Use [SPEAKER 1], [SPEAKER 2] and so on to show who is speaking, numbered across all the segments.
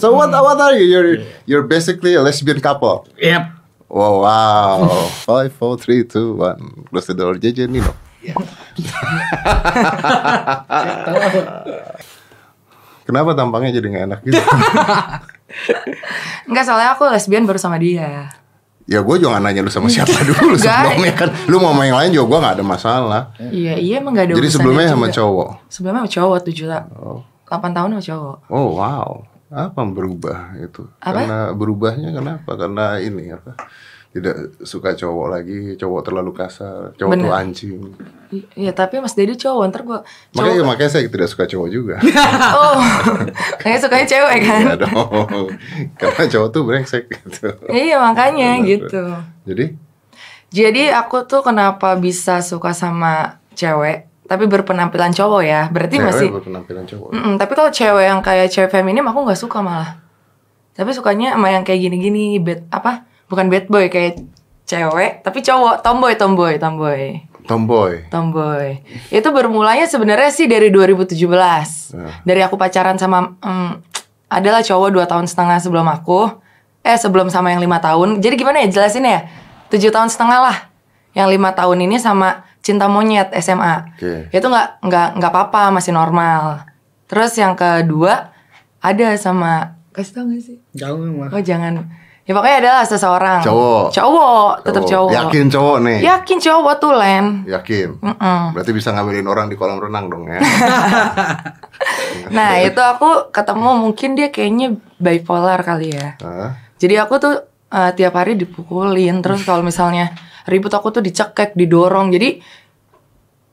[SPEAKER 1] So what
[SPEAKER 2] Hmm.
[SPEAKER 1] what are you? You're you're basically a lesbian couple.
[SPEAKER 3] Yep.
[SPEAKER 1] Wow, wow. Five, four, three, two, one. Close the door, JJ Nino. Kenapa tampangnya jadi nggak enak gitu?
[SPEAKER 2] Enggak soalnya aku lesbian baru sama dia.
[SPEAKER 1] ya gue juga nggak nanya lu sama siapa dulu
[SPEAKER 2] Nggak.
[SPEAKER 1] sebelumnya kan. Lu mau main lain juga gue nggak ada masalah.
[SPEAKER 2] Iya iya emang gak ada.
[SPEAKER 1] Jadi
[SPEAKER 2] urusannya
[SPEAKER 1] sebelumnya sama
[SPEAKER 2] juga.
[SPEAKER 1] cowok.
[SPEAKER 2] Sebelumnya sama cowok tuh juta. Delapan tahun sama cowok.
[SPEAKER 1] Oh wow, apa yang berubah itu?
[SPEAKER 2] Apa?
[SPEAKER 1] Karena berubahnya kenapa? Karena ini apa? Tidak suka cowok lagi, cowok terlalu kasar, cowok tuh
[SPEAKER 2] Bener.
[SPEAKER 1] anjing.
[SPEAKER 2] I- Iya tapi Mas Dedi cowok ntar gue cowok.
[SPEAKER 1] Makanya makanya saya tidak suka cowok juga. Iya
[SPEAKER 2] Oh, kayak sukanya cewek kan?
[SPEAKER 1] ya dong. Karena cowok tuh brengsek gitu.
[SPEAKER 2] Iya makanya
[SPEAKER 1] Bener.
[SPEAKER 2] gitu.
[SPEAKER 1] Jadi
[SPEAKER 2] Jadi aku tuh kenapa bisa suka sama cewek tapi berpenampilan cowok ya? Berarti
[SPEAKER 1] cewek
[SPEAKER 2] masih.
[SPEAKER 1] berpenampilan cowok.
[SPEAKER 2] Mm-mm, tapi kalau cewek yang kayak cewek feminim aku nggak suka malah. Tapi sukanya sama yang kayak gini-gini bad apa? Bukan bad boy kayak cewek tapi cowok tomboy tomboy tomboy.
[SPEAKER 1] Tomboy.
[SPEAKER 2] Tomboy. Itu bermulanya sebenarnya sih dari 2017.
[SPEAKER 1] Iya.
[SPEAKER 2] Dari aku pacaran sama em, adalah cowok dua tahun setengah sebelum aku. Eh sebelum sama yang lima tahun. Jadi gimana ya jelasin ya? 7 tahun setengah lah. Yang lima tahun ini sama cinta monyet SMA.
[SPEAKER 1] Oke.
[SPEAKER 2] Itu nggak nggak nggak apa-apa masih normal. Terus yang kedua ada sama kasih tau gak sih?
[SPEAKER 3] Jauh mah.
[SPEAKER 2] Oh jangan. Ya pokoknya adalah seseorang.
[SPEAKER 1] Cowok.
[SPEAKER 2] Cowok. Tetap
[SPEAKER 1] Oh,
[SPEAKER 2] cowok. Ya.
[SPEAKER 1] Yakin cowok nih.
[SPEAKER 2] Yakin cowok tuh Len.
[SPEAKER 1] Yakin. Berarti bisa ngambilin orang di kolam renang dong ya.
[SPEAKER 2] Nah itu aku ketemu mungkin dia kayaknya bipolar kali ya.
[SPEAKER 1] Hah?
[SPEAKER 2] Jadi aku tuh eh, tiap hari dipukulin terus kalau misalnya ribut aku tuh dicekek, didorong. Jadi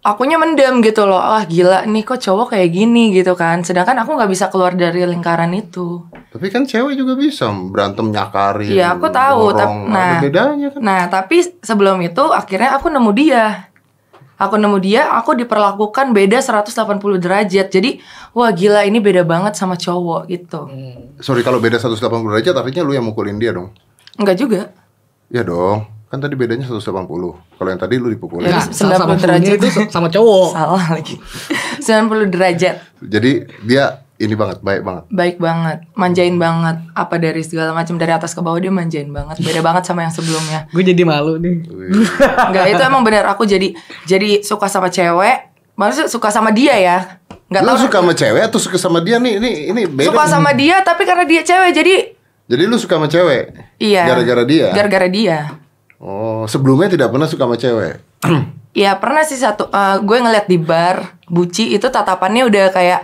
[SPEAKER 2] akunya mendem gitu loh. Ah gila nih kok cowok kayak gini gitu kan. Sedangkan aku nggak bisa keluar dari lingkaran itu.
[SPEAKER 1] Tapi kan cewek juga bisa berantem nyakarin.
[SPEAKER 2] Iya aku tahu.
[SPEAKER 1] dorong.
[SPEAKER 2] tap- nah,
[SPEAKER 1] ada bedanya kan.
[SPEAKER 2] Nah tapi sebelum itu akhirnya aku nemu dia. Aku nemu dia, aku diperlakukan beda 180 derajat. Jadi, wah gila ini beda banget sama cowok gitu.
[SPEAKER 1] Sorry kalau beda 180 derajat artinya lu yang mukulin dia dong.
[SPEAKER 2] Enggak juga.
[SPEAKER 1] Ya dong. Kan tadi bedanya 180. Kalau yang tadi lu dipukulin.
[SPEAKER 3] Ya,
[SPEAKER 2] Ya.
[SPEAKER 3] sama, sama
[SPEAKER 2] 90 derajat.
[SPEAKER 3] itu sama cowok.
[SPEAKER 2] Salah lagi. 90 derajat.
[SPEAKER 1] Jadi dia ini banget, baik banget.
[SPEAKER 2] Baik banget, manjain banget. Apa dari segala macam dari atas ke bawah dia manjain banget. Beda banget sama yang sebelumnya.
[SPEAKER 3] Gue jadi malu nih.
[SPEAKER 1] Wih.
[SPEAKER 2] Enggak, itu emang bener aku jadi jadi suka sama cewek. Maksudnya suka sama dia ya. Enggak
[SPEAKER 1] lu
[SPEAKER 2] tahu
[SPEAKER 1] suka sama cewek atau suka sama dia nih? Ini ini beda.
[SPEAKER 2] suka sama dia tapi karena dia cewek jadi
[SPEAKER 1] Jadi lu suka sama cewek?
[SPEAKER 2] iya.
[SPEAKER 1] Gara-gara dia.
[SPEAKER 2] Gara-gara dia.
[SPEAKER 1] oh, sebelumnya tidak pernah suka sama cewek.
[SPEAKER 2] Ya pernah sih satu eh, gue ngeliat di bar Buci itu tatapannya udah kayak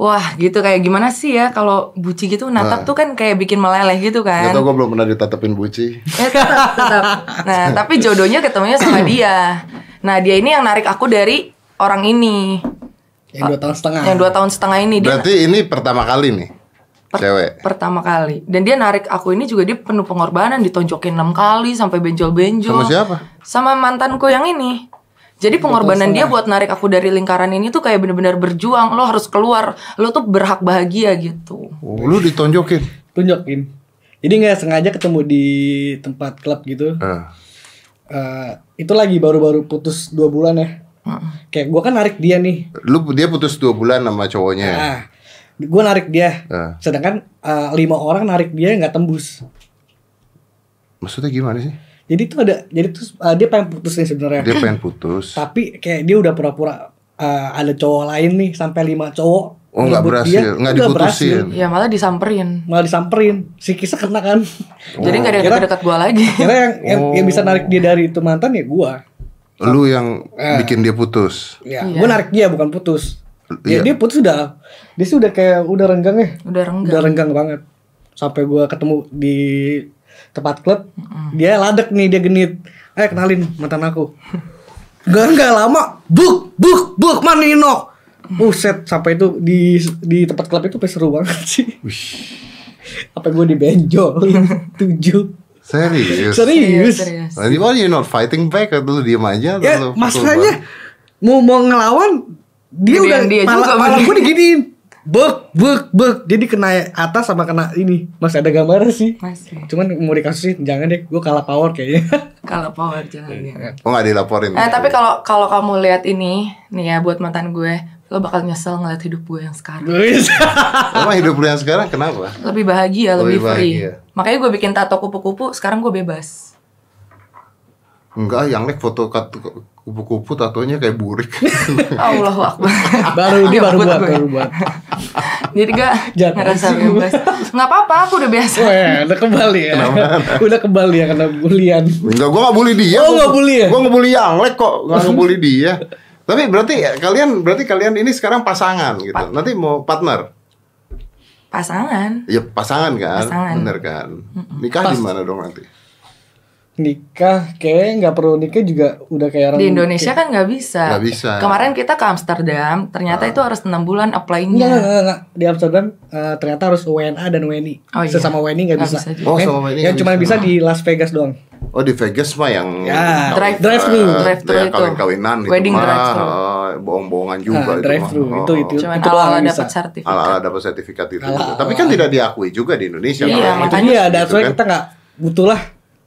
[SPEAKER 2] wah gitu kayak gimana sih ya kalau Buci gitu natap tuh kan kayak bikin meleleh gitu
[SPEAKER 1] Gak
[SPEAKER 2] kan.
[SPEAKER 1] tau gue belum pernah ditatapin buci.
[SPEAKER 2] Ya, tetap, tetap. Nah, tapi jodohnya ketemunya sama dia. Nah, dia ini yang narik aku dari orang ini
[SPEAKER 3] Yang dua tahun setengah.
[SPEAKER 2] yang dua tahun setengah ini dia
[SPEAKER 1] Berarti ini pertama kali nih cewek.
[SPEAKER 2] pertama kali. Dan dia narik aku ini juga dia penuh pengorbanan, ditonjokin enam kali sampai benjol-benjol.
[SPEAKER 1] Sama siapa?
[SPEAKER 2] Sama mantanku yang ini. Jadi pengorbanan dia buat narik aku dari lingkaran ini tuh kayak bener-bener berjuang. Lo harus keluar. Lo tuh berhak bahagia gitu.
[SPEAKER 1] Oh, lu ditonjokin.
[SPEAKER 3] Tunjukin. Jadi nggak sengaja ketemu di tempat klub gitu.
[SPEAKER 1] Eh,
[SPEAKER 3] Eh, itu lagi baru-baru putus dua bulan ya. Kayak gue kan narik dia nih.
[SPEAKER 1] Lu dia putus dua bulan sama cowoknya.
[SPEAKER 3] Ah, gue narik dia.
[SPEAKER 1] Ah.
[SPEAKER 3] Sedangkan eh, lima orang narik dia nggak tembus.
[SPEAKER 1] Maksudnya gimana sih?
[SPEAKER 3] Jadi tuh ada, jadi tuh eh, dia pengen putus nih sebenarnya.
[SPEAKER 1] Dia pengen putus.
[SPEAKER 3] Tapi kayak dia udah pura-pura eh, ada cowok lain nih sampai lima cowok.
[SPEAKER 1] Oh, nggak
[SPEAKER 3] ngebut
[SPEAKER 1] berhasil,
[SPEAKER 3] dia,
[SPEAKER 1] nggak
[SPEAKER 3] nggak
[SPEAKER 1] diputusin.
[SPEAKER 3] berhasil.
[SPEAKER 2] Ya malah disamperin.
[SPEAKER 3] Malah disamperin, si kisah kena kan.
[SPEAKER 2] Jadi nggak ada
[SPEAKER 3] Kira-
[SPEAKER 2] dekat-dekat gua lagi.
[SPEAKER 3] Kira yang, yang, yang bisa narik dia dari itu mantan ya gue.
[SPEAKER 1] Lu yang bikin dia putus.
[SPEAKER 3] Ya, gue narik dia bukan putus.
[SPEAKER 1] Iya.
[SPEAKER 3] Ya, dia putus udah, dia sih udah kayak udah renggang ya.
[SPEAKER 2] Udah renggang.
[SPEAKER 3] Udah renggang banget. Sampai gua ketemu di tempat klub, dia ladek nih, dia genit. Eh kenalin mantan aku. Gak nggak lama, buk buk buk manino. Buset, sampai itu di di tempat klub itu pasti seru banget sih. Apa gue dibenjol tujuh
[SPEAKER 1] Serius.
[SPEAKER 3] serius,
[SPEAKER 2] Serius.
[SPEAKER 1] Tadi why you not fighting back atau lu diem aja atau lu
[SPEAKER 3] ya
[SPEAKER 1] pukul
[SPEAKER 3] masalahnya mau mau ngelawan dia
[SPEAKER 2] Gedean
[SPEAKER 3] udah
[SPEAKER 2] dia
[SPEAKER 3] pala,
[SPEAKER 2] juga,
[SPEAKER 3] pala
[SPEAKER 2] Bang.
[SPEAKER 3] gue diginiin bek bek bek jadi kena atas sama kena ini masih ada gambarnya sih
[SPEAKER 2] Masih.
[SPEAKER 3] cuman mau dikasih jangan deh gue kalah power kayaknya
[SPEAKER 2] Kalau power jalannya.
[SPEAKER 1] Iya, banget? Oh nggak dilaporin.
[SPEAKER 2] Eh tapi kalau kalau kamu lihat ini nih ya buat mantan gue, lo bakal nyesel ngeliat hidup gue yang sekarang.
[SPEAKER 3] Guys.
[SPEAKER 1] Emang hidup lu yang sekarang kenapa?
[SPEAKER 2] Lebih bahagia, lebih,
[SPEAKER 1] Lebih
[SPEAKER 2] free.
[SPEAKER 1] bahagia.
[SPEAKER 2] Makanya gue bikin tato kupu-kupu, sekarang gue bebas.
[SPEAKER 1] Enggak, yang like foto kat- kupu-kupu tatonya kayak burik.
[SPEAKER 2] Allahu Akbar.
[SPEAKER 3] baru dia
[SPEAKER 2] Iya,
[SPEAKER 3] baru
[SPEAKER 2] buat
[SPEAKER 3] buat,
[SPEAKER 2] gue.
[SPEAKER 3] baru buat.
[SPEAKER 2] Jadi gak
[SPEAKER 3] Jangan.
[SPEAKER 2] ngerasa bebas. Nggak apa-apa, aku udah biasa.
[SPEAKER 3] Wah, udah kembali ya. udah kembali ya karena bulian.
[SPEAKER 1] Enggak, gua nggak bully dia.
[SPEAKER 3] Oh,
[SPEAKER 1] Gua-
[SPEAKER 3] nggak bully ya?
[SPEAKER 1] Gua nggak bully yang like kok, nggak ngebully dia. Tapi berarti ya, kalian berarti kalian ini sekarang pasangan gitu. Nanti mau partner.
[SPEAKER 2] Pasangan.
[SPEAKER 1] Ya pasangan kan?
[SPEAKER 2] Pasangan.
[SPEAKER 1] Bener kan? Nikah di mana dong nanti?
[SPEAKER 3] Nikah kayaknya nggak perlu nikah juga udah kayak orang
[SPEAKER 2] Di Indonesia kan nggak bisa.
[SPEAKER 1] Nggak bisa. Ah.
[SPEAKER 2] Kemarin kita ke Amsterdam, ternyata itu harus enam bulan
[SPEAKER 3] Enggak, enggak,
[SPEAKER 2] apply-nya.
[SPEAKER 3] enggak, enggak. Di Amsterdam eh, ternyata harus WNA dan WNI.
[SPEAKER 2] Oh, iya.
[SPEAKER 3] Sesama WNI nggak
[SPEAKER 2] Nggak
[SPEAKER 3] bisa.
[SPEAKER 2] bisa juga.
[SPEAKER 1] Oh,
[SPEAKER 3] Yang-
[SPEAKER 1] sama ini
[SPEAKER 3] yang
[SPEAKER 1] nggak
[SPEAKER 3] cuma
[SPEAKER 1] bisa.
[SPEAKER 3] bisa di Las Vegas doang.
[SPEAKER 1] Oh di Vegas mah yang
[SPEAKER 3] Ya,
[SPEAKER 1] kawin-
[SPEAKER 3] drive- drive-thru.
[SPEAKER 1] eh,
[SPEAKER 2] Drive-thru
[SPEAKER 1] ya,
[SPEAKER 2] itu.
[SPEAKER 1] kawin-kawinan itu
[SPEAKER 2] Wedding
[SPEAKER 1] mah,
[SPEAKER 2] drive-thru.
[SPEAKER 1] eh, bohong-bohongan juga
[SPEAKER 3] Nah,
[SPEAKER 1] itu
[SPEAKER 3] drive
[SPEAKER 1] mah.
[SPEAKER 3] thru
[SPEAKER 1] Oh,
[SPEAKER 3] itu itu.
[SPEAKER 2] Cuman
[SPEAKER 3] itu doang
[SPEAKER 2] ala-ala
[SPEAKER 3] yang
[SPEAKER 2] dapat
[SPEAKER 3] bisa.
[SPEAKER 2] sertifikat.
[SPEAKER 1] Ala-ala dapat sertifikat itu.
[SPEAKER 3] Ala-ala.
[SPEAKER 1] Tapi kan tidak diakui juga di Indonesia.
[SPEAKER 2] Iya,
[SPEAKER 1] kalau
[SPEAKER 3] Itu
[SPEAKER 1] gitu.
[SPEAKER 2] makanya
[SPEAKER 3] dia ada
[SPEAKER 1] gitu
[SPEAKER 3] soalnya
[SPEAKER 1] kan.
[SPEAKER 3] kita nggak butuh lah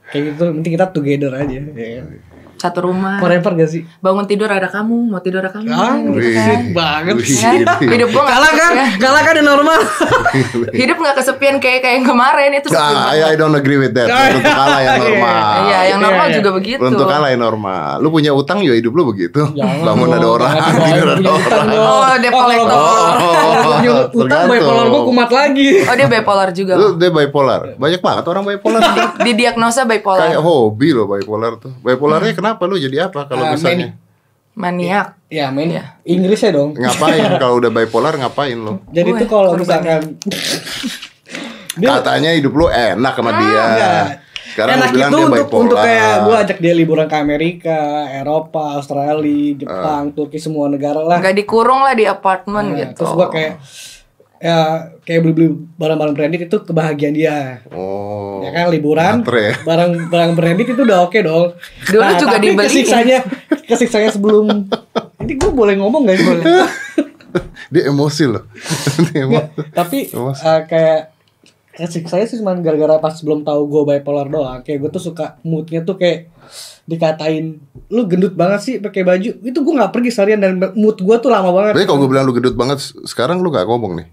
[SPEAKER 3] kayak gitu. Mending kita together aja. Ya. kan?
[SPEAKER 2] Satu rumah.
[SPEAKER 3] Forever gak sih?
[SPEAKER 2] Bangun tidur ada kamu, mau tidur ada kamu.
[SPEAKER 3] Ah,
[SPEAKER 2] gitu
[SPEAKER 1] Wih.
[SPEAKER 2] kan.
[SPEAKER 3] banget
[SPEAKER 1] Wih.
[SPEAKER 2] Kan? Hidup gua nggak
[SPEAKER 3] Kalah kan?
[SPEAKER 2] kesepian.
[SPEAKER 3] Kalah kan di normal.
[SPEAKER 2] Hidup nggak kesepian kayak kayak yang kemarin itu. sepi
[SPEAKER 1] Ah,
[SPEAKER 2] banget.
[SPEAKER 1] I, I don't agree with that. Untuk ala yang normal.
[SPEAKER 2] Iya, yang
[SPEAKER 3] Iya,
[SPEAKER 2] normal
[SPEAKER 3] iya.
[SPEAKER 2] juga begitu.
[SPEAKER 1] Untuk ala yang normal. Lu punya utang ya hidup lu begitu. Bangun ada orang, tidur ada orang.
[SPEAKER 2] Oh, dia kolektor.
[SPEAKER 3] Punya utang
[SPEAKER 1] tergantung.
[SPEAKER 3] bipolar gua kumat lagi.
[SPEAKER 2] Oh dia bipolar juga.
[SPEAKER 1] Lu dia bipolar. Banyak banget orang bipolar.
[SPEAKER 2] Iya. Didiagnosa
[SPEAKER 1] Kayak
[SPEAKER 2] bipolar.
[SPEAKER 1] hobi loh bipolar tuh. Bipolarnya kenapa lu jadi apa kalau
[SPEAKER 3] Ah,
[SPEAKER 1] misalnya?
[SPEAKER 2] Maniak.
[SPEAKER 3] Ya, main
[SPEAKER 2] Iya.
[SPEAKER 3] Inggrisnya dong.
[SPEAKER 1] Ngapain kalau udah bipolar ngapain lo?
[SPEAKER 3] Jadi
[SPEAKER 2] Gue
[SPEAKER 3] tuh kalau misalkan
[SPEAKER 2] korbannya.
[SPEAKER 1] Katanya hidup lu enak sama dia.
[SPEAKER 3] Enggak.
[SPEAKER 1] Sekarang lu
[SPEAKER 3] Ah, iya. enak
[SPEAKER 1] bilang
[SPEAKER 3] itu
[SPEAKER 1] dia
[SPEAKER 3] untuk
[SPEAKER 1] bipolar.
[SPEAKER 3] untuk kayak gue ajak dia liburan ke Amerika, Eropa, Australia, Jepang,
[SPEAKER 1] Ah.
[SPEAKER 3] Turki semua negara lah.
[SPEAKER 2] Nggak dikurung lah di
[SPEAKER 3] Nah,
[SPEAKER 2] apartemen gitu.
[SPEAKER 3] Terus gue kayak ya kayak beli-beli barang-barang branded itu kebahagiaan dia.
[SPEAKER 1] Oh.
[SPEAKER 3] Ya kan liburan,
[SPEAKER 1] Matre ya.
[SPEAKER 3] barang-barang branded itu udah oke dong. Nah,
[SPEAKER 2] Dulu juga
[SPEAKER 3] tapi
[SPEAKER 2] dibeliin.
[SPEAKER 3] Kesiksanya, kesiksanya sebelum ini gue boleh ngomong gak boleh.
[SPEAKER 1] Dia emosi loh. Dia
[SPEAKER 3] Nggak,
[SPEAKER 1] emosi.
[SPEAKER 3] tapi
[SPEAKER 1] Awas.
[SPEAKER 3] eh, kayak kasih saya sih cuman gara-gara pas belum tahu gue bipolar doang kayak gue tuh suka moodnya tuh kayak dikatain lu gendut banget sih pakai baju itu gue nggak pergi seharian dan mood gue tuh lama banget
[SPEAKER 1] Tapi kalau gue bilang lu gendut banget, se- sekarang lu gak ngomong nih.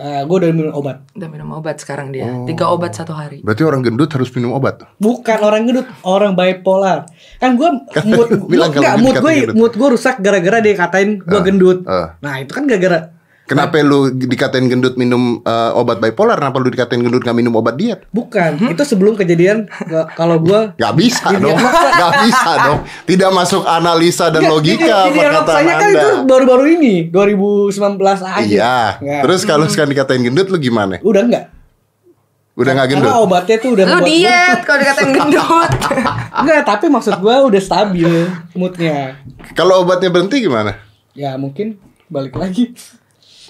[SPEAKER 3] gue Eh, udah minum obat
[SPEAKER 2] Udah minum obat sekarang dia.
[SPEAKER 3] Oh.
[SPEAKER 2] Tiga obat satu hari.
[SPEAKER 1] Berarti orang gendut harus minum obat.
[SPEAKER 3] bukan orang gendut orang bipolar kan gue mood
[SPEAKER 1] Bilang kalau
[SPEAKER 3] nggak
[SPEAKER 1] gendut,
[SPEAKER 3] mood gue
[SPEAKER 1] katanya gendut.
[SPEAKER 3] mood gue rusak gara-gara dia katain gue gendut
[SPEAKER 1] ah.
[SPEAKER 3] nah itu kan gara-gara
[SPEAKER 1] Kenapa lu dikatain gendut minum eh, obat bipolar? Kenapa lu dikatain gendut gak minum obat diet?
[SPEAKER 3] bukan
[SPEAKER 2] Hmm?
[SPEAKER 3] itu sebelum kejadian nggak- kalau
[SPEAKER 1] Gak
[SPEAKER 3] gue Iya.
[SPEAKER 1] bisa dong, gak bisa dong. Tidak masuk analisa dan logika
[SPEAKER 3] Jadi anak
[SPEAKER 1] perkataan
[SPEAKER 3] saya kan
[SPEAKER 1] anda.
[SPEAKER 3] itu baru-baru ini 2019 aja.
[SPEAKER 1] Iya.
[SPEAKER 3] Nggak.
[SPEAKER 1] Terus kalau sekarang dikatain gendut, lu gimana?
[SPEAKER 3] udah enggak.
[SPEAKER 1] Udah gak
[SPEAKER 3] Karena
[SPEAKER 1] gendut?
[SPEAKER 3] obatnya tuh udah
[SPEAKER 2] Lu
[SPEAKER 3] membuat
[SPEAKER 2] diet kalau dikatain gendut.
[SPEAKER 3] mood- Enggak, tapi maksud gua udah stabil moodnya.
[SPEAKER 1] Kalau obatnya berhenti gimana?
[SPEAKER 3] Ya mungkin balik lagi.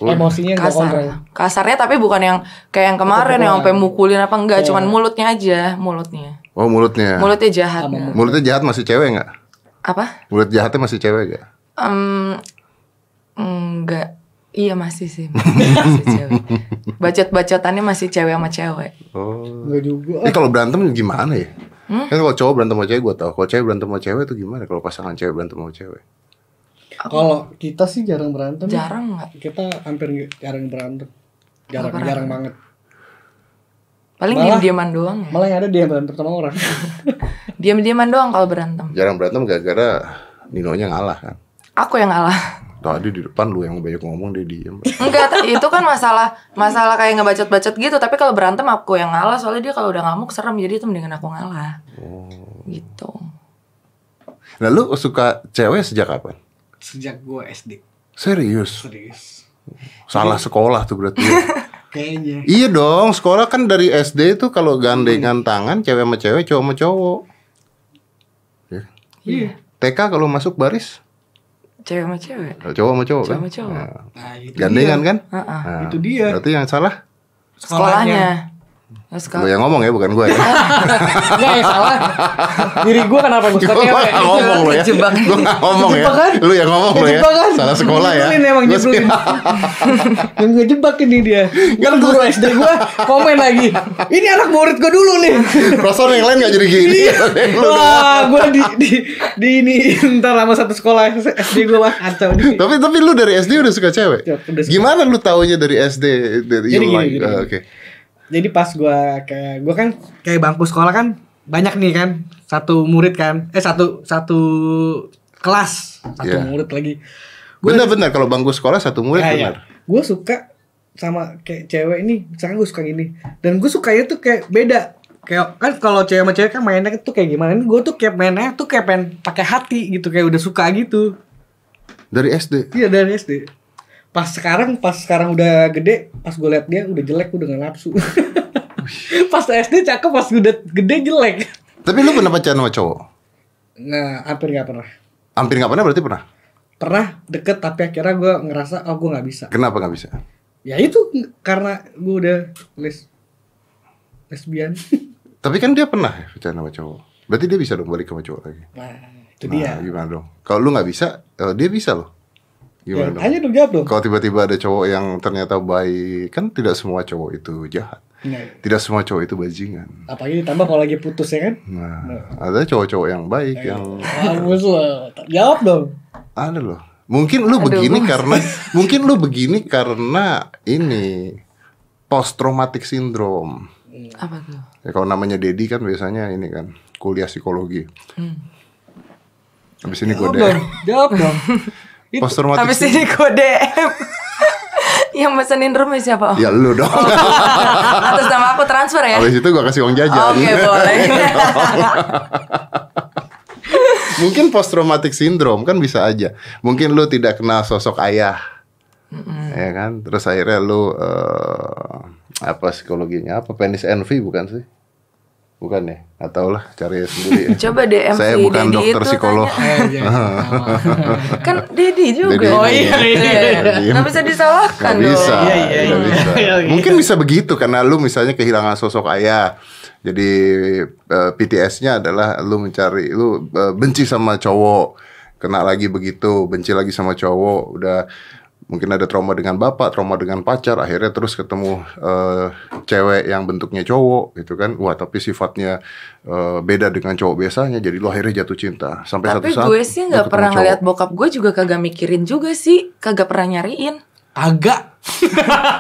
[SPEAKER 3] Emosinya enggak kontrol.
[SPEAKER 2] Kasar. Kasarnya tapi bukan yang kayak yang kemarin yang sampai mukulin apa enggak,
[SPEAKER 3] Iya.
[SPEAKER 2] cuman mulutnya aja, mulutnya.
[SPEAKER 1] Oh mulutnya.
[SPEAKER 2] Mulutnya jahat. Mel.
[SPEAKER 1] Mulutnya jahat masih cewek nggak?
[SPEAKER 2] Apa?
[SPEAKER 1] Mulut jahatnya masih cewek gak?
[SPEAKER 2] Em, enggak. Iya masih sih. Masih cewek. Bacot-bacotannya masih cewek sama cewek.
[SPEAKER 1] Oh.
[SPEAKER 3] Enggak juga.
[SPEAKER 1] Eh kalau berantem gimana ya? Kan kalau cowok berantem sama cewek gue tau. Kalau cewek berantem sama cewek itu gimana? Kalau pasangan cewek berantem sama cewek?
[SPEAKER 3] Kalau kita sih jarang berantem.
[SPEAKER 2] Jarang nggak?
[SPEAKER 3] Kita hampir nggak- jarang berantem. Jarang, jarang banget.
[SPEAKER 2] Paling
[SPEAKER 3] Malah-
[SPEAKER 2] diem-dieman doang ya.
[SPEAKER 3] Malah yang ada dia yang berantem sama orang.
[SPEAKER 2] Diem-dieman doang kalau berantem.
[SPEAKER 1] Jarang berantem gara-gara Ninonya ngalah kan.
[SPEAKER 2] Aku yang ngalah.
[SPEAKER 1] Tadi di depan lu yang banyak ngomong dia diem.
[SPEAKER 2] Enggak, t- itu kan masalah masalah kayak ngebacot-bacot gitu. Tapi kalau berantem aku yang ngalah. Soalnya dia kalau udah ngamuk serem. Jadi itu mendingan aku ngalah.
[SPEAKER 1] Oh.
[SPEAKER 2] Gitu.
[SPEAKER 1] Nah lu suka cewek sejak kapan?
[SPEAKER 3] Sejak gua SD.
[SPEAKER 1] Serius?
[SPEAKER 3] Serius.
[SPEAKER 1] Salah sekolah tuh berarti. ya?
[SPEAKER 3] Kayaknya.
[SPEAKER 1] iya dong, sekolah kan dari SD tuh kalau gandengan tangan cewek sama cewek, cowok sama cowok. Ya.
[SPEAKER 2] Iya.
[SPEAKER 1] TK kalau masuk baris
[SPEAKER 2] Cewek sama cewek.
[SPEAKER 1] cowok sama cowok
[SPEAKER 2] Cewek
[SPEAKER 1] kan?
[SPEAKER 2] sama cowok. Ah,
[SPEAKER 1] Nah,
[SPEAKER 3] Nah, itu
[SPEAKER 1] gandengan kan?
[SPEAKER 2] Heeh.
[SPEAKER 1] Nah,
[SPEAKER 3] Itu dia.
[SPEAKER 1] Berarti yang salah
[SPEAKER 2] Sekolahnya. Terus
[SPEAKER 1] Gue yang ngomong ya, bukan gue ya.
[SPEAKER 3] Enggak yang ya, salah. Diri gue kenapa gue suka
[SPEAKER 1] Gue
[SPEAKER 3] cewek?
[SPEAKER 1] nggak ngomong lo ya.
[SPEAKER 2] Kejebak.
[SPEAKER 1] Gue nggak ngomong ya.
[SPEAKER 3] Kejebak kan?
[SPEAKER 1] Lu yang ngomong lo ya.
[SPEAKER 3] Kejebak kan?
[SPEAKER 1] Salah sekolah ya.
[SPEAKER 3] Nyebelin emang,
[SPEAKER 1] Gua
[SPEAKER 3] nyebelin.
[SPEAKER 1] sih-
[SPEAKER 3] Yang ngejebak ini dia. Ntar guru SD gue komen lagi. Ini anak murid gue dulu nih.
[SPEAKER 1] Perasaan yang lain gak jadi gini. Lu doang.
[SPEAKER 3] Iya, Wah, gue di di di ini ntar sama satu sekolah SD gue wah kacau nih.
[SPEAKER 1] tapi tapi lu dari SD udah suka cewek.
[SPEAKER 3] Iya. Ya, udah suka.
[SPEAKER 1] Gimana lu taunya dari SD dari
[SPEAKER 3] Jadi
[SPEAKER 1] you
[SPEAKER 3] gini,
[SPEAKER 1] like?
[SPEAKER 3] gini,
[SPEAKER 1] Ah,
[SPEAKER 3] gini.
[SPEAKER 1] Oke.
[SPEAKER 3] Jadi pas gua kayak gua kan kayak bangku sekolah kan banyak nih kan satu murid kan eh satu satu kelas satu
[SPEAKER 1] Iya.
[SPEAKER 3] murid lagi.
[SPEAKER 1] Bener-bener kalau bangku sekolah satu murid
[SPEAKER 3] Nah,
[SPEAKER 1] benar.
[SPEAKER 3] ya. Gua suka sama kayak cewek ini, misalkan gue suka gini dan gue sukanya tuh kayak beda. Kayak kan kalau cewek sama cewek kan mainnya tuh kayak gimana? Ini gue tuh kayak mainnya tuh kayak pengen pakai hati gitu kayak udah suka gitu.
[SPEAKER 1] Dari SD.
[SPEAKER 3] Iya dari SD. Pas sekarang, pas sekarang udah gede, pas gue liat dia udah jelek, udah gak nafsu. pas SD cakep, pas udah gede jelek.
[SPEAKER 1] Tapi lu pernah pacaran sama cowok?
[SPEAKER 3] Nah, hampir gak pernah.
[SPEAKER 1] Hampir nggak pernah berarti pernah.
[SPEAKER 3] Pernah deket, tapi akhirnya gue ngerasa, oh gue gak bisa.
[SPEAKER 1] Kenapa nggak bisa?
[SPEAKER 3] Ya itu karena gue udah les lesbian.
[SPEAKER 1] Tapi kan dia pernah ya pacaran sama cowok. Berarti dia bisa dong balik sama cowok lagi.
[SPEAKER 3] Nah, itu
[SPEAKER 1] nah,
[SPEAKER 3] dia.
[SPEAKER 1] gimana dong? Kalau lu nggak bisa, eh, dia bisa loh. Gimana
[SPEAKER 3] Ya,
[SPEAKER 1] dong?
[SPEAKER 3] Tanya dong, jawab dong.
[SPEAKER 1] Kalau tiba-tiba ada cowok yang ternyata baik, kan tidak semua cowok itu jahat.
[SPEAKER 3] Nah,
[SPEAKER 1] Tidak semua cowok itu bajingan.
[SPEAKER 3] apalagi ditambah kalau lagi putus ya kan?
[SPEAKER 1] Nah, ada cowok-cowok yang baik
[SPEAKER 3] Iya.
[SPEAKER 1] yang
[SPEAKER 3] Mampus lo. Jawab dong.
[SPEAKER 1] ada loh. Mungkin lu
[SPEAKER 2] Aduh,
[SPEAKER 1] begini
[SPEAKER 2] gua-
[SPEAKER 1] karena mungkin lu begini karena ini post traumatic syndrome.
[SPEAKER 2] Apa tuh?
[SPEAKER 1] Ya, kalau namanya Dedi kan biasanya ini kan kuliah psikologi.
[SPEAKER 2] Hmm.
[SPEAKER 1] Habis ini
[SPEAKER 3] Jawab
[SPEAKER 1] gue
[SPEAKER 3] Ya dong. Jawab dong. Itu-
[SPEAKER 1] post traumatic
[SPEAKER 2] Habis
[SPEAKER 1] syndrome.
[SPEAKER 2] ini kode yang pesenin roomnya siapa? Om?
[SPEAKER 1] Ya lu dong.
[SPEAKER 2] Oh, Atas nama aku transfer ya.
[SPEAKER 1] Habis itu gua kasih uang jajan.
[SPEAKER 2] Oh, Oke, boleh.
[SPEAKER 1] Mungkin post traumatic syndrome kan bisa aja. Mungkin lu tidak kenal sosok ayah. Ya kan? Terus akhirnya lu eh, apa psikologinya? Apa penis envy bukan sih? Bukan ya? Nggak tahu lah, cari sendiri. ya.
[SPEAKER 2] Coba DM
[SPEAKER 1] Saya
[SPEAKER 2] si
[SPEAKER 1] bukan
[SPEAKER 2] Dedi
[SPEAKER 1] dokter
[SPEAKER 2] itu
[SPEAKER 1] psikolog.
[SPEAKER 2] tanya.
[SPEAKER 3] Eh, iya, iya.
[SPEAKER 2] Kan Dedi juga.
[SPEAKER 1] Dedi.
[SPEAKER 3] Oh, iya, iya,
[SPEAKER 1] iya.
[SPEAKER 2] Nggak bisa disalahkan
[SPEAKER 1] Gak
[SPEAKER 2] dong.
[SPEAKER 1] bisa,
[SPEAKER 3] Iya, iya,
[SPEAKER 1] nggak
[SPEAKER 3] iya.
[SPEAKER 1] bisa.
[SPEAKER 3] Iya, iya.
[SPEAKER 1] Mungkin bisa begitu karena lu misalnya kehilangan sosok ayah. Jadi eh, PTS-nya adalah lu mencari lu eh, benci sama cowok, kena lagi begitu, benci lagi sama cowok, udah mungkin ada trauma dengan bapak, trauma dengan pacar, akhirnya terus ketemu eh, cewek yang bentuknya cowok gitu kan. Wah, tapi sifatnya eh, beda dengan cowok biasanya, jadi lu akhirnya jatuh cinta. Sampai satu
[SPEAKER 2] Tapi
[SPEAKER 1] saat
[SPEAKER 2] gue sih
[SPEAKER 1] lu ketemu
[SPEAKER 2] nggak pernah
[SPEAKER 1] cowok.
[SPEAKER 2] ngeliat bokap gue juga kagak mikirin juga sih, kagak pernah nyariin.
[SPEAKER 3] Agak.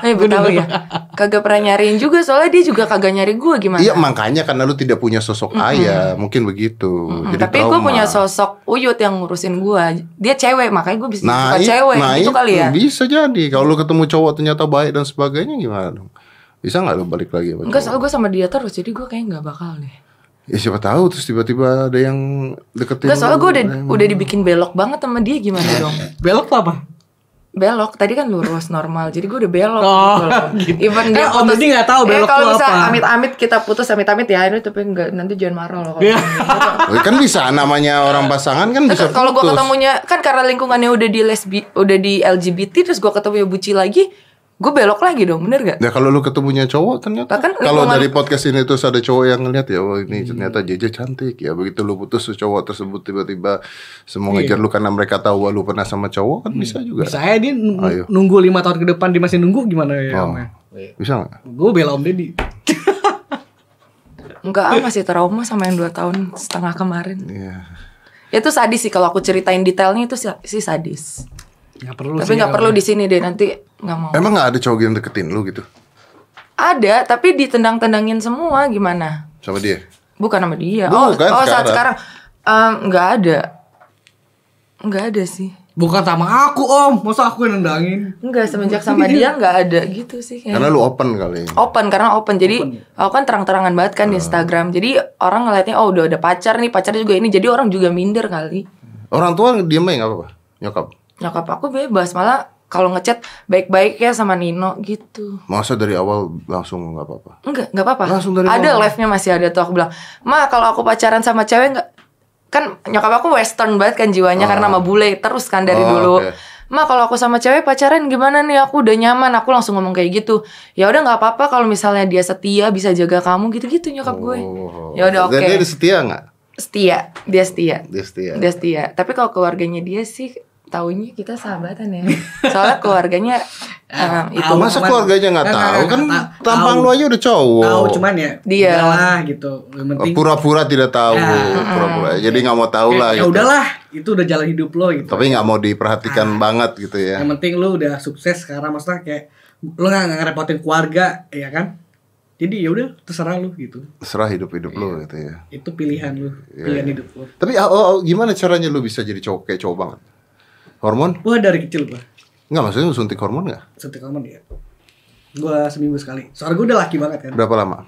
[SPEAKER 2] Eh, gue tahu ya. Kagak pernah nyariin juga soalnya dia juga kagak nyari gue gimana.
[SPEAKER 1] Iya makanya karena lu tidak punya sosok ayah mungkin begitu.
[SPEAKER 2] Mm,
[SPEAKER 1] Jadi
[SPEAKER 2] tapi gue
[SPEAKER 1] trauma.
[SPEAKER 2] punya sosok Uyut yang ngurusin gue. Dia cewek, makanya gue bisa
[SPEAKER 1] Nah,
[SPEAKER 2] suka
[SPEAKER 1] i-
[SPEAKER 2] cewek
[SPEAKER 1] nah,
[SPEAKER 2] gitu
[SPEAKER 1] itu
[SPEAKER 2] kali ya.
[SPEAKER 1] Bisa jadi kalau lu ketemu cowok ternyata baik dan sebagainya gimana dong? Bisa nggak lu balik lagi sama
[SPEAKER 2] Enggak,
[SPEAKER 1] cowok?
[SPEAKER 2] soalnya gue sama dia terus, jadi gue kayaknya nggak bakal deh.
[SPEAKER 1] Ya siapa tahu terus tiba-tiba ada yang deketin.
[SPEAKER 2] Enggak, soalnya
[SPEAKER 1] lu,
[SPEAKER 2] gue udah
[SPEAKER 1] eh,
[SPEAKER 2] udah dibikin belok banget sama dia gimana dong?
[SPEAKER 3] Belok lah, Pak.
[SPEAKER 2] Belok, tadi kan lurus normal, jadi gue udah belok.
[SPEAKER 3] Oh, gitu.
[SPEAKER 2] gitu. Even dia
[SPEAKER 3] Eh, Om Deddy nggak tahu
[SPEAKER 2] Eh,
[SPEAKER 3] belok
[SPEAKER 2] kalau
[SPEAKER 3] tuh
[SPEAKER 2] bisa
[SPEAKER 3] apa.
[SPEAKER 2] amit-amit kita putus amit-amit ya, ini tapi enggak nanti jangan marah loh. kalau
[SPEAKER 3] Iya.
[SPEAKER 1] kan bisa namanya orang pasangan kan bisa
[SPEAKER 2] Terus kalau gue
[SPEAKER 1] putus.
[SPEAKER 2] ketemunya kan karena lingkungannya udah di lesbi, udah di LGBT, terus gue ketemunya buci lagi, gue belok lagi dong, bener gak?
[SPEAKER 1] Ya kalau lu ketemunya cowok ternyata
[SPEAKER 2] Bahkan
[SPEAKER 1] kalau
[SPEAKER 2] lingkungan- Hmm.
[SPEAKER 1] dari podcast ini terus ada cowok yang ngeliat ya oh ini ternyata JJ cantik ya begitu lu putus tuh cowok tersebut tiba-tiba semua ngejar
[SPEAKER 2] Iya.
[SPEAKER 1] lu karena mereka tahu wah, lu pernah sama cowok kan bisa juga.
[SPEAKER 3] Bisa aja dia nung-
[SPEAKER 1] Ayo.
[SPEAKER 3] nunggu lima tahun ke depan dia masih nunggu gimana ya
[SPEAKER 1] iya. Oh.
[SPEAKER 3] Om ya?
[SPEAKER 1] Bisa nggak?
[SPEAKER 3] Gue bela Om Deddy.
[SPEAKER 2] Enggak, ah, masih trauma sama yang 2 tahun setengah kemarin. Ya,
[SPEAKER 1] Iya.
[SPEAKER 2] Itu sadis sih kalau aku ceritain detailnya itu sih sih sadis.
[SPEAKER 3] Gak perlu
[SPEAKER 2] Tapi nggak perlu di sini deh nanti nggak mau.
[SPEAKER 1] Emang nggak ada cowok yang deketin lu gitu
[SPEAKER 2] Ada, tapi ditendang-tendangin semua gimana?
[SPEAKER 1] sama dia?
[SPEAKER 2] Bukan sama dia. oh,
[SPEAKER 1] Bukan
[SPEAKER 2] oh saat
[SPEAKER 1] sekarang.
[SPEAKER 2] sekarang em, nggak ada. Nggak ada sih.
[SPEAKER 3] Bukan sama aku Om, masa aku yang nendangin?
[SPEAKER 2] Enggak, semenjak sama dia nggak ada gitu sih
[SPEAKER 3] Iya.
[SPEAKER 2] kayaknya.
[SPEAKER 1] Karena lu open kali.
[SPEAKER 2] open karena open jadi
[SPEAKER 1] ya?
[SPEAKER 2] aku kan terang-terangan banget kan
[SPEAKER 1] Ah.
[SPEAKER 2] di Instagram jadi orang ngeliatnya oh udah ada pacar nih pacar juga ini jadi orang juga minder kali
[SPEAKER 1] Orang tua diem aja nggak apa-apa. Nyokap.
[SPEAKER 2] nyokap aku bebas malah kalau ngechat baik-baik ya sama Nino gitu
[SPEAKER 1] Masa dari awal langsung nggak apa-apa.
[SPEAKER 2] enggak nggak apa-apa
[SPEAKER 1] Langsung dari
[SPEAKER 2] ada
[SPEAKER 1] awal.
[SPEAKER 2] live nya masih ada tuh aku bilang ma kalau aku pacaran sama cewek nggak kan nyokap aku western banget kan jiwanya karena sama bule terus kan dari
[SPEAKER 1] Ah. Oh,
[SPEAKER 2] dulu
[SPEAKER 1] oke.
[SPEAKER 2] Ma kalau aku sama cewek pacaran gimana nih aku udah nyaman aku langsung ngomong kayak gitu ya udah nggak apa-apa kalau misalnya dia setia bisa jaga kamu gitu-gitu nyokap gue
[SPEAKER 3] Oh.
[SPEAKER 2] ya udah oke
[SPEAKER 1] Oh. Dan dia Iya. setia nggak?
[SPEAKER 2] setia dia setia
[SPEAKER 1] Dia setia.
[SPEAKER 2] dia setia tapi kalau keluarganya dia sih taunya kita sahabatan ya soalnya keluarganya
[SPEAKER 1] Ah.
[SPEAKER 2] em, itu
[SPEAKER 3] Tahu,
[SPEAKER 1] Masa
[SPEAKER 3] cuman-
[SPEAKER 1] keluarganya nggak
[SPEAKER 3] Nggak,
[SPEAKER 1] tahu?
[SPEAKER 3] nggak,
[SPEAKER 1] Kan
[SPEAKER 3] nggak,
[SPEAKER 1] tampang
[SPEAKER 3] tahu.
[SPEAKER 1] lu aja udah cowok.
[SPEAKER 3] Tahu cuman ya.
[SPEAKER 2] Dia.
[SPEAKER 3] udahlah gitu. Yang penting.
[SPEAKER 1] Pura-pura tidak tahu,
[SPEAKER 3] Ya.
[SPEAKER 1] pura-pura. Jadi nggak mau tahu lah.
[SPEAKER 3] ya
[SPEAKER 1] gitu.
[SPEAKER 3] udahlah, itu udah Ah. jalan hidup lo gitu.
[SPEAKER 1] Tapi nggak mau diperhatikan banget gitu ya.
[SPEAKER 3] Yang penting lu udah sukses sekarang maksudnya kayak lu nggak nggak ngerepotin keluarga, ya kan? Jadi ya udah terserah lu gitu.
[SPEAKER 1] Serah hidup-hidup
[SPEAKER 3] Iya.
[SPEAKER 1] lu gitu ya.
[SPEAKER 3] Itu pilihan lu, pilihan hidup lu.
[SPEAKER 1] Tapi oh, oh, gimana caranya lu bisa jadi cowok kayak cowok banget? Hormon?
[SPEAKER 3] Gua dari kecil gua
[SPEAKER 1] Nggak maksudnya lu suntik hormon nggak?
[SPEAKER 3] suntik hormon ya. Gua seminggu sekali. Soalnya gua udah laki banget kan.
[SPEAKER 1] Berapa lama?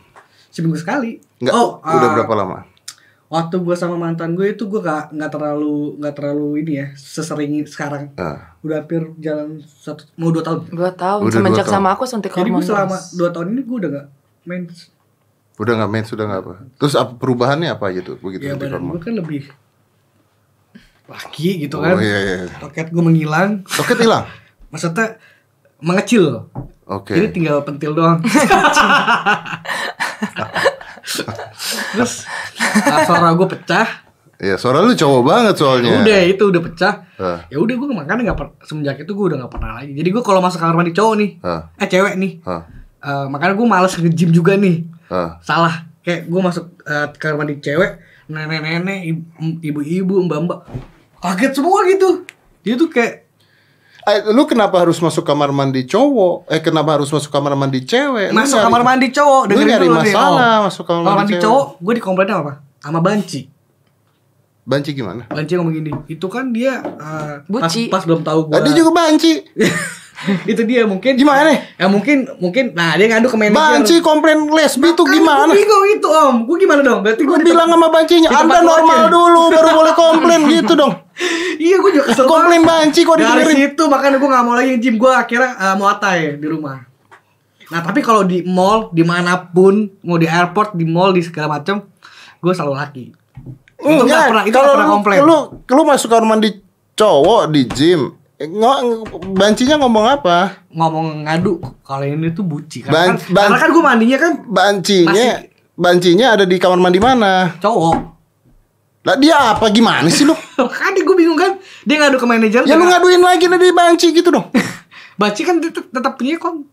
[SPEAKER 3] Seminggu sekali.
[SPEAKER 1] Nggak,
[SPEAKER 3] ah,
[SPEAKER 1] udah berapa lama?
[SPEAKER 3] Waktu gua sama mantan gue itu gua nggak nggak terlalu nggak terlalu ini ya sesering sekarang.
[SPEAKER 1] Ah.
[SPEAKER 3] Udah hampir jalan satu mau dua tahun.
[SPEAKER 2] dua tahun
[SPEAKER 1] Udah
[SPEAKER 2] semenjak
[SPEAKER 1] dua tahun.
[SPEAKER 2] sama aku suntik
[SPEAKER 3] Jadi
[SPEAKER 2] hormon
[SPEAKER 3] gue selama
[SPEAKER 2] terus.
[SPEAKER 3] dua tahun ini gue udah gak main
[SPEAKER 1] Gitu, Udah nggak main, sudah nggak apa. Terus apa- perubahannya apa aja tuh begitu
[SPEAKER 3] Ya
[SPEAKER 1] suntik
[SPEAKER 3] badan
[SPEAKER 1] hormon?
[SPEAKER 3] gue kan lebih Laki gitu kan
[SPEAKER 1] Oh iya iya.
[SPEAKER 3] Toket gue menghilang
[SPEAKER 1] Toket hilang.
[SPEAKER 3] Maksudnya mengecil
[SPEAKER 1] Oke.
[SPEAKER 3] Jadi tinggal pentil doang Terus ah, suara gue pecah
[SPEAKER 1] Ya suara lu cowok banget soalnya.
[SPEAKER 3] Ya Udah itu udah pecah
[SPEAKER 1] Ah.
[SPEAKER 3] Ya udah gue makanya gak per- Semenjak itu gue udah gak pernah lagi Jadi gue kalau masuk kamar mandi cowok nih
[SPEAKER 1] Ah.
[SPEAKER 3] Eh cewek nih
[SPEAKER 1] Ah.
[SPEAKER 3] Eh, Makanya gue males nge-gym juga nih
[SPEAKER 1] Ah.
[SPEAKER 3] salah kayak gue masuk eh, kamar mandi cewek nenek-nenek i- ibu-ibu mbak-mbak kaget semua gitu dia tuh kayak
[SPEAKER 1] Eh, lu kenapa harus masuk kamar mandi cowok? Eh kenapa harus masuk kamar mandi cewek? Lu
[SPEAKER 3] masuk
[SPEAKER 1] nyari-
[SPEAKER 3] kamar mandi cowok
[SPEAKER 1] Lu
[SPEAKER 3] dengerin
[SPEAKER 1] nyari
[SPEAKER 3] dulu nih,
[SPEAKER 1] masalah
[SPEAKER 3] oh.
[SPEAKER 1] masuk kamar mandi cewek.
[SPEAKER 3] cowok gue dikomplain apa sama banci
[SPEAKER 1] Banci gimana?
[SPEAKER 3] banci ngomong gini itu kan dia eh, pas,
[SPEAKER 2] Buci.
[SPEAKER 3] pas belum tahu gue
[SPEAKER 1] Ah, dia juga banci.
[SPEAKER 3] Eh, itu dia mungkin
[SPEAKER 1] Gimana nih?
[SPEAKER 3] ya mungkin mungkin nah dia ngadu ke manajer
[SPEAKER 1] Banci komplain lesbi tuh gimana?
[SPEAKER 3] gue bingung itu om gue gimana dong berarti gue
[SPEAKER 1] Lu bilang sama bancinya,
[SPEAKER 3] di
[SPEAKER 1] Anda
[SPEAKER 3] tempat lu
[SPEAKER 1] normal
[SPEAKER 3] aja."
[SPEAKER 1] dulu baru boleh komplain gitu dong.
[SPEAKER 3] iya gue juga kesel banget.
[SPEAKER 1] Komplain banci kok
[SPEAKER 3] dari
[SPEAKER 1] didengerin.
[SPEAKER 3] situ makanya gue nggak mau lagi gym gue akhirnya eh, mau atai di rumah nah tapi kalau di mall dimanapun mau di airport di mall di segala macem gue selalu laki itu nggak
[SPEAKER 1] Enggak,
[SPEAKER 3] pernah itu
[SPEAKER 1] kalau
[SPEAKER 3] nggak pernah
[SPEAKER 1] lu,
[SPEAKER 3] komplain
[SPEAKER 1] lu lu masuk kamar mandi cowok di gym, eh, ngo- bancinya ngomong apa?
[SPEAKER 3] ngomong ngadu kalau ini tuh buci
[SPEAKER 1] Ban-
[SPEAKER 3] karena kan,
[SPEAKER 1] ban-
[SPEAKER 3] karena kan gue mandinya kan
[SPEAKER 1] Bancinya bancinya ada di kamar mandi mana?
[SPEAKER 3] cowok
[SPEAKER 1] Lah dia apa gimana sih lu?
[SPEAKER 3] kan gue bingung kan dia ngadu ke manajer
[SPEAKER 1] Ya lu
[SPEAKER 3] dengan-
[SPEAKER 1] ngaduin lagi nih di banci gitu dong.
[SPEAKER 3] banci kan tetap tetap punya kon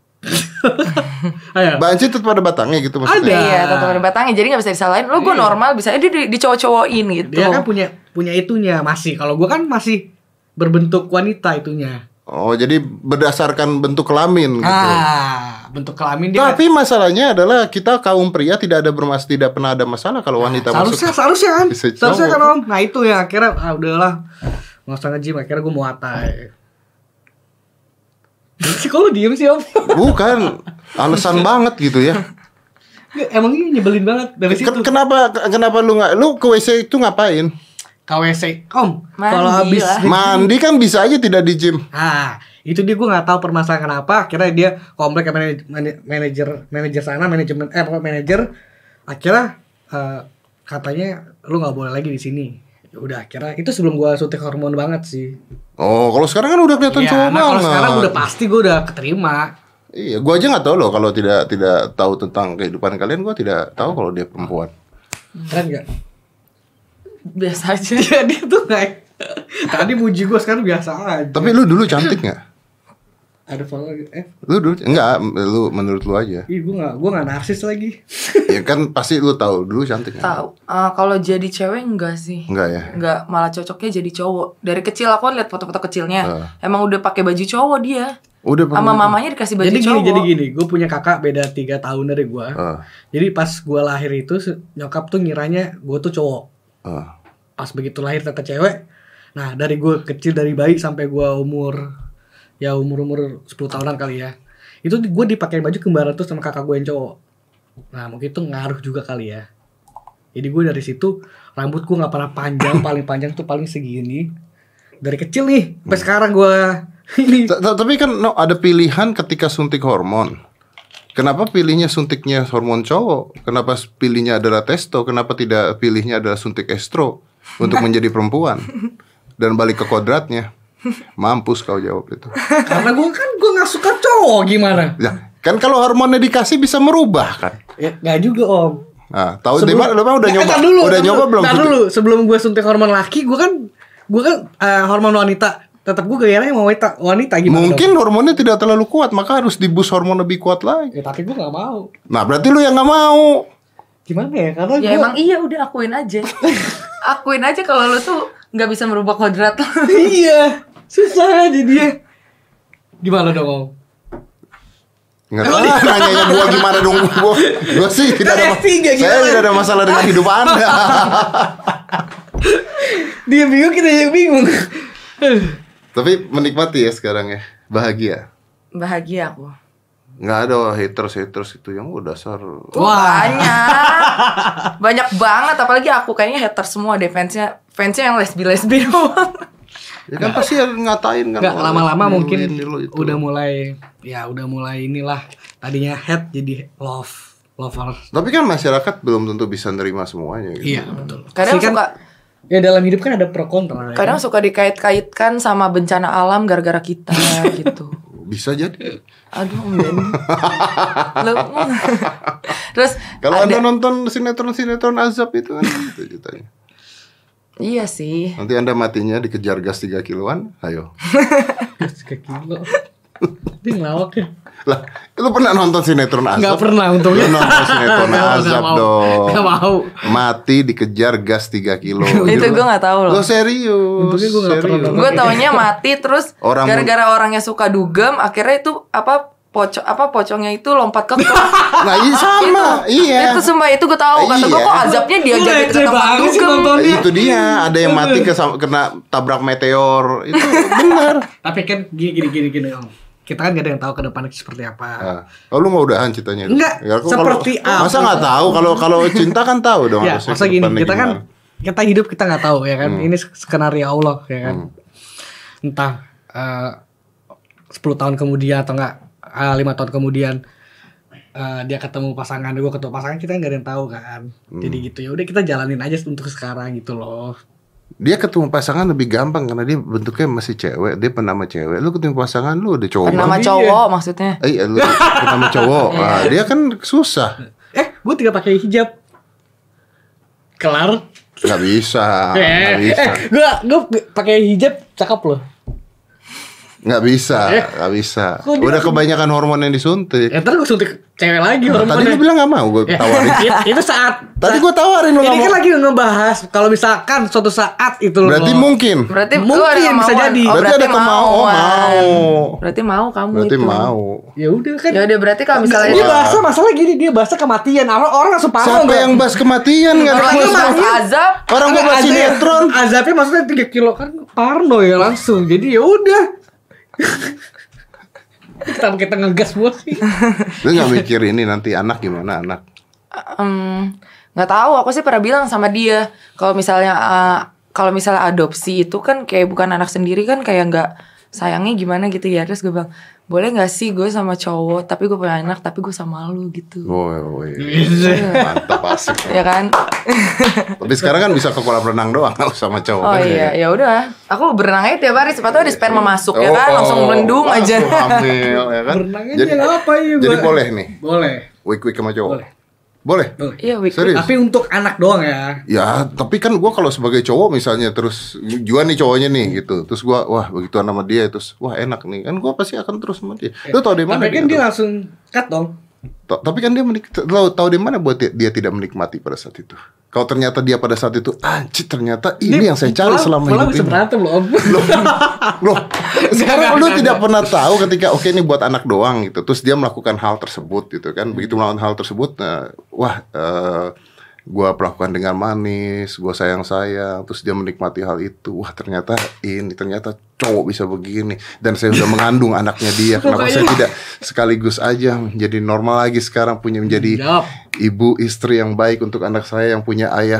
[SPEAKER 3] ayo
[SPEAKER 1] Banci tetap ada batangnya gitu maksudnya.
[SPEAKER 3] Ada.
[SPEAKER 2] Iya, tatapan batangnya jadi nggak bisa disalahin. Lo gue normal bisa eh, di, di, dicowok-cowokin gitu.
[SPEAKER 3] dia Iya. kan punya punya itunya masih kalau gue kan masih berbentuk wanita itunya
[SPEAKER 1] Oh, jadi berdasarkan bentuk kelamin gitu.
[SPEAKER 3] Ah, bentuk kelamin dia.
[SPEAKER 1] Tapi masalahnya adalah kita kaum pria tidak ada bermas tidak pernah ada masalah kalau wanita masuk.
[SPEAKER 3] seharusnya seharusnya kan.
[SPEAKER 1] Bisa cowok.
[SPEAKER 3] Seharusnya kan Om. Nah, itu ya akhirnya ah udahlah. Nggak usah nge-gym, akhirnya gue mau atai. Sih, Kok lu diem sih om?
[SPEAKER 1] Bukan alasan banget gitu ya.
[SPEAKER 3] Emang ini nyebelin banget dari situ
[SPEAKER 1] Ken- Kenapa kenapa lu nggak lu ke WC itu ngapain?
[SPEAKER 3] KWC Om,
[SPEAKER 2] Mandi
[SPEAKER 3] kalau habis
[SPEAKER 2] lah.
[SPEAKER 1] Mandi kan bisa aja tidak di gym.
[SPEAKER 3] Ah, itu dia gue nggak tahu permasalahan kenapa. Akhirnya dia komplek ke manaj- mana- manajer manajer sana, manajemen eh pokoknya manajer. Akhirnya eh, katanya lu nggak boleh lagi di sini. Ya Udah akhirnya itu sebelum gua suntik hormon banget sih.
[SPEAKER 1] Oh, kalau sekarang kan udah kelihatan
[SPEAKER 3] Iya,
[SPEAKER 1] cowok
[SPEAKER 3] nah kalau
[SPEAKER 1] banget.
[SPEAKER 3] sekarang udah pasti gue udah keterima.
[SPEAKER 1] Iya, gua aja nggak tahu loh kalau tidak tidak tahu tentang kehidupan kalian, gua tidak tahu kalau dia perempuan.
[SPEAKER 3] Keren gak?
[SPEAKER 2] Biasa aja.
[SPEAKER 3] Iya dia tuh kayak tadi muji gue sekarang biasa aja.
[SPEAKER 1] Tapi lu dulu cantik nggak?
[SPEAKER 3] Ada follow lagi. eh
[SPEAKER 1] Lu dulu enggak, lu menurut lu aja.
[SPEAKER 3] ih gue gak gue gak narsis lagi.
[SPEAKER 1] Ya kan pasti lu tahu dulu cantik nggak?
[SPEAKER 2] Tahu. Ah, kalau jadi cewek enggak sih.
[SPEAKER 1] Enggak ya.
[SPEAKER 2] Enggak, malah cocoknya jadi cowok. Dari kecil aku lihat foto-foto kecilnya.
[SPEAKER 1] Ah.
[SPEAKER 2] Emang udah pakai baju cowok dia.
[SPEAKER 1] Udah
[SPEAKER 2] Sama mamanya dikasih baju
[SPEAKER 3] jadi gini
[SPEAKER 2] cowok.
[SPEAKER 3] jadi gini gue punya kakak beda tiga tahun dari gue.
[SPEAKER 1] Ah,
[SPEAKER 3] Jadi pas gue lahir itu se- nyokap tuh ngiranya gue tuh cowok.
[SPEAKER 1] ah.
[SPEAKER 3] Pas begitu lahir ternyata cewek. Nah dari gue kecil dari bayi sampai gue umur ya umur umur 10 tahunan kali ya. Itu gue dipakai baju kembaran tuh sama kakak gue yang cowok. Nah mungkin itu ngaruh juga kali ya. Jadi gue dari situ rambut gue nggak pernah panjang paling panjang tuh paling segini. Dari kecil nih sampai sekarang gue ini.
[SPEAKER 1] Ta- ta- Tapi kan no, ada pilihan ketika suntik hormon. Kenapa pilihnya suntiknya hormon cowok? Kenapa s- pilihnya adalah testo? Kenapa tidak pilihnya adalah suntik estro untuk menjadi perempuan dan balik ke kodratnya? Mampus kau jawab itu.
[SPEAKER 3] Karena gue kan gue nggak suka cowok gimana?
[SPEAKER 1] Ya, kan kalau hormonnya dikasih bisa merubah kan.
[SPEAKER 3] Ya, gak juga om.
[SPEAKER 1] Nah, tahu dia mah- dia mah udah
[SPEAKER 3] Nggak,
[SPEAKER 1] nyoba,
[SPEAKER 3] tar Eh, Ya, dulu,
[SPEAKER 1] udah
[SPEAKER 3] tar
[SPEAKER 1] nyoba
[SPEAKER 3] dulu,
[SPEAKER 1] belum?
[SPEAKER 3] tar
[SPEAKER 1] gitu?
[SPEAKER 3] dulu, sebelum gue suntik hormon laki, gue kan gue kan eh, hormon wanita. Tetap gue gayanya mau wanita, wanita gimana?
[SPEAKER 1] Mungkin hormonnya tidak terlalu kuat, maka harus dibus hormon lebih kuat lagi.
[SPEAKER 3] dong? Ya, tapi gue nggak mau.
[SPEAKER 1] Nah, berarti lu yang nggak mau.
[SPEAKER 3] Gimana ya? Karena
[SPEAKER 2] Ya
[SPEAKER 3] gue
[SPEAKER 2] emang iya udah akuin aja. akuin aja kalau lu tuh nggak bisa merubah kodrat lu.
[SPEAKER 3] iya susah jadinya. Gimana dong om?
[SPEAKER 1] Nggak
[SPEAKER 3] Oh.
[SPEAKER 1] tahu lah, nanyanya gua gimana dong gua. Gua sih tidak ada ma-
[SPEAKER 3] Kan F3
[SPEAKER 1] Saya
[SPEAKER 3] gimana?
[SPEAKER 1] tidak ada masalah dengan hidup Anda.
[SPEAKER 3] Dia bingung kita yang bingung.
[SPEAKER 1] Tapi menikmati ya sekarang ya. Bahagia.
[SPEAKER 2] Bahagia aku.
[SPEAKER 1] Nggak ada haters-haters itu yang udah dasar.
[SPEAKER 3] Wah,
[SPEAKER 2] Uh, Banyak. Banyak banget apalagi aku kayaknya hater semua deh fansnya. Fansnya yang lesbi-lesbi doang.
[SPEAKER 1] Ya kan pasti harus ngatain kan.
[SPEAKER 3] nggak
[SPEAKER 1] "Oh, ini
[SPEAKER 3] lama-lama
[SPEAKER 1] lu,
[SPEAKER 3] mungkin
[SPEAKER 1] ini lu, itu
[SPEAKER 3] udah
[SPEAKER 1] lu."
[SPEAKER 3] mulai ya udah mulai inilah tadinya head jadi love lover.
[SPEAKER 1] Tapi kan masyarakat belum tentu bisa nerima semuanya gitu.
[SPEAKER 3] Iya betul.
[SPEAKER 2] Kadang
[SPEAKER 3] Sih kan-
[SPEAKER 2] suka
[SPEAKER 3] Ya dalam hidup kan ada pro kontra. ya.
[SPEAKER 2] kadang suka dikait-kaitkan sama bencana alam gara-gara kita gitu.
[SPEAKER 1] Bisa jadi.
[SPEAKER 2] Aduh, Om Denny. Lu- Terus
[SPEAKER 1] Kalau
[SPEAKER 2] ada-
[SPEAKER 1] Anda nonton sinetron-sinetron azab itu kan gitu ceritanya.
[SPEAKER 2] Iya sih.
[SPEAKER 1] Nanti Anda matinya dikejar gas 3 kiloan, ayo.
[SPEAKER 3] Tiga kilo. Dia ngelawak ya.
[SPEAKER 1] Lah, lu pernah nonton sinetron azab?
[SPEAKER 3] Nggak pernah, untungnya.
[SPEAKER 1] Lu nonton sinetron
[SPEAKER 3] Nggak mau, nggak
[SPEAKER 1] azab
[SPEAKER 3] mau.
[SPEAKER 1] dong.
[SPEAKER 3] Nggak mau.
[SPEAKER 1] Mati dikejar gas 3 kilo.
[SPEAKER 2] Itu gue nggak tahu loh.
[SPEAKER 1] Lo serius.
[SPEAKER 3] Untungnya gua nggak pernah
[SPEAKER 1] serius.
[SPEAKER 3] nonton.
[SPEAKER 2] Gue taunya mati terus
[SPEAKER 1] Orang-
[SPEAKER 2] gara-gara orangnya suka dugem akhirnya itu apa pocong apa pocongnya itu lompat ke kok.
[SPEAKER 1] Nah, iya sama. iya.
[SPEAKER 2] Itu sumpah itu gue tahu kata gue
[SPEAKER 1] Iya.
[SPEAKER 2] kok azabnya dia
[SPEAKER 3] Lu
[SPEAKER 2] jadi ke
[SPEAKER 3] receh
[SPEAKER 2] tempat
[SPEAKER 3] banget sih
[SPEAKER 2] dugem.
[SPEAKER 3] nontonnya.
[SPEAKER 1] Itu dia, ada yang mati kesa- kena tabrak meteor. Itu benar.
[SPEAKER 3] Tapi kan gini gini gini gini om. Kita kan gak ada yang tahu ke depannya seperti apa.
[SPEAKER 1] Nah, oh, lu mau udahan ceritanya? itu?
[SPEAKER 3] Nggak,
[SPEAKER 1] Ya, aku
[SPEAKER 3] seperti
[SPEAKER 1] kalau,
[SPEAKER 3] apa?
[SPEAKER 1] Masa nggak tahu kalau kalau cinta kan tahu dong
[SPEAKER 3] ya,
[SPEAKER 1] harusnya
[SPEAKER 3] masa
[SPEAKER 1] ke
[SPEAKER 3] gini
[SPEAKER 1] depannya
[SPEAKER 3] kita kan
[SPEAKER 1] gimana. Hmm.
[SPEAKER 3] kita hidup kita nggak tahu ya kan. Ini skenario Allah ya kan. Entah eh, 10 tahun kemudian atau enggak lima tahun kemudian eh, dia ketemu pasangan gue ketemu pasangan kita nggak ada yang tahu kan
[SPEAKER 1] Hmm.
[SPEAKER 3] jadi gitu ya udah kita jalanin aja untuk sekarang gitu loh
[SPEAKER 1] Dia ketemu pasangan lebih gampang karena dia bentuknya masih cewek, dia penama cewek. Lu ketemu pasangan lu udah cowok.
[SPEAKER 2] Bernama
[SPEAKER 3] Iya.
[SPEAKER 2] cowok maksudnya.
[SPEAKER 1] Eh, iya, lu penama cowok. Nah, dia kan susah.
[SPEAKER 3] eh gue tidak pakai hijab kelar
[SPEAKER 1] Gak bisa, gak
[SPEAKER 3] eh,
[SPEAKER 1] Ah, bisa,
[SPEAKER 3] gue gue pakai hijab cakep loh
[SPEAKER 1] gak bisa, gak bisa.
[SPEAKER 3] Eh. Kok dia- kan-
[SPEAKER 1] Udah kebanyakan hormon yang disuntik.
[SPEAKER 3] ya ntar gue suntik cewek lagi hormonnya.
[SPEAKER 1] Tadi lu bilang gak mau gue
[SPEAKER 3] Ya,
[SPEAKER 1] tawarin.
[SPEAKER 3] i- itu saat
[SPEAKER 1] Tadi
[SPEAKER 3] saat-
[SPEAKER 1] gue tawarin lu
[SPEAKER 3] ini
[SPEAKER 1] gak
[SPEAKER 3] kan
[SPEAKER 1] mau.
[SPEAKER 3] lagi ngebahas kalau misalkan suatu saat itu loh
[SPEAKER 1] Berarti mungkin.
[SPEAKER 2] Berarti lu
[SPEAKER 3] Mungkin,
[SPEAKER 2] ada
[SPEAKER 3] bisa
[SPEAKER 2] kemauan.
[SPEAKER 3] jadi.
[SPEAKER 2] Oh,
[SPEAKER 1] Berarti ada kemau, oh,
[SPEAKER 2] kemauan.
[SPEAKER 1] mau.
[SPEAKER 2] Berarti mau kamu
[SPEAKER 1] Berarti
[SPEAKER 2] itu.
[SPEAKER 1] mau.
[SPEAKER 3] ya udah kan
[SPEAKER 2] Ya udah berarti kalau misalnya
[SPEAKER 3] dia bahasa masalah gini dia bahasa kematian orang orang langsung paham
[SPEAKER 1] Siapa
[SPEAKER 3] nggak?
[SPEAKER 1] yang bahas kematian gak ada
[SPEAKER 2] Orang
[SPEAKER 1] yang
[SPEAKER 2] itu
[SPEAKER 1] bahas
[SPEAKER 2] bahas azab.
[SPEAKER 1] Orang gue bahas
[SPEAKER 3] Azabnya-
[SPEAKER 1] sinetron.
[SPEAKER 3] azabnya maksudnya 3 kilo kan parno ya langsung jadi ya udah kita kita ngegas buat sih
[SPEAKER 1] Lu gak mikir ini nanti anak gimana anak.
[SPEAKER 2] Em, nggak tahu aku sih pernah bilang sama dia kalau misalnya eh, kalau misalnya adopsi itu kan kayak bukan anak sendiri kan kayak nggak sayangnya gimana gitu ya terus gue bilang boleh nggak sih gue sama cowok tapi gue punya anak tapi gue sama lu gitu
[SPEAKER 1] Woi, woi. Mantap asik.
[SPEAKER 2] ya kan
[SPEAKER 1] Tapi sekarang kan bisa ke kolam renang doang, gak usah sama cowok.
[SPEAKER 2] oh iya ya udah aku berenang aja tiap hari siapa tahu ada sperma masuk ya
[SPEAKER 1] Oh,
[SPEAKER 2] kan langsung melendung aja
[SPEAKER 1] langsung hamil, ya kan?
[SPEAKER 3] Berenangnya dia apa ya
[SPEAKER 1] Jadi
[SPEAKER 3] gua-
[SPEAKER 1] boleh nih,
[SPEAKER 3] boleh
[SPEAKER 1] week week sama cowok.
[SPEAKER 3] Boleh.
[SPEAKER 1] Boleh.
[SPEAKER 3] boleh
[SPEAKER 2] iya Wik.
[SPEAKER 1] Serius?
[SPEAKER 3] tapi untuk anak doang ya
[SPEAKER 1] Ya, tapi kan gua kalau sebagai cowok misalnya terus juga nih cowoknya nih gitu. Terus gua wah begitu sama dia terus wah enak nih. Kan gua pasti akan terus sama dia. Lu tau dari mana?
[SPEAKER 3] tapi kan
[SPEAKER 1] dia
[SPEAKER 3] dia
[SPEAKER 1] tuh?
[SPEAKER 3] langsung cut dong
[SPEAKER 1] Ta- tapi kan dia menik tahu tahu dari mana buat dia, dia tidak menikmati pada saat itu. Kalau ternyata dia pada saat itu anjir ternyata ini yang saya cari
[SPEAKER 3] Pulang-
[SPEAKER 1] selama
[SPEAKER 3] pulang
[SPEAKER 1] hidup
[SPEAKER 3] bisa
[SPEAKER 1] ini.
[SPEAKER 3] berantem loh om
[SPEAKER 1] Loh, loh, sekarang lu tidak pernah tahu ketika oke ini buat anak doang gitu. Terus dia melakukan hal tersebut gitu kan. Begitu melakukan hal tersebut, nah, wah eh, gua perlakukan dengan manis, gua sayang-sayang, terus dia menikmati hal itu. Wah, ternyata ini ternyata cowok bisa begini dan saya sudah mengandung anaknya dia. Kenapa saya tidak sekaligus aja menjadi normal lagi sekarang punya menjadi
[SPEAKER 3] Jawab.
[SPEAKER 1] ibu istri yang baik untuk anak saya yang punya ayah.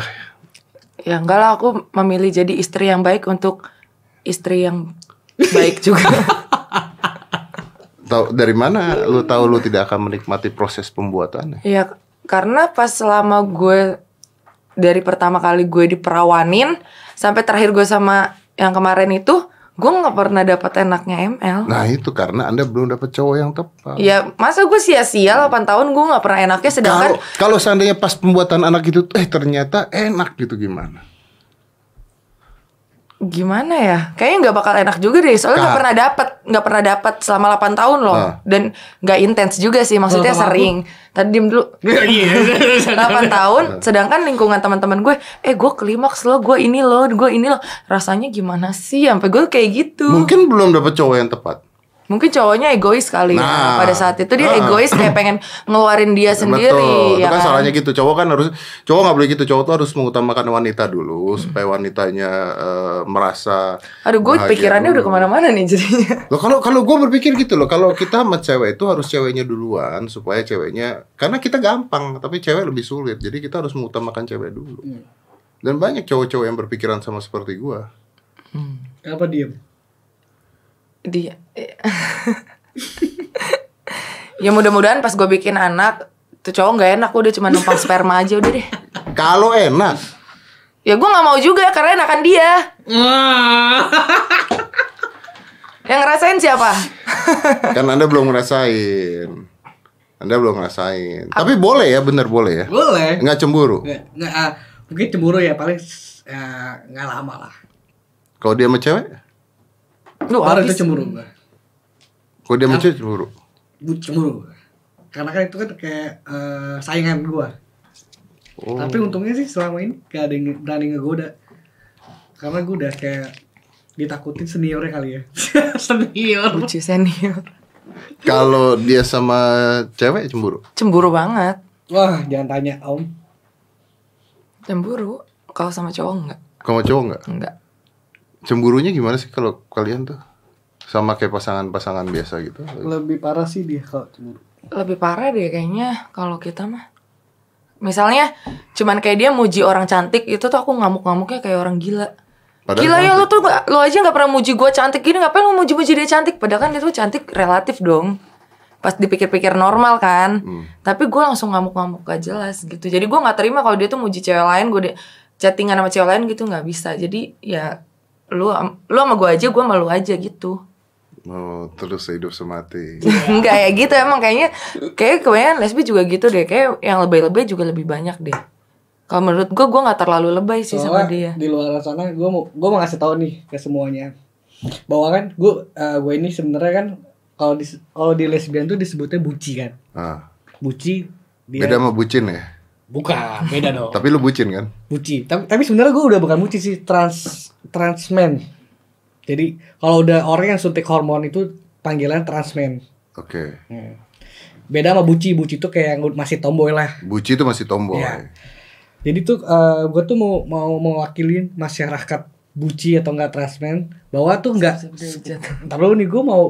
[SPEAKER 2] ya enggak lah aku memilih jadi istri yang baik untuk istri yang baik juga
[SPEAKER 1] Tahu dari mana lu tahu lu tidak akan menikmati proses pembuatannya?
[SPEAKER 2] Ya karena pas selama gue dari pertama kali gue diperawanin sampai terakhir gue sama yang kemarin itu Gue nggak pernah dapat enaknya ML.
[SPEAKER 1] Nah itu karena anda belum dapat cowok yang tepat.
[SPEAKER 2] Ya masa gue sia-sia 8 tahun gue nggak pernah enaknya sedangkan
[SPEAKER 1] Kalau kalau seandainya pas pembuatan anak itu, eh ternyata enak gitu gimana?
[SPEAKER 2] gimana ya kayaknya nggak bakal enak juga deh soalnya nggak
[SPEAKER 1] Kak.
[SPEAKER 2] pernah dapat nggak pernah dapat selama 8 tahun loh
[SPEAKER 1] Ah.
[SPEAKER 2] dan nggak intens juga sih maksudnya
[SPEAKER 3] Kalau sama
[SPEAKER 2] sering tadi diem dulu 8 tahun sedangkan lingkungan teman-teman gue eh gue klimaks loh gue ini loh gue ini loh rasanya gimana sih sampai gue kayak gitu
[SPEAKER 1] Mungkin
[SPEAKER 2] mungkin,
[SPEAKER 1] belum dapat cowok yang tepat.
[SPEAKER 2] cowoknya egois kali ya.
[SPEAKER 1] Nah.
[SPEAKER 2] pada saat itu dia
[SPEAKER 1] Ah.
[SPEAKER 2] egois kayak pengen ngeluarin dia
[SPEAKER 1] Betul.
[SPEAKER 2] sendiri
[SPEAKER 1] itu kan,
[SPEAKER 2] ya kan?
[SPEAKER 1] salahnya gitu. Cowok kan harus cowok nggak boleh gitu. Cowok tuh harus mengutamakan wanita dulu supaya wanitanya eh, merasa.
[SPEAKER 2] aduh gue
[SPEAKER 1] bahagia
[SPEAKER 2] pikirannya udah
[SPEAKER 1] dulu.
[SPEAKER 2] kemana-mana nih jadinya
[SPEAKER 1] Loh kalau kalau gue berpikir gitu loh, kalau kita sama cewek itu harus ceweknya duluan supaya ceweknya karena kita gampang, tapi cewek lebih sulit. Jadi kita harus mengutamakan cewek dulu. Dan banyak cowok-cowok yang berpikiran sama seperti gue.
[SPEAKER 3] Apa diem?
[SPEAKER 2] dia eh. ya mudah-mudahan pas gue bikin anak tuh cowok nggak enak udah cuma numpang sperma aja udah deh
[SPEAKER 1] Kalau enak,
[SPEAKER 2] ya gue nggak mau juga karena enakan dia yang ngerasain siapa
[SPEAKER 1] kan anda belum ngerasain, anda belum ngerasain. Tapi boleh ya, bener boleh ya.
[SPEAKER 3] Boleh.
[SPEAKER 1] Nggak cemburu.
[SPEAKER 3] Nggak, nggak, ah, mungkin cemburu ya paling eh, nggak lama lah.
[SPEAKER 1] Kalau dia sama cewek,
[SPEAKER 2] lu
[SPEAKER 3] Baru
[SPEAKER 2] habis.
[SPEAKER 3] itu cemburu gua.
[SPEAKER 1] kalau dia sama cewek cemburu.
[SPEAKER 3] Gua cemburu. gua. Karena kan itu kan kayak eh, saingan gua.
[SPEAKER 1] Oh.
[SPEAKER 3] Tapi untungnya sih selama ini gak ada yang berani ngegoda. Karena gua udah kayak ditakutin seniornya kali ya. Senior.
[SPEAKER 2] lucu senior
[SPEAKER 1] Kalau dia sama cewek cemburu.
[SPEAKER 2] cemburu banget
[SPEAKER 3] Wah, jangan tanya Om.
[SPEAKER 2] cemburu kalau sama cowok nggak
[SPEAKER 1] Kalau sama cowok nggak?
[SPEAKER 2] nggak
[SPEAKER 1] Cemburunya gimana sih kalau kalian tuh? Sama kayak pasangan-pasangan biasa gitu.
[SPEAKER 3] Lebih parah sih dia kalau cemburu.
[SPEAKER 2] lebih parah deh kayaknya kalau kita mah misalnya cuman kayak dia muji orang cantik itu tuh aku ngamuk-ngamuknya kayak orang gila
[SPEAKER 1] Padahal
[SPEAKER 2] gila ya
[SPEAKER 1] cantik.
[SPEAKER 2] lu tuh gak, lu aja nggak pernah muji gue cantik gini ngapain lu muji-muji dia cantik padahal kan itu cantik relatif dong pas dipikir-pikir normal kan
[SPEAKER 1] Hmm.
[SPEAKER 2] tapi gue langsung ngamuk-ngamuk gak jelas gitu jadi gue nggak terima kalau dia tuh muji cewek lain gue di- chattingan sama cewek lain gitu nggak bisa jadi ya lu am- lu sama gue aja gue malu aja gitu
[SPEAKER 1] Oh, terus hidup semati.
[SPEAKER 2] Enggak ya gitu emang kayaknya kayak kebanyakan lesbi juga gitu deh kayak yang lebay-lebay juga lebih banyak deh kalau menurut gue gue nggak terlalu lebay Iya sih sama dia
[SPEAKER 3] di luar sana gue mau gue mau ngasih tahu nih ke semuanya bahwa kan gue gue ini sebenarnya kan kalau di kalau di lesbian tuh disebutnya buci kan
[SPEAKER 1] Ah,
[SPEAKER 3] buci dia
[SPEAKER 1] beda sama bucin ya.
[SPEAKER 3] bukan beda dong
[SPEAKER 1] Tapi lu bucin kan?
[SPEAKER 3] buci tapi tapi sebenarnya gue udah bukan buci sih trans transman jadi kalau udah orang yang suntik hormon itu panggilan transman
[SPEAKER 1] Oke.
[SPEAKER 3] beda sama buci buci tuh kayak yang masih tomboy lah
[SPEAKER 1] Buci itu masih tomboy.
[SPEAKER 3] Iya. Jadi tuh gue tuh mau mau mewakili masyarakat buci atau enggak transmen bahwa tuh enggak Ntar dulu nih gue mau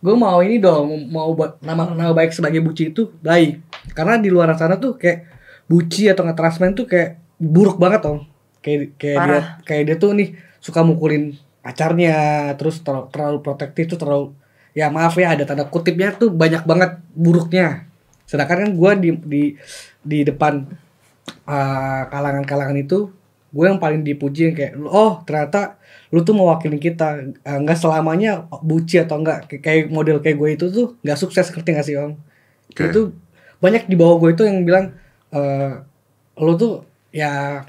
[SPEAKER 3] gue mau ini dong mau ba- nama nama baik sebagai buci itu baik karena di luar sana tuh kayak buci atau enggak transmen tuh kayak buruk banget dong kayak kayak dia
[SPEAKER 2] Parah.
[SPEAKER 3] kayak dia tuh nih suka mukulin pacarnya terus terlalu, terlalu protektif tuh terlalu ya maaf ya ada tanda kutipnya tuh banyak banget buruknya sedangkan kan gue di di di depan eh, kalangan-kalangan itu gue yang paling dipuji yang kayak oh ternyata lu tuh mewakili kita Eh, nggak selamanya buci atau enggak kayak model kayak gue itu tuh nggak sukses ngerti gak sih om
[SPEAKER 1] Oke.
[SPEAKER 3] itu banyak di bawah gue itu yang bilang eh lu tuh ya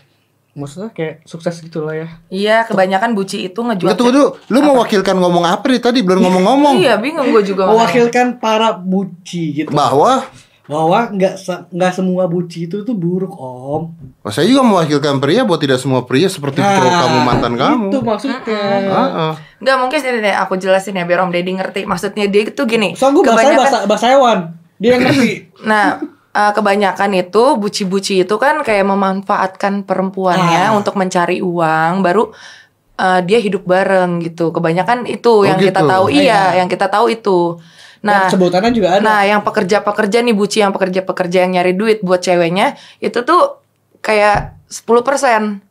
[SPEAKER 3] maksudnya kayak sukses gitu lah ya
[SPEAKER 2] iya kebanyakan buci itu ngejual
[SPEAKER 1] Nggak, tunggu dulu. Lu mewakilkan ngomong apa nih tadi? Belum ngomong-ngomong.
[SPEAKER 2] iya bingung gue juga makanya.
[SPEAKER 3] mewakilkan para buci gitu
[SPEAKER 1] Bahwa
[SPEAKER 3] bahwa nggak se- nggak semua buci itu tuh buruk om
[SPEAKER 1] oh, saya juga mewakilkan pria buat tidak semua pria seperti
[SPEAKER 2] Ah,
[SPEAKER 1] cowok kamu mantan
[SPEAKER 2] gitu,
[SPEAKER 1] kamu.
[SPEAKER 3] Ah, itu maksudnya
[SPEAKER 1] Ah, ah.
[SPEAKER 2] Enggak mungkin sih deh aku jelasin ya biar Om Deddy ngerti. Maksudnya dia itu gini.
[SPEAKER 3] Soalnya gue bahasa bahasa bahasa hewan. Dia yang ngerti.
[SPEAKER 2] Nah, eh, kebanyakan itu buci-buci itu kan kayak memanfaatkan
[SPEAKER 3] Ah.
[SPEAKER 2] perempuannya untuk mencari uang baru eh, dia hidup bareng gitu. Kebanyakan itu
[SPEAKER 1] Oh,
[SPEAKER 2] yang kita
[SPEAKER 1] gitu.
[SPEAKER 2] tahu iya,
[SPEAKER 3] Iya.
[SPEAKER 2] yang kita tahu itu.
[SPEAKER 3] Nah,
[SPEAKER 2] Nah,
[SPEAKER 3] sebutannya juga ada.
[SPEAKER 2] Nah, yang pekerja-pekerja nih buci yang pekerja-pekerja yang nyari duit buat ceweknya itu tuh kayak 10%, 90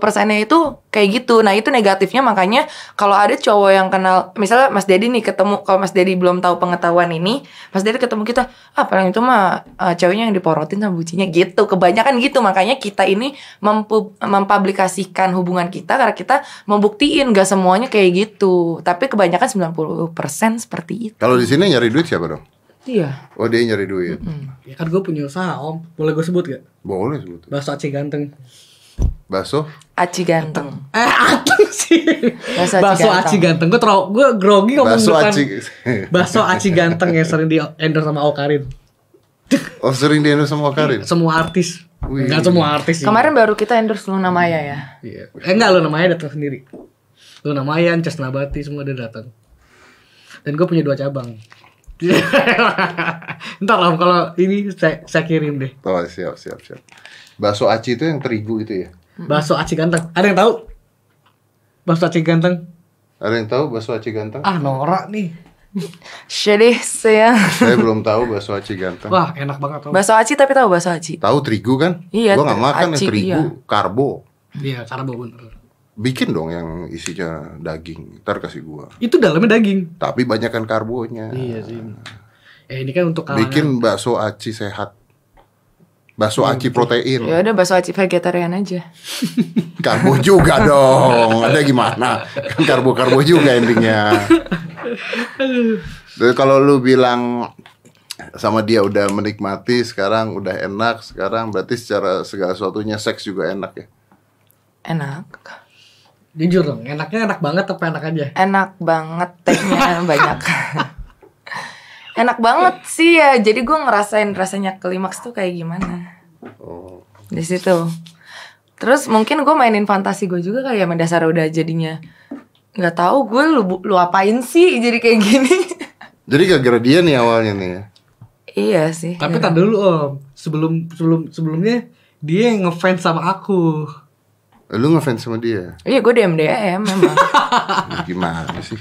[SPEAKER 2] persennya itu kayak gitu. Nah itu negatifnya makanya kalau ada cowok yang kenal, misalnya Mas Dedi nih ketemu, kalau Mas Dedi belum tahu pengetahuan ini, Mas Dedi ketemu kita, ah paling itu mah eh, ceweknya yang diporotin sama bucinya gitu. Kebanyakan gitu, makanya kita ini mempu- mempublikasikan hubungan kita karena kita membuktiin gak semuanya kayak gitu. Tapi kebanyakan 90% seperti itu.
[SPEAKER 1] Kalau di sini nyari duit siapa dong?
[SPEAKER 2] Iya.
[SPEAKER 1] Oh dia nyari duit.
[SPEAKER 3] Ya kan gue punya usaha om Boleh gue sebut gak?
[SPEAKER 1] Boleh sebetulnya.
[SPEAKER 3] Bahasa Aceh ganteng
[SPEAKER 1] Baso?
[SPEAKER 2] Aci ganteng.
[SPEAKER 3] Eh ganteng sih
[SPEAKER 2] Bakso Aceh
[SPEAKER 3] Bakso
[SPEAKER 2] ganteng.
[SPEAKER 3] Aceh ganteng Gue terlalu Gue grogi ngomong
[SPEAKER 1] Baso
[SPEAKER 3] depan
[SPEAKER 1] aci.
[SPEAKER 3] Bakso Aceh ganteng yang sering di endorse sama Okarin
[SPEAKER 1] oh sering di endorse sama Karin.
[SPEAKER 2] Iya.
[SPEAKER 3] Semua artis
[SPEAKER 1] Wih.
[SPEAKER 3] Enggak semua artis sih
[SPEAKER 2] Kemarin baru kita endorse Luna Maya ya.
[SPEAKER 3] Iya. Eh enggak Luna Maya datang sendiri. Luna Maya, Ancas Nabati semua dia datang. Dan gue punya dua cabang. Ntar lah kalau ini saya, saya kirim deh.
[SPEAKER 1] Oh siap siap siap. Baso aci itu yang terigu itu ya.
[SPEAKER 3] Bakso aci ganteng. Ada yang tahu? Bakso aci ganteng.
[SPEAKER 1] Ada yang tahu bakso aci ganteng?
[SPEAKER 3] Ah norak nih.
[SPEAKER 2] Sedih sayang.
[SPEAKER 1] Saya belum tahu bakso aci ganteng.
[SPEAKER 3] Wah enak banget om.
[SPEAKER 2] Bakso aci tapi tahu bakso aci.
[SPEAKER 1] Tahu terigu kan?
[SPEAKER 2] Iya,
[SPEAKER 1] Gua nggak
[SPEAKER 2] ter-
[SPEAKER 1] makan yang
[SPEAKER 2] aci,
[SPEAKER 1] terigu, karbo.
[SPEAKER 3] Iya karbo bener.
[SPEAKER 1] Bikin dong yang isinya daging. Ntar kasih gua.
[SPEAKER 3] Itu dalamnya daging.
[SPEAKER 1] Tapi banyak kan karbonya.
[SPEAKER 3] Iya sih. Eh ini kan untuk kalangan.
[SPEAKER 1] Bikin bakso aci sehat. Bakso aci protein.
[SPEAKER 2] Ya udah bakso aci vegetarian aja.
[SPEAKER 1] Karbo juga dong. Ada gimana? Kan karbo-karbo juga intinya. Jadi kalau lu bilang sama dia udah menikmati sekarang udah enak sekarang berarti secara segala sesuatunya seks juga enak ya.
[SPEAKER 2] Enak.
[SPEAKER 3] Jujur dong, enaknya enak banget apa enak aja?
[SPEAKER 2] Enak banget tehnya banyak. Enak banget sih ya. Jadi gue ngerasain rasanya klimaks tuh kayak gimana. Di situ. Terus mungkin gue mainin fantasi gue juga kayak mendasar udah jadinya nggak tahu gue lu, lu apain sih jadi kayak gini.
[SPEAKER 1] Jadi gara-gara dia nih awalnya nih ya.
[SPEAKER 2] iya sih.
[SPEAKER 3] Tapi tadi dulu om, sebelum sebelum sebelumnya dia yang ngefans sama aku.
[SPEAKER 1] Lu ngefans sama dia.
[SPEAKER 2] Iya gue DM DM memang.
[SPEAKER 1] Ya, Gimana sih?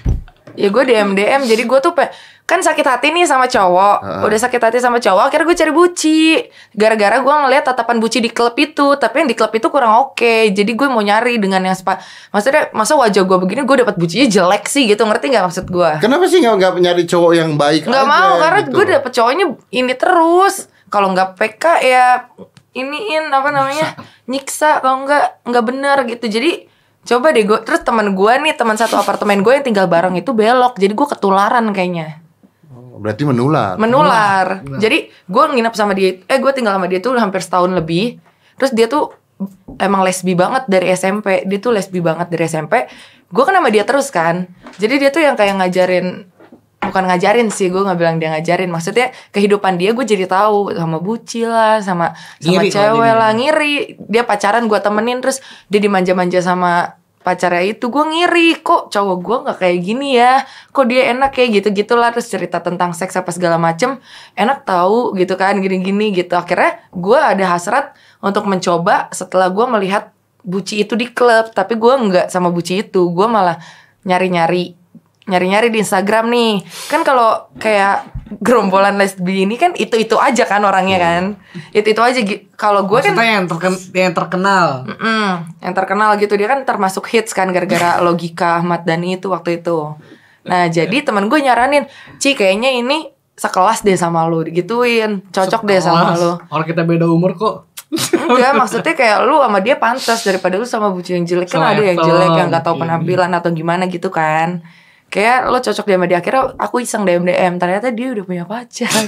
[SPEAKER 2] Ya gue DM DM jadi gue tuh pe- kan sakit hati nih sama cowok. Udah sakit hati sama cowok akhirnya gue cari buci. Gara-gara gue ngeliat tatapan buci di klub itu, tapi yang di klub itu kurang oke. Jadi gue mau nyari dengan yang sepa maksudnya masa wajah gue begini gue dapat bucinya jelek sih gitu. Ngerti nggak maksud gue?
[SPEAKER 1] Kenapa sih nggak nggak nyari cowok yang baik?
[SPEAKER 2] Nggak
[SPEAKER 1] aja
[SPEAKER 2] mau karena
[SPEAKER 1] gitu?
[SPEAKER 2] gue dapet cowoknya ini terus. Kalau nggak PK ya iniin apa namanya nyiksa kalau nggak nggak benar gitu. Jadi coba deh gue terus teman gue nih teman satu apartemen gue yang tinggal bareng itu belok. Jadi gue ketularan kayaknya
[SPEAKER 1] Berarti menular.
[SPEAKER 2] menular. Jadi gue nginep sama dia, eh gue tinggal sama dia tuh hampir setahun lebih. Terus dia tuh emang lesbi banget dari SMP, dia tuh lesbi banget dari SMP. Gue kan sama dia terus kan. Jadi dia tuh yang kayak ngajarin, bukan ngajarin sih, gue nggak bilang dia ngajarin. Maksudnya kehidupan dia gue jadi tahu sama buci lah, sama sama
[SPEAKER 3] Ngiri kalau
[SPEAKER 2] cewek
[SPEAKER 3] jadinya.
[SPEAKER 2] lah ngiri. Dia pacaran gue temenin terus dia dimanja-manja sama pacarnya itu gue ngiri kok cowok gue nggak kayak gini ya kok dia enak kayak gitu gitulah terus cerita tentang seks apa segala macem enak tahu gitu kan gini-gini gitu akhirnya gue ada hasrat untuk mencoba setelah gue melihat buci itu di klub tapi gue nggak sama buci itu gue malah nyari-nyari nyari-nyari di Instagram nih kan kalau kayak gerombolan lesbi ini kan itu itu aja kan orangnya kan itu itu aja gi- kalau gue kan
[SPEAKER 3] Maksudnya yang, terken- yang terkenal.
[SPEAKER 2] Mm-mm, yang terkenal gitu dia kan termasuk hits kan gara-gara logika Ahmad Dhani itu waktu itu. Nah jadi teman gue nyaranin, Ci kayaknya ini sekelas deh sama lu digituin, cocok deh sama
[SPEAKER 3] Kelas.
[SPEAKER 2] lu.
[SPEAKER 3] Orang kita beda umur kok.
[SPEAKER 2] Enggak maksudnya kayak lu sama dia pantas daripada lu sama bucu yang jelek kan
[SPEAKER 3] Sama
[SPEAKER 2] ada yang
[SPEAKER 3] Ethel,
[SPEAKER 2] jelek yang nggak tahu
[SPEAKER 3] iya.
[SPEAKER 2] penampilan atau gimana gitu kan. Kayak lu cocok deh sama dia akhirnya aku iseng DM DM ternyata dia udah punya pacar.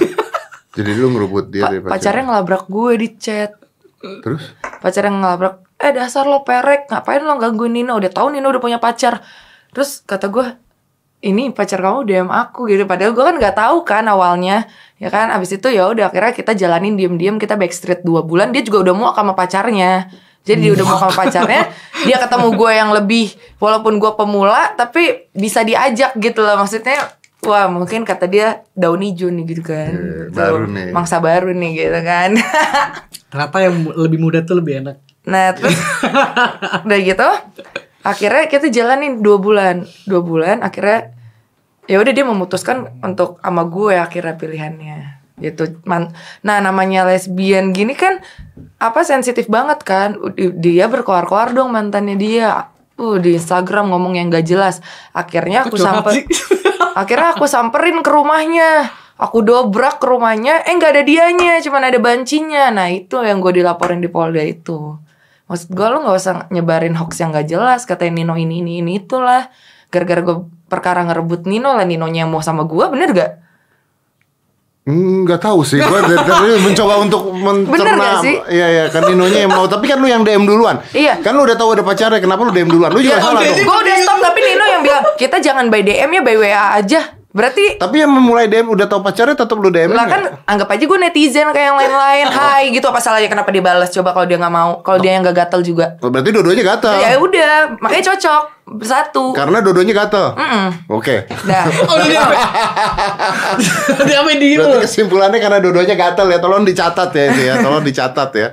[SPEAKER 1] Jadi lu ngerubut dia
[SPEAKER 2] Pa-
[SPEAKER 1] dari
[SPEAKER 2] pacarnya ngelabrak gue di chat.
[SPEAKER 1] Terus?
[SPEAKER 2] pacarnya ngelabrak eh dasar lo perek ngapain lo gangguin Nino udah tahu Nino udah punya pacar terus kata gue ini pacar kamu DM aku gitu padahal gue kan nggak tahu kan awalnya ya kan abis itu ya udah akhirnya kita jalanin diem-diem kita backstreet dua bulan dia juga udah muak sama pacarnya jadi dia udah muak sama pacarnya dia ketemu gue yang lebih walaupun gue pemula tapi bisa diajak gitu loh maksudnya wah mungkin kata dia daun hijau nih gitu kan
[SPEAKER 1] Iya,
[SPEAKER 2] Gitu.
[SPEAKER 1] baru nih.
[SPEAKER 2] mangsa baru nih gitu kan
[SPEAKER 3] Ternyata yang mu- lebih muda tuh lebih enak.
[SPEAKER 2] Nah terus udah gitu akhirnya kita jalanin dua bulan dua bulan akhirnya ya udah dia memutuskan untuk sama gue akhirnya pilihannya gitu. Man- nah namanya lesbian gini kan apa sensitif banget kan. Ud- Dia berkoar-koar dong mantannya dia. Uh, di Instagram ngomong yang gak jelas. Akhirnya aku
[SPEAKER 3] Itu curhat
[SPEAKER 2] sampai
[SPEAKER 3] sih.
[SPEAKER 2] akhirnya aku samperin ke rumahnya. Aku dobrak ke rumahnya, eh nggak ada dianya, cuman ada bancinya. Nah itu yang gue dilaporin di Polda itu. Maksud gue lu nggak usah nyebarin hoax yang gak jelas, katain Nino ini ini ini itulah. Gara-gara gue perkara ngerebut Nino lah, Ninonya yang mau sama gue, bener gak?
[SPEAKER 1] Enggak Hmm, tahu sih, gue dari tadi mencoba untuk
[SPEAKER 2] gak
[SPEAKER 1] mencerna.
[SPEAKER 2] sih?
[SPEAKER 1] Iya iya, kan Ninonya yang mau, tapi kan lu yang DM duluan.
[SPEAKER 2] Iya.
[SPEAKER 1] Kan lu udah tahu ada pacarnya, kenapa lu DM duluan? Lu juga salah
[SPEAKER 3] udah,
[SPEAKER 1] dong.
[SPEAKER 2] Gue udah stop, tapi Nino yang bilang kita jangan by DM ya, by WA aja. Berarti
[SPEAKER 1] Tapi yang memulai DM udah tahu pacarnya tetap lu DM.
[SPEAKER 2] lah kan anggap aja gue netizen kayak yang lain-lain.
[SPEAKER 1] Oh.
[SPEAKER 2] Hai gitu apa salahnya kenapa dia balas? Coba kalau dia nggak mau, kalau dia yang gak gatel juga.
[SPEAKER 1] Oh, Berarti dua-duanya gatel.
[SPEAKER 3] Iya,
[SPEAKER 2] Ya udah, makanya cocok bersatu.
[SPEAKER 1] Karena dua-duanya gatel. Oke.
[SPEAKER 2] Dah.
[SPEAKER 3] Oh, udah dia apa? Dia apa di
[SPEAKER 1] Berarti kesimpulannya karena dua-duanya gatel ya, tolong dicatat ya itu ya, tolong dicatat ya.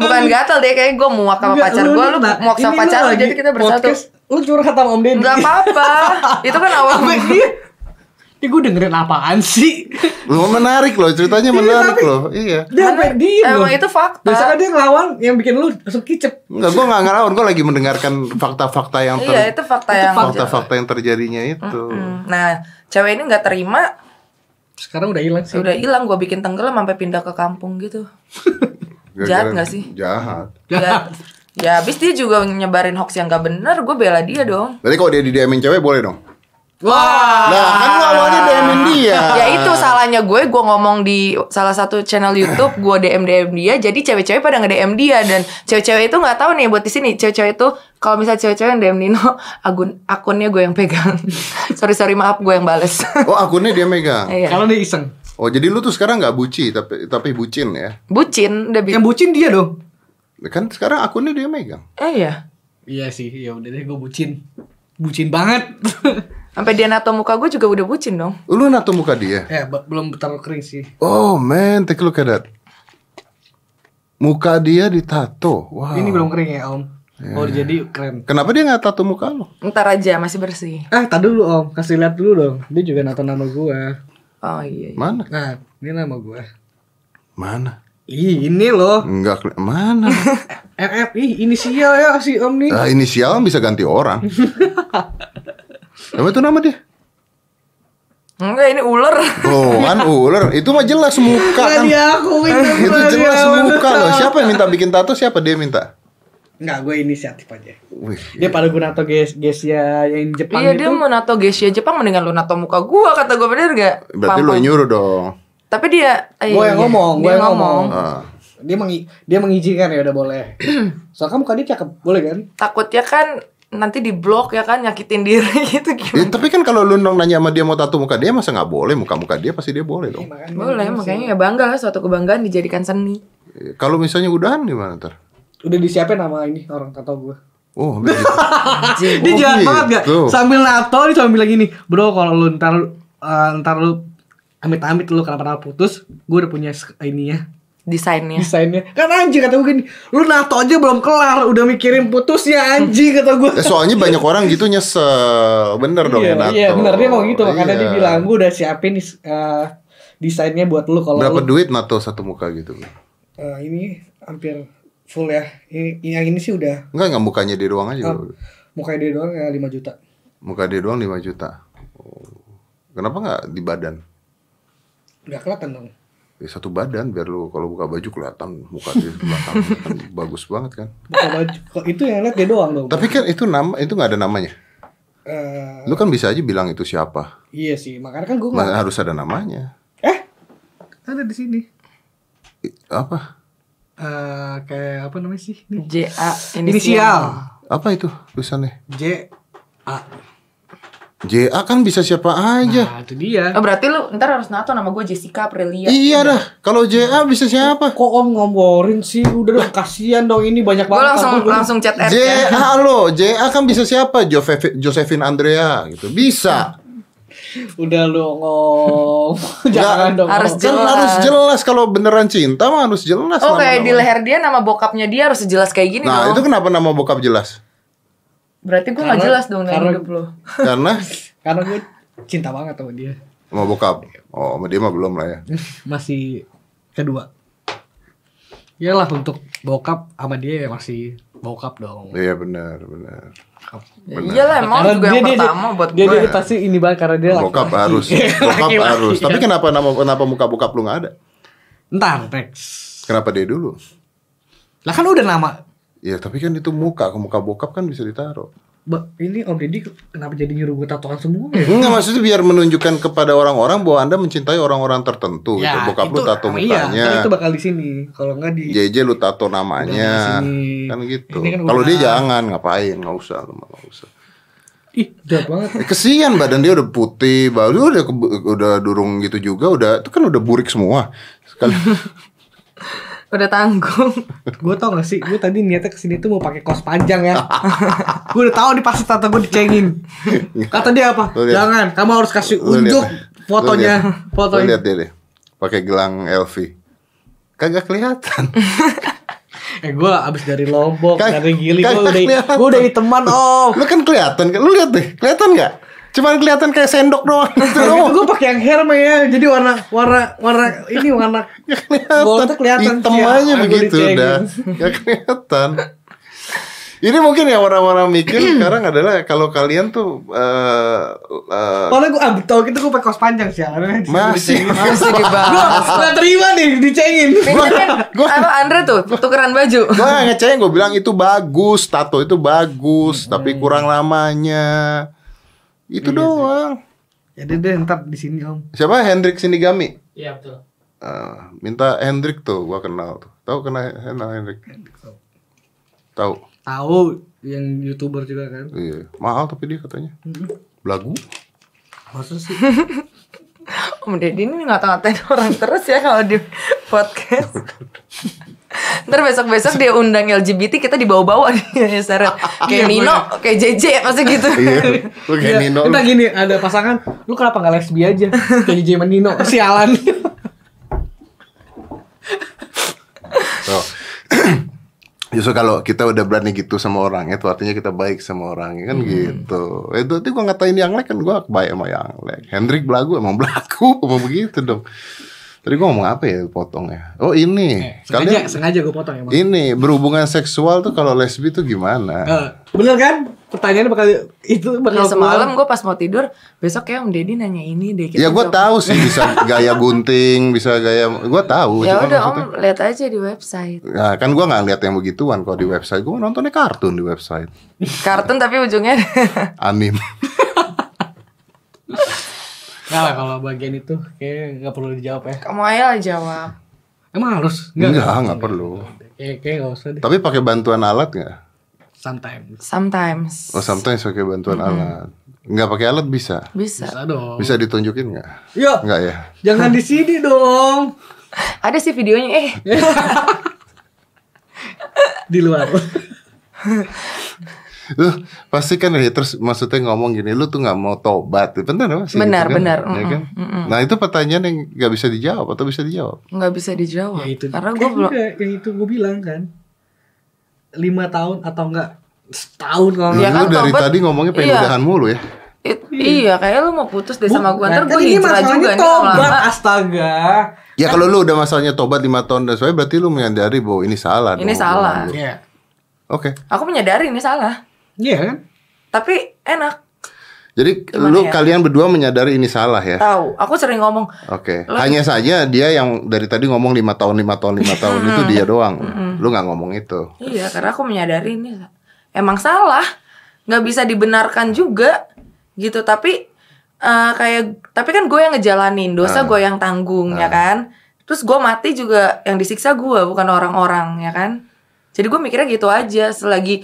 [SPEAKER 2] Bukan gatel deh kayak gue muak sama
[SPEAKER 3] Enggak,
[SPEAKER 2] pacar
[SPEAKER 3] lu
[SPEAKER 2] gue
[SPEAKER 3] nih,
[SPEAKER 2] lu
[SPEAKER 3] Mbak.
[SPEAKER 2] muak sama
[SPEAKER 3] Ini lu
[SPEAKER 2] pacar lu
[SPEAKER 3] lagi
[SPEAKER 2] jadi kita bersatu.
[SPEAKER 3] podcast, Lu curhat sama Om Deddy.
[SPEAKER 2] Enggak apa-apa. Itu kan awal
[SPEAKER 3] Apa dia? Ini gue dengerin apaan sih?
[SPEAKER 1] Lu menarik loh, ceritanya menarik
[SPEAKER 3] tapi-
[SPEAKER 1] loh. Iya.
[SPEAKER 3] Dia sampai diem loh.
[SPEAKER 2] Emang itu fakta.
[SPEAKER 3] Biasanya dia ngelawan yang bikin lu langsung kicep.
[SPEAKER 1] Enggak, gue gak ngelawan, gue lagi mendengarkan fakta-fakta yang ter...
[SPEAKER 2] Iya, itu fakta yang
[SPEAKER 1] fakta-fakta yang terjadinya itu.
[SPEAKER 2] Hmm. Nah, cewek ini nggak terima,
[SPEAKER 3] Sekarang udah hilang sih.
[SPEAKER 2] udah hilang gue bikin tenggelam sampai pindah ke kampung gitu. Jahat nggak sih?
[SPEAKER 1] Jahat.
[SPEAKER 2] Ya, ya abis dia juga nyebarin hoax yang gak bener, gue bela dia dong.
[SPEAKER 1] Berarti kalau dia di DM-in cewek boleh dong?
[SPEAKER 3] Wah.
[SPEAKER 1] Nah, kan lu awalnya DM-in dia.
[SPEAKER 2] Ah. Ya itu salahnya gue, gue ngomong di salah satu channel YouTube, gue DM DM dia, jadi cewek-cewek pada nge DM dia dan cewek-cewek itu nggak tahu nih buat di sini, cewek-cewek itu kalau misalnya cewek-cewek yang DM Nino, akun akunnya gue yang pegang. sorry sorry maaf gue yang bales.
[SPEAKER 1] Oh, akunnya dia megang.
[SPEAKER 2] Iya.
[SPEAKER 3] Kalau dia iseng.
[SPEAKER 1] Oh, jadi lu tuh sekarang nggak buci tapi tapi bucin ya.
[SPEAKER 2] Bucin udah bi-
[SPEAKER 3] Yang bucin dia dong.
[SPEAKER 1] Kan sekarang akunnya dia megang.
[SPEAKER 2] Eh iya.
[SPEAKER 3] Iya sih, ya udah deh gue bucin. Bucin banget.
[SPEAKER 2] Sampai dia nato muka gue juga udah bucin dong.
[SPEAKER 1] Lu nato muka dia.
[SPEAKER 3] eh, ba- belum terlalu kering sih.
[SPEAKER 1] Oh, man, take a look at that. Muka dia ditato. Wow.
[SPEAKER 3] Ini belum kering ya, Om. Oh, jadi keren.
[SPEAKER 1] Kenapa dia nggak tato muka lu?
[SPEAKER 2] Ntar aja masih bersih.
[SPEAKER 3] Ah, tadi dulu, Om. Kasih lihat dulu dong. Dia juga nato nama gua.
[SPEAKER 2] Oh iya. iya.
[SPEAKER 1] Mana?
[SPEAKER 3] Nah, ini nama gua.
[SPEAKER 1] Mana?
[SPEAKER 3] Ih, ini loh.
[SPEAKER 1] Enggak, keli- mana?
[SPEAKER 3] RF, ih, inisial ya si Om nih.
[SPEAKER 1] Ah, inisial bisa ganti orang. Apa itu nama dia?
[SPEAKER 2] Enggak ini ular.
[SPEAKER 1] Oh, kan ular. Itu mah jelas muka
[SPEAKER 3] Nggak
[SPEAKER 1] kan.
[SPEAKER 3] diakuin sama
[SPEAKER 1] Itu
[SPEAKER 3] dia,
[SPEAKER 1] jelas
[SPEAKER 3] bener.
[SPEAKER 1] muka loh. Siapa yang minta bikin tato? Siapa dia minta?
[SPEAKER 3] Nggak, gue inisiatif aja.
[SPEAKER 1] Wih.
[SPEAKER 3] Dia pada guna nato guys, guys ya yang Jepang
[SPEAKER 2] Iya
[SPEAKER 3] itu.
[SPEAKER 2] dia mau nato Geisha Jepang mendingan lu nato muka gue kata gue bener gak?
[SPEAKER 1] Berarti lu
[SPEAKER 2] Pam-pam.
[SPEAKER 1] yang nyuruh dong.
[SPEAKER 2] Tapi dia eh,
[SPEAKER 3] Gua yang
[SPEAKER 2] iya,
[SPEAKER 3] ngomong, gua
[SPEAKER 2] dia
[SPEAKER 3] yang ngomong.
[SPEAKER 1] Ah.
[SPEAKER 3] Dia mengi dia mengizinkan ya udah boleh. Soalnya muka dia cakep, boleh kan?
[SPEAKER 2] Takutnya kan nanti di blok ya kan nyakitin diri gitu
[SPEAKER 1] Ya,
[SPEAKER 2] gimana.
[SPEAKER 1] tapi kan kalau lu nong nanya sama dia mau tato muka dia masa nggak boleh muka-muka dia pasti dia boleh dong.
[SPEAKER 3] Makanya
[SPEAKER 2] Boleh makanya ya bangga lah suatu kebanggaan dijadikan seni.
[SPEAKER 1] Eh, Kalau misalnya udahan gimana ntar?
[SPEAKER 3] udah disiapin nama ini orang tato gue.
[SPEAKER 1] Oh, hampir gitu.
[SPEAKER 3] Ah, dia
[SPEAKER 1] Oh,
[SPEAKER 3] jahat
[SPEAKER 1] gitu.
[SPEAKER 3] banget gak? Sambil nato dia cuma bilang gini, bro kalau lu ntar eh, ntar lu amit-amit lu kenapa-napa putus, gue udah punya sk- ininya
[SPEAKER 2] Desainnya.
[SPEAKER 3] desainnya kan anjing kata gue gini lu nato aja belum kelar udah mikirin putusnya anjing kata gue
[SPEAKER 1] Ya, soalnya banyak orang gitu nyesel. Bener dong ya
[SPEAKER 3] iya,
[SPEAKER 1] nato.
[SPEAKER 3] iya bener dia mau gitu makanya
[SPEAKER 1] Iya.
[SPEAKER 3] dia bilang gue udah siapin eh, desainnya buat lu kalau
[SPEAKER 1] Berapa
[SPEAKER 3] lu-
[SPEAKER 1] duit nato satu muka gitu?
[SPEAKER 3] Eh, ini hampir full ya ini yang ini sih udah
[SPEAKER 1] Enggak, enggak mukanya dia doang aja.
[SPEAKER 3] mukanya dia doang ya 5 juta
[SPEAKER 1] Muka dia doang 5 juta. Oh. Kenapa nggak di badan?
[SPEAKER 3] udah kelihatan dong
[SPEAKER 1] Ya, satu badan biar lu kalau buka baju kelihatan muka dia di belakang Kan bagus banget kan.
[SPEAKER 3] buka baju Kok itu yang lihat dia doang dong
[SPEAKER 1] Tapi kan itu nama itu nggak ada namanya.
[SPEAKER 3] Eh,
[SPEAKER 1] Lu kan bisa aja bilang itu siapa.
[SPEAKER 3] iya sih makanya kan gue nggak
[SPEAKER 1] Nah, harus ada namanya.
[SPEAKER 2] Nah.
[SPEAKER 3] eh ada di sini
[SPEAKER 1] I- Apa?
[SPEAKER 3] Eh kayak apa namanya sih ini
[SPEAKER 2] JA inisial.
[SPEAKER 3] inisial
[SPEAKER 1] Apa itu tulisannya?
[SPEAKER 3] J A
[SPEAKER 1] JA kan bisa siapa aja.
[SPEAKER 3] nah itu dia
[SPEAKER 2] Oh, berarti lu ntar harus nato nama gue Jessica Aprilia.
[SPEAKER 1] Iya dah. Kalau JA bisa siapa?
[SPEAKER 3] Kok om ngomporin sih? Udah dong, kasihan dong ini banyak
[SPEAKER 2] Gue
[SPEAKER 3] banget.
[SPEAKER 2] langsung
[SPEAKER 3] Aku-
[SPEAKER 2] langsung chat R ya.
[SPEAKER 1] JA lo, JA kan bisa siapa? Josefi- Josephine Andrea gitu. Bisa.
[SPEAKER 2] Iya.
[SPEAKER 3] Udah lo ngom. Jangan dong. Om.
[SPEAKER 2] harus j-
[SPEAKER 1] Kan
[SPEAKER 2] Jelas.
[SPEAKER 1] harus jelas kalau beneran cinta mah harus jelas.
[SPEAKER 2] Oh kayak di
[SPEAKER 1] nama-nama.
[SPEAKER 2] leher dia nama bokapnya dia harus sejelas kayak gini
[SPEAKER 1] Nah,
[SPEAKER 2] dong.
[SPEAKER 1] itu kenapa nama bokap jelas?
[SPEAKER 2] Berarti gue gak
[SPEAKER 3] Karena-
[SPEAKER 2] jelas dong dalam
[SPEAKER 3] karena-
[SPEAKER 2] hidup lu.
[SPEAKER 1] Karena
[SPEAKER 3] Karena gue cinta banget sama dia.
[SPEAKER 1] Sama bokap.
[SPEAKER 3] Iya.
[SPEAKER 1] Oh, sama dia mah belum lah ya.
[SPEAKER 3] masih kedua. Iyalah untuk bokap sama dia ya masih bokap dong.
[SPEAKER 1] Iya benar, benar.
[SPEAKER 2] Ya Iyalah emang juga yang pertama buat
[SPEAKER 3] dia,
[SPEAKER 2] gue.
[SPEAKER 3] dia pasti ini banget karena dia
[SPEAKER 1] Bokap
[SPEAKER 3] laki-laki. Iya,
[SPEAKER 1] harus, bokap
[SPEAKER 3] Laki-laki. Iya.
[SPEAKER 1] harus. Tapi kan- kenapa nama kenapa muka bokap lu nggak ada?
[SPEAKER 3] Ntar next.
[SPEAKER 1] Kenapa dia dulu?
[SPEAKER 3] Lah kan udah nama.
[SPEAKER 1] Ya tapi kan itu muka, ke muka bokap kan bisa ditaruh.
[SPEAKER 3] Ba- ini Om Deddy kenapa jadi nyuruh gue tatoan semua ya?
[SPEAKER 1] Enggak maksudnya biar menunjukkan kepada orang-orang bahwa anda mencintai orang-orang tertentu. gitu. Bokap lu tato
[SPEAKER 3] sama Ya, iya,
[SPEAKER 1] mukanya, Iya.
[SPEAKER 3] kan itu bakal di sini. Kalau enggak di
[SPEAKER 1] JJ lu tato namanya,
[SPEAKER 3] Udah di sini.
[SPEAKER 1] kan gitu.
[SPEAKER 3] Ini kan
[SPEAKER 1] Kalau dia
[SPEAKER 3] udah.
[SPEAKER 1] jangan ngapain, nggak usah, lu mah nggak usah.
[SPEAKER 3] ih, jahat banget.
[SPEAKER 1] Eh, Kesian badan dia udah putih, baru udah ke- udah durung gitu juga, udah itu kan udah burik semua. Sekali
[SPEAKER 2] Udah tanggung.
[SPEAKER 3] gue tau gak sih, gue tadi niatnya kesini tuh mau pakai kos panjang ya. gue udah tahu nih pasti tata gue dicengin. Kata dia
[SPEAKER 1] Iya.
[SPEAKER 3] apa?
[SPEAKER 1] Lu lihat.
[SPEAKER 3] Jangan, kamu harus kasih
[SPEAKER 1] Lu lihat
[SPEAKER 3] unjuk
[SPEAKER 1] deh.
[SPEAKER 3] fotonya,
[SPEAKER 1] Lu lihat. Lu
[SPEAKER 3] fotonya.
[SPEAKER 1] lihat dia deh. Pakai gelang LV. Kagak kelihatan.
[SPEAKER 3] Eh gue abis dari lombok,
[SPEAKER 1] Kagak-
[SPEAKER 3] dari gili, gue
[SPEAKER 1] kagak
[SPEAKER 3] udah,
[SPEAKER 1] Kan- kelihatan.
[SPEAKER 3] gue udah teman om.
[SPEAKER 1] Lu kan kelihatan, lu lihat deh, kelihatan nggak? Cuman kelihatan kayak sendok doang. Itu
[SPEAKER 3] Nah,
[SPEAKER 1] doang.
[SPEAKER 3] itu gue pakai yang Hermes ya, jadi warna warna warna ini warna
[SPEAKER 1] Nggak kelihatan.
[SPEAKER 3] Bawah tuh kelihatan
[SPEAKER 1] Hitam
[SPEAKER 3] sih ya.
[SPEAKER 1] aja
[SPEAKER 3] Aduh,
[SPEAKER 1] begitu
[SPEAKER 3] dicengin.
[SPEAKER 1] udah. Gak kelihatan. Ini mungkin ya orang-orang mikir
[SPEAKER 3] Hmm.
[SPEAKER 1] sekarang adalah kalau kalian tuh eh, eh,
[SPEAKER 3] Padahal gue abis tau gitu gue pakai kos panjang sih.
[SPEAKER 1] masih
[SPEAKER 2] Masih di
[SPEAKER 3] Gue
[SPEAKER 2] bawah.
[SPEAKER 3] gak terima nih dicengin.
[SPEAKER 2] Ini kan sama Andre tuh tukeran baju.
[SPEAKER 1] gue ngecengin gue bilang itu bagus tato itu bagus
[SPEAKER 3] Hmm.
[SPEAKER 1] tapi kurang lamanya
[SPEAKER 3] Iya
[SPEAKER 1] itu doang
[SPEAKER 3] Jadi deh ntar di sini om.
[SPEAKER 1] siapa Hendrik Sinigami
[SPEAKER 4] Iya betul.
[SPEAKER 1] Eh, minta Hendrik tuh gua kenal tuh tahu kenal kenal Hendrik tahu
[SPEAKER 3] Tahu yang youtuber juga kan?
[SPEAKER 1] iya mahal tapi dia katanya lagu
[SPEAKER 3] Maksud sih.
[SPEAKER 2] Om Deddy ini ngata-ngatain orang terus ya kalau di podcast. Ntar besok-besok dia undang LGBT kita dibawa-bawa nih seret. Kayak Nino, kayak JJ pasti gitu.
[SPEAKER 1] iya lu kayak
[SPEAKER 3] Iya,
[SPEAKER 1] Nino
[SPEAKER 3] Kita
[SPEAKER 1] lu.
[SPEAKER 3] gini ada pasangan, lu kenapa nggak lesbi aja? Kayak DJ sama Nino, sialan.
[SPEAKER 1] Tuh. Justru kalau kita udah berani gitu sama orang itu artinya kita baik sama orang kan gitu. Itu nanti gua ngatain yang lek kan gua baik sama yang lek. Hendrik belagu emang belagu emang begitu dong. Tadi gua ngomong apa ya potong ya? Oh ini. Kalian
[SPEAKER 3] sengaja, sengaja gue potong ya, emang.
[SPEAKER 1] ini berhubungan seksual tuh kalau lesbi tuh gimana?
[SPEAKER 3] Eh, bener kan? Pertanyaannya bakal itu bakal
[SPEAKER 2] Ya,
[SPEAKER 3] keluar.
[SPEAKER 2] semalam gue pas mau tidur, besok ya Om Deddy nanya ini deh.
[SPEAKER 1] ya gua
[SPEAKER 2] jawab.
[SPEAKER 1] tahu sih bisa gaya gunting, bisa gaya gua tahu.
[SPEAKER 2] Ya
[SPEAKER 1] cuma
[SPEAKER 2] udah Om,
[SPEAKER 1] maksudnya-
[SPEAKER 2] lihat aja di website.
[SPEAKER 1] Nah, kan gua nggak lihat yang begituan kalau di website. Gua nontonnya kartun di website.
[SPEAKER 2] Kartun tapi ujungnya
[SPEAKER 1] Anim.
[SPEAKER 3] Nggak lah kalau bagian itu kayak nggak perlu dijawab ya.
[SPEAKER 2] kamu aja jawab.
[SPEAKER 3] Emang harus?
[SPEAKER 1] Enggak, enggak perlu.
[SPEAKER 3] Kayak kayak nggak
[SPEAKER 2] ya.
[SPEAKER 3] usah deh.
[SPEAKER 1] Tapi pakai bantuan alat nggak?
[SPEAKER 3] Sometimes
[SPEAKER 2] Sometimes
[SPEAKER 1] Oh sometimes pakai bantuan alat. Nggak pakai alat bisa.
[SPEAKER 2] bisa.
[SPEAKER 3] bisa dong.
[SPEAKER 1] Bisa ditunjukin nggak?
[SPEAKER 3] Yo,
[SPEAKER 1] Nggak ya.
[SPEAKER 3] Iya, jangan di sini dong.
[SPEAKER 2] Ada sih videonya. Eh,
[SPEAKER 3] Di luar.
[SPEAKER 1] Lu pasti kan haters maksudnya ngomong gini, lu tuh nggak mau tobat. Benar apa sih?
[SPEAKER 2] Benar,
[SPEAKER 1] kan?
[SPEAKER 2] benar.
[SPEAKER 1] Ya kan? Nah itu pertanyaan yang nggak bisa dijawab atau bisa dijawab.
[SPEAKER 2] nggak bisa dijawab.
[SPEAKER 3] ya itu.
[SPEAKER 2] Karena gue
[SPEAKER 3] Eh,
[SPEAKER 2] belum.
[SPEAKER 3] udah, yang itu gue bilang kan. Lima tahun atau enggak setahun kalau
[SPEAKER 1] Lu
[SPEAKER 2] Ya kan,
[SPEAKER 1] dari
[SPEAKER 2] tobat-
[SPEAKER 1] tadi ngomongnya pengen
[SPEAKER 2] iya.
[SPEAKER 1] udahan mulu ya.
[SPEAKER 2] It- iya, kayaknya lu mau putus deh sama gue. Ntar
[SPEAKER 3] Kan
[SPEAKER 2] gue
[SPEAKER 3] ini
[SPEAKER 2] hijrah juga
[SPEAKER 3] masalahnya
[SPEAKER 2] nih
[SPEAKER 3] tobat
[SPEAKER 2] lama-lama.
[SPEAKER 3] astaga.
[SPEAKER 1] Ya kalau lu udah masalahnya tobat 5 tahun dan sebagainya berarti lu menyadari bahwa ini salah.
[SPEAKER 2] Ini
[SPEAKER 1] dong,
[SPEAKER 2] salah.
[SPEAKER 1] omongan lu.
[SPEAKER 3] Iya.
[SPEAKER 1] Oke.
[SPEAKER 2] Aku menyadari ini salah,
[SPEAKER 3] Iya kan?
[SPEAKER 2] tapi enak.
[SPEAKER 1] Jadi
[SPEAKER 2] Gimana
[SPEAKER 1] lu
[SPEAKER 2] ya?
[SPEAKER 1] kalian berdua menyadari ini salah ya.
[SPEAKER 2] Tahu. Aku sering ngomong.
[SPEAKER 1] Oke,
[SPEAKER 2] Lo-
[SPEAKER 1] hanya saja dia yang dari tadi ngomong lima tahun lima tahun lima tahun itu dia doang. Lu nggak ngomong itu.
[SPEAKER 2] Iya, karena aku menyadari ini sa- emang salah, nggak bisa dibenarkan juga gitu. Tapi eh, kayak, tapi kan gue yang ngejalanin dosa, gue yang tanggung ya kan. Terus gue mati juga yang disiksa gue, bukan orang-orang ya kan. Jadi gue mikirnya gitu aja. Selagi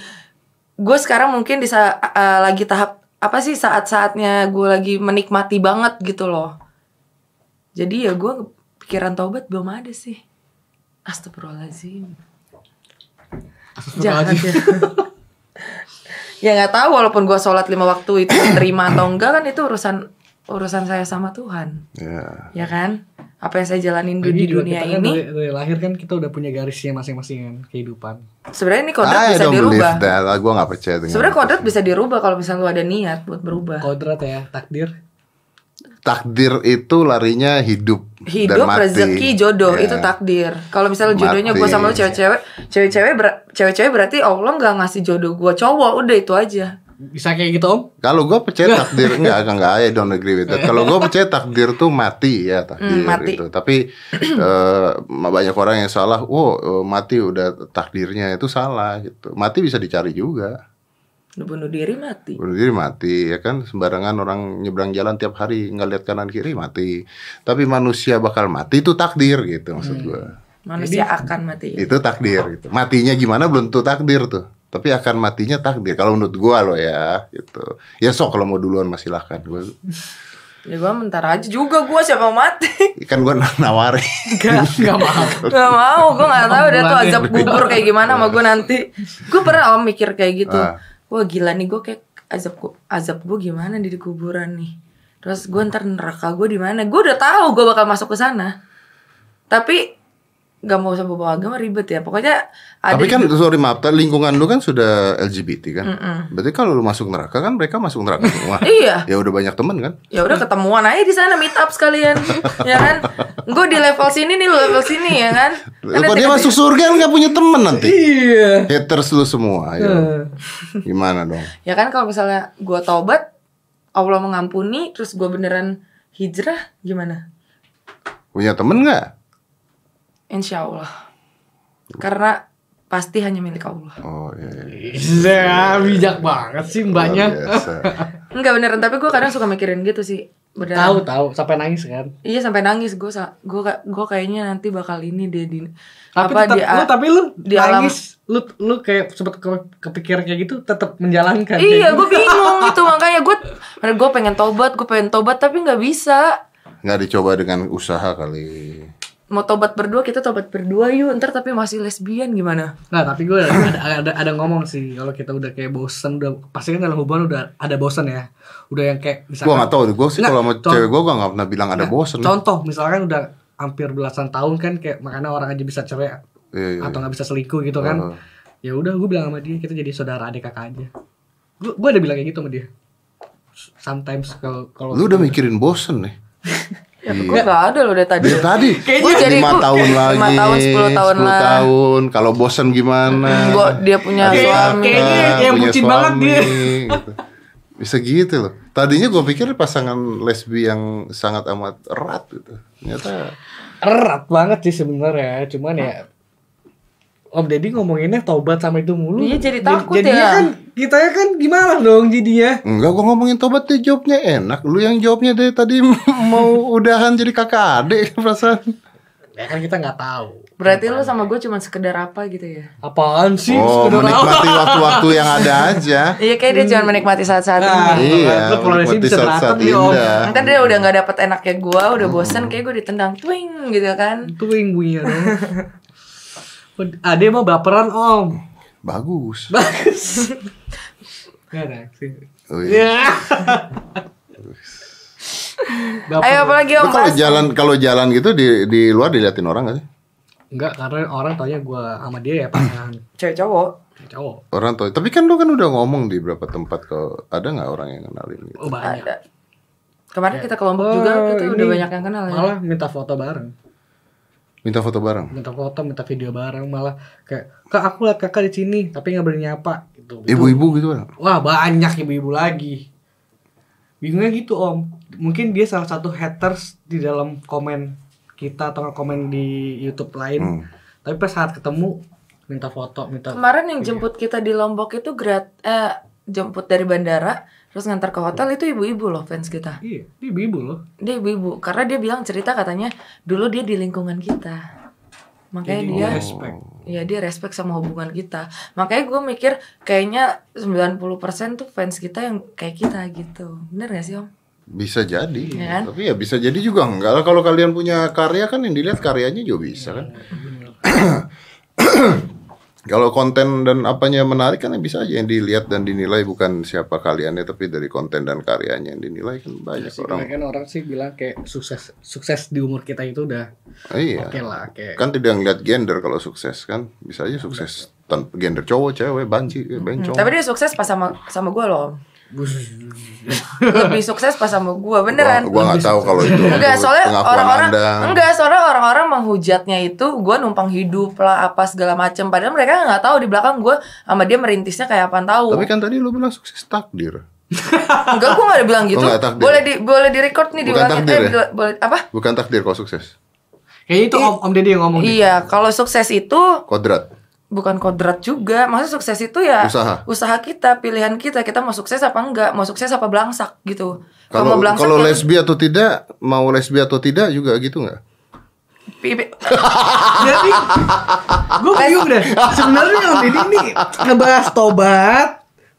[SPEAKER 2] gue sekarang mungkin di sa- eh, lagi tahap apa sih saat-saatnya gue lagi menikmati banget gitu loh. Jadi ya gue pikiran taubat belum ada sih. Astagfirullahaladzim. Jahat ya. ya nggak tahu walaupun gua sholat lima waktu itu terima atau enggak kan itu urusan urusan saya sama Tuhan
[SPEAKER 1] Ya.
[SPEAKER 2] ya kan apa yang saya jalanin du-
[SPEAKER 3] Ini
[SPEAKER 2] di
[SPEAKER 3] juga kita
[SPEAKER 2] dunia
[SPEAKER 3] kan
[SPEAKER 2] ini
[SPEAKER 3] dari, dari lahir kan kita udah punya garisnya masing-masing kan kehidupan.
[SPEAKER 2] sebenarnya ini kodrat
[SPEAKER 1] I
[SPEAKER 2] bisa
[SPEAKER 1] don't
[SPEAKER 2] dirubah
[SPEAKER 1] believe that. Ah, Gua nggak percaya dengan.
[SPEAKER 2] sebenarnya
[SPEAKER 1] itu.
[SPEAKER 2] kodrat bisa dirubah kalau misalnya lu ada niat buat berubah
[SPEAKER 3] Kodrat ya, takdir.
[SPEAKER 1] takdir itu larinya hidup,
[SPEAKER 2] hidup
[SPEAKER 1] dan mati.
[SPEAKER 2] rezeki jodoh
[SPEAKER 1] Ya.
[SPEAKER 2] itu takdir kalau misalnya jodohnya gue
[SPEAKER 1] Mati.
[SPEAKER 2] sama lu cewek-cewek cewek-cewek ber- cewek-cewek berarti allah nggak ngasih jodoh gue cowok udah itu aja
[SPEAKER 3] Bisa kayak gitu om?
[SPEAKER 1] Kalau gue percaya takdir enggak, enggak, enggak, I don't agree with that. Kalau gue percaya takdir tuh mati ya takdir
[SPEAKER 2] Hmm, mati.
[SPEAKER 1] gitu. Tapi eh, banyak orang yang salah, oh eh, mati udah takdirnya itu salah gitu. Mati bisa dicari juga.
[SPEAKER 2] Lu bunuh diri mati
[SPEAKER 1] Bunuh diri mati ya kan sembarangan orang nyebrang jalan tiap hari nggak lihat kanan kiri mati. Tapi manusia bakal mati itu takdir gitu maksud
[SPEAKER 2] Hmm.
[SPEAKER 1] gue.
[SPEAKER 2] manusia akan mati
[SPEAKER 1] Itu takdir gitu. Matinya gimana belum tentu takdir tuh. Tapi akan matinya takdir kalau menurut gua loh ya gitu. Ya sok kalau mau duluan masih silahkan gua
[SPEAKER 2] ya gue mentar aja juga gue siapa mau mati
[SPEAKER 1] Kan gue nawarin
[SPEAKER 2] Gak,
[SPEAKER 3] Gak mau.
[SPEAKER 2] gak mau, gue gak tahu deh tuh
[SPEAKER 3] Bulan
[SPEAKER 2] azab kubur kayak gimana sama gue nanti Gue pernah om mikir kayak gitu
[SPEAKER 1] Ah.
[SPEAKER 2] Wah gila nih gue kayak azab, ku- azab gue gimana di kuburan nih Terus gue ntar neraka gue di mana? Gue udah tahu gue bakal masuk ke sana. Tapi gak mau sama bawa agama ribet ya. Pokoknya ada
[SPEAKER 1] Tapi kan
[SPEAKER 2] di-
[SPEAKER 1] sorry maaf tadi lingkungan lu kan sudah LGBT kan Berarti kalau lu masuk neraka kan mereka masuk neraka semua
[SPEAKER 2] Iya.
[SPEAKER 1] Ya udah banyak temen kan
[SPEAKER 2] ya udah ketemuan aja di sana meet up sekalian, ya kan? Gue di level sini nih, lu level sini ya kan?
[SPEAKER 1] Lu Kok dia masuk surga kan gak punya temen nanti
[SPEAKER 3] Iya.
[SPEAKER 1] Haters lu semua ya. Gimana dong
[SPEAKER 2] Ya kan kalau misalnya gua taubat, Allah mengampuni, terus gua beneran hijrah, gimana?
[SPEAKER 1] Punya temen gak?
[SPEAKER 2] Insya Allah. Karena pasti hanya milik Allah.
[SPEAKER 1] Oh iya, iya.
[SPEAKER 3] Iya, bijak banget sih
[SPEAKER 1] Luar
[SPEAKER 3] mbaknya.
[SPEAKER 1] biasa.
[SPEAKER 2] Enggak beneran, tapi gua kadang suka mikirin gitu sih. Beneran.
[SPEAKER 3] Tahu tahu sampai nangis kan.
[SPEAKER 2] Iya sampai nangis gua sa- gua ka- gua kayaknya nanti bakal ini dia di
[SPEAKER 3] Tapi tetap,
[SPEAKER 2] di a-
[SPEAKER 3] lu tapi lu
[SPEAKER 2] di alam-
[SPEAKER 3] nangis, lu lu kayak sempet ke- kepikiran kayak gitu tetap menjalankan. kayak
[SPEAKER 2] Iya,
[SPEAKER 3] gitu.
[SPEAKER 2] gua bingung gitu makanya gua gue pengen tobat, gua pengen tobat tapi nggak bisa.
[SPEAKER 1] Nggak dicoba dengan usaha kali
[SPEAKER 2] Mau tobat berdua kita tobat berdua yuk. Ntar tapi masih lesbian gimana?
[SPEAKER 3] Nah, tapi gue ada, ada ada ngomong sih kalau kita udah kayak bosen udah pasti kan dalam hubungan udah ada bosen ya. Udah yang kayak
[SPEAKER 1] Gue gak tau Gue sih
[SPEAKER 3] Nggak,
[SPEAKER 1] kalau sama
[SPEAKER 3] contoh-
[SPEAKER 1] cewek gue Gue gak pernah bilang ada bosen
[SPEAKER 3] Contoh misalkan udah hampir belasan tahun kan kayak makanya orang aja bisa cerai
[SPEAKER 1] Iya, iya,
[SPEAKER 3] atau nggak bisa selingkuh gitu kan.
[SPEAKER 1] Heeh.
[SPEAKER 3] Ya udah gue bilang sama dia kita jadi saudara adik kakak aja. Gue gue ada bilang kayak gitu sama dia. Sometimes kalau kalau
[SPEAKER 1] Lu udah mikirin bosen nih
[SPEAKER 2] Ya,
[SPEAKER 3] Iya.
[SPEAKER 2] gua nggak ada loh dari tadi.
[SPEAKER 1] Dari Iya, tadi
[SPEAKER 2] Kayaknya jadi
[SPEAKER 1] lima
[SPEAKER 2] gua-
[SPEAKER 1] tahun
[SPEAKER 2] lima
[SPEAKER 1] lagi,
[SPEAKER 2] tahun, 10 tahun
[SPEAKER 1] 10
[SPEAKER 2] lah.
[SPEAKER 1] tahun. Kalau bosen gimana?
[SPEAKER 2] Gua dia punya
[SPEAKER 1] Ada
[SPEAKER 3] Kayak-
[SPEAKER 2] suami.
[SPEAKER 3] kayaknya yang
[SPEAKER 1] punya
[SPEAKER 3] bucin banget dia.
[SPEAKER 1] gitu. Bisa gitu loh. Tadinya gue pikir pasangan lesbi yang sangat amat erat gitu. Ternyata
[SPEAKER 3] erat banget sih sebenarnya, cuman ya Om Deddy ngomonginnya taubat sama itu mulu.
[SPEAKER 2] Iya, jadi takut
[SPEAKER 3] jadinya
[SPEAKER 2] ya.
[SPEAKER 3] kan kita kan gimana dong jadinya?
[SPEAKER 1] enggak gue ngomongin tobat dia jawabnya enak. Lu yang jawabnya dari tadi mau udahan jadi kakak adik perasaan.
[SPEAKER 3] Ya kan kita nggak tahu.
[SPEAKER 2] Berarti lu sama gue cuma sekedar apa gitu ya?
[SPEAKER 3] Apaan sih?
[SPEAKER 1] Oh,
[SPEAKER 3] Sekedar
[SPEAKER 1] menikmati waktu-waktu yang ada aja.
[SPEAKER 2] Iya kayak dia cuma menikmati saat-saat
[SPEAKER 3] Nah,
[SPEAKER 2] ini.
[SPEAKER 1] iya,
[SPEAKER 3] Lu kalau dari
[SPEAKER 1] menikmati
[SPEAKER 3] sini bisa
[SPEAKER 1] saat-saat
[SPEAKER 3] berantem nih, Om.
[SPEAKER 1] indah.
[SPEAKER 2] Ntar dia udah nggak dapet enaknya gue, udah bosen kayak gue ditendang twing gitu kan.
[SPEAKER 3] Itu yang bunyinya dong. Ade mau baperan om.
[SPEAKER 1] Bagus.
[SPEAKER 3] Bagus. Gak reaksi.
[SPEAKER 1] Oh, iya.
[SPEAKER 3] Ya.
[SPEAKER 2] Ayo apalagi
[SPEAKER 1] Lu
[SPEAKER 2] om
[SPEAKER 1] kalau
[SPEAKER 2] Bas?
[SPEAKER 1] jalan kalau jalan gitu di di luar diliatin orang gak sih?
[SPEAKER 3] Enggak karena orang tanya gue sama dia ya pasangan
[SPEAKER 2] Cewek cowok.
[SPEAKER 3] cowok.
[SPEAKER 1] Orang tahu. Tapi kan lu kan udah ngomong di berapa tempat kok. Ada nggak orang yang kenalin gitu?
[SPEAKER 3] Oh banyak.
[SPEAKER 2] Ada. Kemarin kita kelompok juga kita
[SPEAKER 3] Oh,
[SPEAKER 2] udah
[SPEAKER 3] ini
[SPEAKER 2] banyak yang kenal ya.
[SPEAKER 3] Malah minta foto bareng.
[SPEAKER 1] Minta foto bareng.
[SPEAKER 3] Minta foto, minta video bareng malah kayak kak aku liat kakak di sini tapi nggak berani nyapa gitu.
[SPEAKER 1] Ibu-ibu gitu kan.
[SPEAKER 3] Wah banyak ibu-ibu lagi. Bingungnya gitu om. Mungkin dia salah satu haters di dalam komen kita atau komen di YouTube lain. Tapi pas saat ketemu minta foto, minta
[SPEAKER 2] Kemarin yang jemput kita di Lombok itu grat eh jemput dari bandara terus ngantar ke hotel itu ibu-ibu loh fans kita.
[SPEAKER 3] Iya, dia ibu-ibu loh.
[SPEAKER 2] Dia ibu-ibu karena dia bilang cerita katanya dulu dia di lingkungan kita. Makanya Eh, dia
[SPEAKER 3] respect.
[SPEAKER 2] Ya dia respect sama hubungan kita Makanya gue mikir kayaknya 90% tuh fans kita yang kayak kita gitu Bener gak sih om?
[SPEAKER 1] Bisa jadi.
[SPEAKER 2] Iya kan?
[SPEAKER 1] Tapi ya bisa jadi juga enggak lah kalau kalian punya karya kan yang dilihat karyanya juga bisa kan. Kalau konten dan apanya menarik kan bisa aja yang dilihat dan dinilai bukan siapa kaliannya tapi dari konten dan karyanya yang dinilai kan banyak
[SPEAKER 3] Iya Sih,
[SPEAKER 1] orang.
[SPEAKER 3] kebanyakan orang sih bilang kayak sukses sukses di umur kita itu udah
[SPEAKER 1] Iya.
[SPEAKER 3] oke lah kayak
[SPEAKER 1] kan tidak ngeliat gender kalau sukses kan
[SPEAKER 2] Hmm.
[SPEAKER 1] bisa aja sukses tanpa gender cowok cewek banci eh, bencong
[SPEAKER 2] Tapi dia sukses pas sama sama gue loh om lebih sukses pas sama gua
[SPEAKER 1] Gua,
[SPEAKER 2] beneran
[SPEAKER 1] gua nggak tahu kalau itu.
[SPEAKER 2] Enggak, soalnya
[SPEAKER 1] pengakuan
[SPEAKER 2] orang-orang
[SPEAKER 1] Anda.
[SPEAKER 2] enggak, soalnya orang-orang menghujatnya itu gue numpang hidup lah apa segala macem Padahal mereka nggak tahu di belakang gue sama dia merintisnya kayak apa tahu.
[SPEAKER 1] Tapi kan tadi lu bilang sukses takdir.
[SPEAKER 2] enggak, gue nggak ada bilang gitu.
[SPEAKER 1] Oh, nggak, takdir.
[SPEAKER 2] boleh di boleh di record nih
[SPEAKER 1] Bukan
[SPEAKER 2] diulangin.
[SPEAKER 1] takdir
[SPEAKER 2] Eh,
[SPEAKER 1] ya?
[SPEAKER 2] di- boleh apa?
[SPEAKER 1] Bukan takdir kalau sukses.
[SPEAKER 3] Kayaknya itu Om Om Deddy yang ngomong. deh.
[SPEAKER 2] Iya, kalau sukses itu
[SPEAKER 1] Kodrat.
[SPEAKER 2] bukan kodrat juga. Maksud sukses itu ya
[SPEAKER 1] Usaha.
[SPEAKER 2] kita, pilihan kita. Kita mau sukses apa enggak? Mau sukses apa belangsak gitu.
[SPEAKER 1] Kalau
[SPEAKER 2] mau
[SPEAKER 1] kalau
[SPEAKER 2] kan-
[SPEAKER 1] lesbi atau tidak, mau lesbi atau tidak juga gitu nggak?
[SPEAKER 2] pi- pi-
[SPEAKER 3] Jadi gue bingung deh. Sebenarnya Om Deddy ini ngebahas tobat,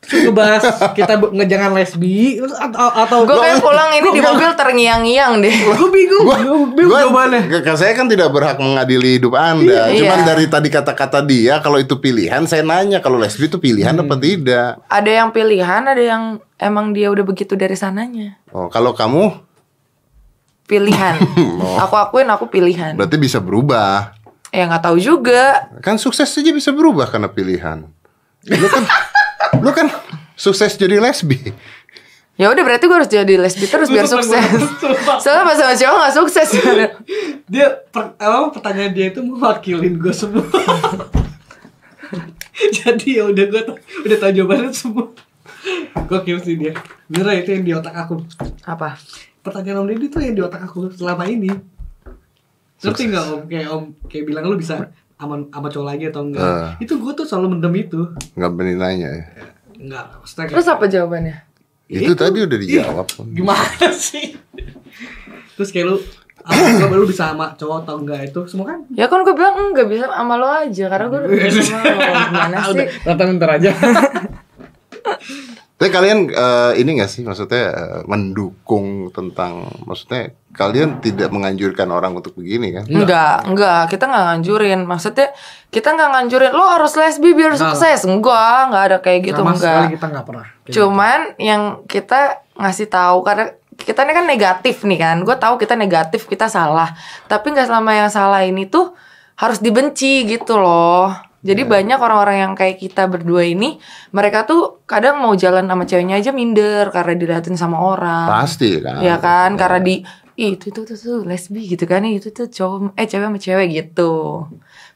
[SPEAKER 3] terus ngebahas kita be- ngejangan lesbi terus atau atau
[SPEAKER 2] Gue kayak pulang ini di mobil terngiang-ngiang deh.
[SPEAKER 3] Gue bingung,
[SPEAKER 1] Gua,
[SPEAKER 3] gue bingung
[SPEAKER 1] gua-
[SPEAKER 3] jawabannya.
[SPEAKER 1] ke- ke- saya kan tidak berhak mengadili hidup Anda.
[SPEAKER 2] Iya.
[SPEAKER 1] Cuman
[SPEAKER 2] Iya.
[SPEAKER 1] dari tadi kata-kata dia kalau itu pilihan, saya nanya kalau lesbi itu pilihan apa
[SPEAKER 2] Hmm.
[SPEAKER 1] tidak.
[SPEAKER 2] Ada yang pilihan, ada yang emang dia udah begitu dari sananya.
[SPEAKER 1] Oh, kalau kamu
[SPEAKER 2] Pilihan.
[SPEAKER 1] Oh.
[SPEAKER 2] Aku akuin aku pilihan.
[SPEAKER 1] berarti bisa berubah.
[SPEAKER 2] Ya nggak tahu juga.
[SPEAKER 1] Kan sukses aja bisa berubah karena pilihan. Lu kan lu kan sukses jadi lesbi.
[SPEAKER 2] Ya udah berarti gue harus jadi lesbi terus biar
[SPEAKER 3] Sumpah,
[SPEAKER 2] sukses.
[SPEAKER 3] sumpah.
[SPEAKER 2] Soalnya pas sama cowok nggak sukses.
[SPEAKER 3] dia per, apa pertanyaan dia itu mewakilin gue semua jadi ya udah gue udah tahu jawabannya semua gue sih dia bener itu yang di otak aku
[SPEAKER 2] Apa?
[SPEAKER 3] pertanyaan om Deddy itu yang di otak aku selama ini ngerti nggak om kayak om kayak bilang lu bisa aman sama cowok lagi atau enggak
[SPEAKER 1] Eh.
[SPEAKER 3] itu gue tuh selalu mendem itu
[SPEAKER 1] Nggak berani nanya ya.
[SPEAKER 3] enggak maksudnya kayak-
[SPEAKER 2] Terus apa jawabannya?
[SPEAKER 1] Itu, tadi udah
[SPEAKER 2] Iya.
[SPEAKER 1] dijawab.
[SPEAKER 3] gimana sih terus kayak lu apa lu bisa sama cowok atau enggak itu semua kan
[SPEAKER 2] Ya kan gue bilang enggak bisa sama lo aja karena gue udah bisa sama lo. Gimana sih?
[SPEAKER 3] Rata bentar aja
[SPEAKER 1] Tapi kalian eh, ini nggak sih maksudnya eh, mendukung tentang maksudnya kalian tidak menganjurkan orang untuk begini
[SPEAKER 2] Iya.
[SPEAKER 1] kan?
[SPEAKER 2] Enggak, enggak, kita nggak nganjurin. Maksudnya kita nggak nganjurin lo harus lesbi biar sukses. Enggak, enggak ada kayak gitu,
[SPEAKER 3] sama
[SPEAKER 2] enggak.
[SPEAKER 3] sekali kita gitu. nggak pernah
[SPEAKER 2] Cuman yang kita ngasih tahu karena kita ini kan negatif nih kan. Gue tahu kita negatif, kita salah. Tapi nggak selama yang salah ini tuh harus dibenci gitu loh.
[SPEAKER 3] Iya.
[SPEAKER 2] Jadi banyak orang-orang yang kayak kita berdua ini, mereka tuh kadang mau jalan sama ceweknya aja minder karena diliatin sama orang.
[SPEAKER 1] Pasti kan.
[SPEAKER 2] Ya kan? Karena di "Ih, itu tuh tuh tuh lesbi gitu kan Ih, itu tuh cowok eh cewek sama cewek gitu.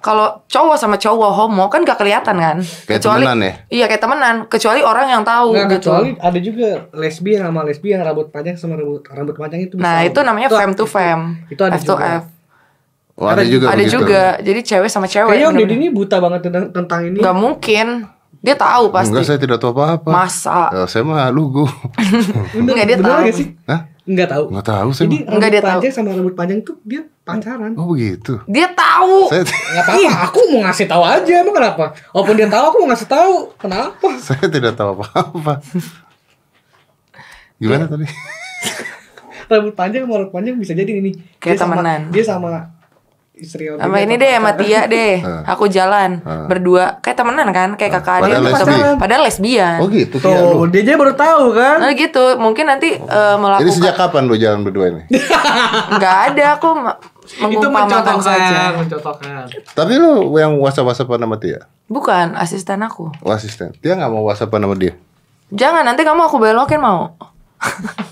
[SPEAKER 2] Kalau cowok sama cowok homo kan gak kelihatan kan?
[SPEAKER 1] Kayak temenan ya?
[SPEAKER 2] Iya, kayak temenan, kecuali orang yang tahu
[SPEAKER 3] Nggak,
[SPEAKER 2] gitu.
[SPEAKER 3] kecuali ada juga lesbi yang sama lesbi yang rambut panjang sama rambut rambut panjang itu bisa.
[SPEAKER 2] Nah, itu namanya fem to fem.
[SPEAKER 3] itu ada
[SPEAKER 2] F to
[SPEAKER 3] juga.
[SPEAKER 2] F.
[SPEAKER 1] Oh, ada juga.
[SPEAKER 2] Ada
[SPEAKER 1] begitu.
[SPEAKER 2] juga. Jadi cewek sama cewek.
[SPEAKER 3] Kayaknya Om Deddy
[SPEAKER 2] bener-bener.
[SPEAKER 3] ini buta banget tentang, tentang ini.
[SPEAKER 2] Nggak mungkin. Dia tahu pasti.
[SPEAKER 1] Enggak, saya tidak tahu apa-apa.
[SPEAKER 2] Masa?
[SPEAKER 1] Eh, saya mah lugu.
[SPEAKER 2] Nggak, dia
[SPEAKER 3] bener
[SPEAKER 2] tahu.
[SPEAKER 3] nggak sih?
[SPEAKER 1] Hah?
[SPEAKER 3] Enggak tahu.
[SPEAKER 1] Enggak tahu saya.
[SPEAKER 3] Jadi
[SPEAKER 1] mah.
[SPEAKER 3] rambut
[SPEAKER 2] Nggak, dia tahu.
[SPEAKER 3] panjang sama rambut panjang tuh dia pacaran.
[SPEAKER 1] Oh begitu.
[SPEAKER 2] Dia tahu.
[SPEAKER 1] Saya
[SPEAKER 3] Enggak
[SPEAKER 2] Iya.
[SPEAKER 3] apa-apa, aku mau ngasih tahu aja emang kenapa? Walaupun dia tahu aku mau ngasih tahu. Kenapa?
[SPEAKER 1] saya tidak tahu apa-apa.
[SPEAKER 2] Iya.
[SPEAKER 1] Gimana tadi?
[SPEAKER 3] Rambut panjang sama rambut panjang bisa jadi ini. Dia
[SPEAKER 2] Kayak
[SPEAKER 3] sama-
[SPEAKER 2] temenan.
[SPEAKER 3] Dia sama istri Om
[SPEAKER 2] Sama
[SPEAKER 3] Deddy
[SPEAKER 2] ini
[SPEAKER 3] atau
[SPEAKER 2] deh, sama
[SPEAKER 3] pacaran.
[SPEAKER 2] Tia deh. Aku jalan berdua. Kayak temenan kan, kayak kakak
[SPEAKER 1] Ah.
[SPEAKER 2] adik.
[SPEAKER 1] padahal
[SPEAKER 2] Itu
[SPEAKER 1] lesbi.
[SPEAKER 2] pacaran. Padahal lesbian.
[SPEAKER 1] Oh gitu. Tia, lu.
[SPEAKER 3] Tuh, iya, dia aja baru tahu kan.
[SPEAKER 2] Nah gitu, mungkin nanti eh,
[SPEAKER 1] Jadi
[SPEAKER 2] melakukan
[SPEAKER 1] sejak kapan lu jalan berdua ini?
[SPEAKER 2] nggak ada aku ma-
[SPEAKER 3] Itu
[SPEAKER 2] mengumpamakan
[SPEAKER 3] mencontohkan,
[SPEAKER 2] saja.
[SPEAKER 3] mencontohkan.
[SPEAKER 1] Tapi lu yang whatsapp-whatsappan sama dia?
[SPEAKER 2] Bukan asisten aku.
[SPEAKER 1] Lu asisten. Dia nggak mau whatsappan sama dia?
[SPEAKER 2] Jangan nanti kamu aku belokin mau.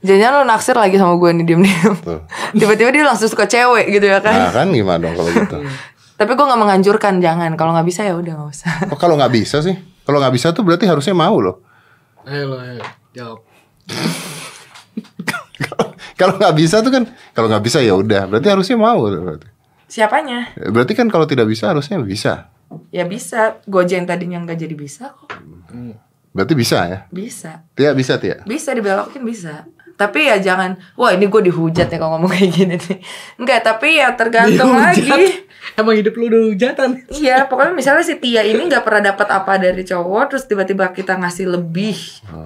[SPEAKER 2] Jangan lo naksir lagi sama gue nih diem-diem.
[SPEAKER 1] Tuh.
[SPEAKER 2] Tiba-tiba dia langsung suka cewek gitu ya kan.
[SPEAKER 1] Nah kan gimana dong kalau gitu?
[SPEAKER 2] Tapi gue nggak menganjurkan jangan. Kalau nggak bisa ya udah nggak usah.
[SPEAKER 1] Kok kalau nggak bisa sih? Kalau nggak bisa tuh berarti harusnya mau loh.
[SPEAKER 3] Ayo lo, ayo. Jawab.
[SPEAKER 1] Kalau nggak bisa tuh kan, kalau nggak bisa ya udah. Berarti harusnya mau. loh, Berarti.
[SPEAKER 2] Siapanya?
[SPEAKER 1] berarti kan kalau tidak bisa harusnya bisa.
[SPEAKER 2] Ya bisa. Gojeng tadinya nggak jadi bisa kok.
[SPEAKER 1] Berarti bisa ya?
[SPEAKER 2] Bisa.
[SPEAKER 1] Tidak bisa tidak.
[SPEAKER 2] Bisa dibelokin bisa. Tapi ya jangan. Wah ini gue dihujat ya kalau ngomong kayak gini nih. Enggak. Tapi ya tergantung lagi.
[SPEAKER 3] Emang hidup lu udah hujatan.
[SPEAKER 2] Iya, pokoknya misalnya si Tia ini nggak pernah dapat apa dari cowok, terus tiba-tiba kita ngasih lebih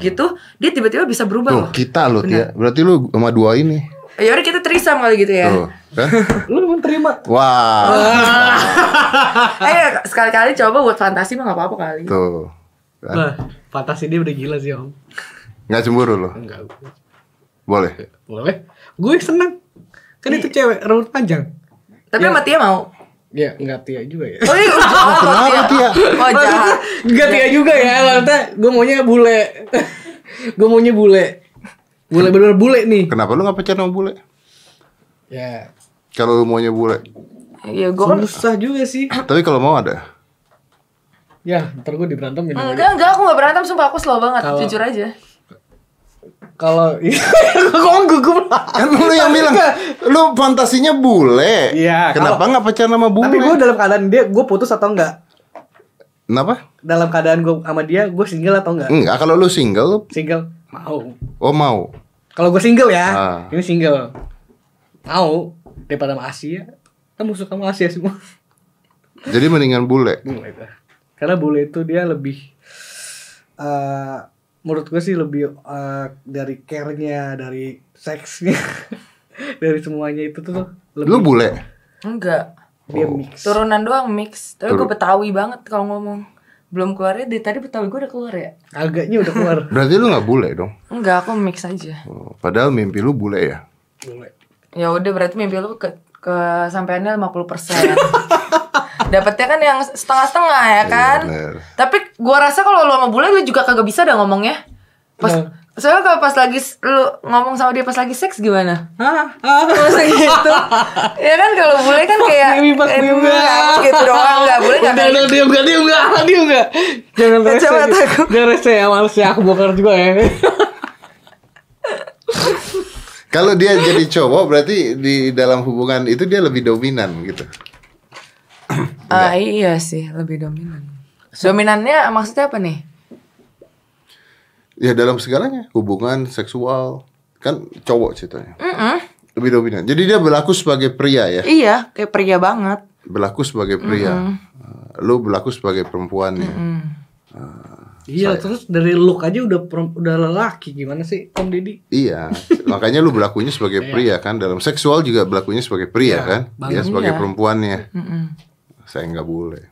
[SPEAKER 2] gitu, dia tiba-tiba bisa berubah
[SPEAKER 1] Tuh
[SPEAKER 2] loh.
[SPEAKER 1] kita loh Tia. Berarti lu sama dua ini.
[SPEAKER 2] Ya udah kita terisam kali gitu ya.
[SPEAKER 1] Tuh kan?
[SPEAKER 3] Lu mau terima.
[SPEAKER 1] Wah.
[SPEAKER 2] Eh sekali-kali coba buat fantasi mah nggak apa-apa kali.
[SPEAKER 1] Tuh. Kan?
[SPEAKER 3] Wah, fantasi dia udah gila sih om.
[SPEAKER 1] Nggak cemburu loh.
[SPEAKER 3] Enggak.
[SPEAKER 1] Boleh.
[SPEAKER 3] Boleh. Gue seneng. Kan
[SPEAKER 2] Iya.
[SPEAKER 3] itu cewek rambut panjang.
[SPEAKER 2] Tapi sama Tia mau.
[SPEAKER 3] Ya, enggak Tia juga ya.
[SPEAKER 2] Oh, iya, oh,
[SPEAKER 1] Kenapa
[SPEAKER 2] Tia.
[SPEAKER 1] Tia?
[SPEAKER 2] Oh jahat.
[SPEAKER 3] Gak ya juga ya maksudnya gue maunya bule gue maunya bule bule bener bule nih
[SPEAKER 1] Kenapa lu gak pacaran sama bule?
[SPEAKER 3] ya
[SPEAKER 1] Kalau lu maunya bule.
[SPEAKER 2] Ya gue kan
[SPEAKER 3] susah juga sih
[SPEAKER 1] Tapi kalau mau ada.
[SPEAKER 3] ya ntar gue diberantemin sama
[SPEAKER 2] Enggak, enggak, aku gak berantem, sumpah aku slow banget,
[SPEAKER 3] Kalau-
[SPEAKER 2] jujur aja
[SPEAKER 3] Kalau kok gugup
[SPEAKER 1] Kan lu yang bilang lu fantasinya bule.
[SPEAKER 3] Iya,
[SPEAKER 1] Kenapa
[SPEAKER 3] kalau-
[SPEAKER 1] nggak pacaran sama bule?
[SPEAKER 3] Tapi gue dalam keadaan dia gue putus atau enggak?
[SPEAKER 1] Kenapa?
[SPEAKER 3] Dalam keadaan gue sama dia gue single atau enggak?
[SPEAKER 1] Enggak, kalau lu single lu
[SPEAKER 3] Single mau.
[SPEAKER 1] oh mau.
[SPEAKER 3] Kalau gue single ya,
[SPEAKER 1] Ah.
[SPEAKER 3] ini single mau daripada sama Asia. Kan musuh sama Asia semua.
[SPEAKER 1] Jadi mendingan bule.
[SPEAKER 3] Bule itu. Karena bule itu dia lebih eh menurut gue sih lebih eh, dari care-nya, dari seksnya, dari semuanya itu tuh
[SPEAKER 1] Lu
[SPEAKER 3] lebih
[SPEAKER 1] bule.
[SPEAKER 2] Enggak,
[SPEAKER 3] dia mix.
[SPEAKER 2] turunan doang mix Tapi gue
[SPEAKER 1] Turun. Betawi
[SPEAKER 2] Betawi banget kalau ngomong Belum keluarnya, dari tadi Betawi gue udah keluar ya?
[SPEAKER 3] Agaknya udah keluar
[SPEAKER 1] Berarti lu nggak bule dong.
[SPEAKER 2] Enggak, aku mix aja
[SPEAKER 1] Oh, Padahal mimpi lu bule ya.
[SPEAKER 3] bule.
[SPEAKER 2] Ya udah berarti mimpi lu ke kesampaiannya 50% Dapetnya kan yang setengah-setengah ya kan
[SPEAKER 1] Iya, bener.
[SPEAKER 2] Tapi gua rasa kalau lu sama bule lu juga kagak bisa dah ngomongnya Pas,
[SPEAKER 3] Nah.
[SPEAKER 2] Soalnya kalau pas lagi s- lu ngomong sama dia pas lagi seks gimana?
[SPEAKER 3] Hah? Hah?
[SPEAKER 2] Masa gitu? ya kan kalau bule kan kayak
[SPEAKER 3] Mimi, Pak
[SPEAKER 2] eh,
[SPEAKER 3] Mimi.
[SPEAKER 2] enggak, gitu doang enggak boleh enggak
[SPEAKER 3] Udah, udah, diem gak, diem gak, diem gak Jangan
[SPEAKER 2] Kacamata
[SPEAKER 3] rese
[SPEAKER 2] gitu. aku.
[SPEAKER 3] Jangan rese ya, males ya, aku bongkar juga ya
[SPEAKER 1] Kalau dia jadi cowok berarti di dalam hubungan itu dia lebih dominan gitu.
[SPEAKER 2] Ah iya sih, lebih dominan. Dominannya maksudnya apa nih?
[SPEAKER 1] Ya dalam segalanya, hubungan seksual kan cowok ceritanya.
[SPEAKER 2] Mm-mm.
[SPEAKER 1] Lebih dominan. Jadi dia berlaku sebagai pria ya.
[SPEAKER 2] Iya, kayak pria banget.
[SPEAKER 1] Berlaku sebagai pria. Eh, Lu berlaku sebagai perempuan ya.
[SPEAKER 3] Iya, terus dari look aja udah perem- udah lelaki gimana sih Om Deddy?
[SPEAKER 1] Iya, makanya lu berlakunya sebagai pria kan. Dalam seksual juga berlakunya sebagai pria kan. Dia sebagai
[SPEAKER 2] Iya.
[SPEAKER 1] perempuannya.
[SPEAKER 2] Mm-mm.
[SPEAKER 1] Saya nggak boleh.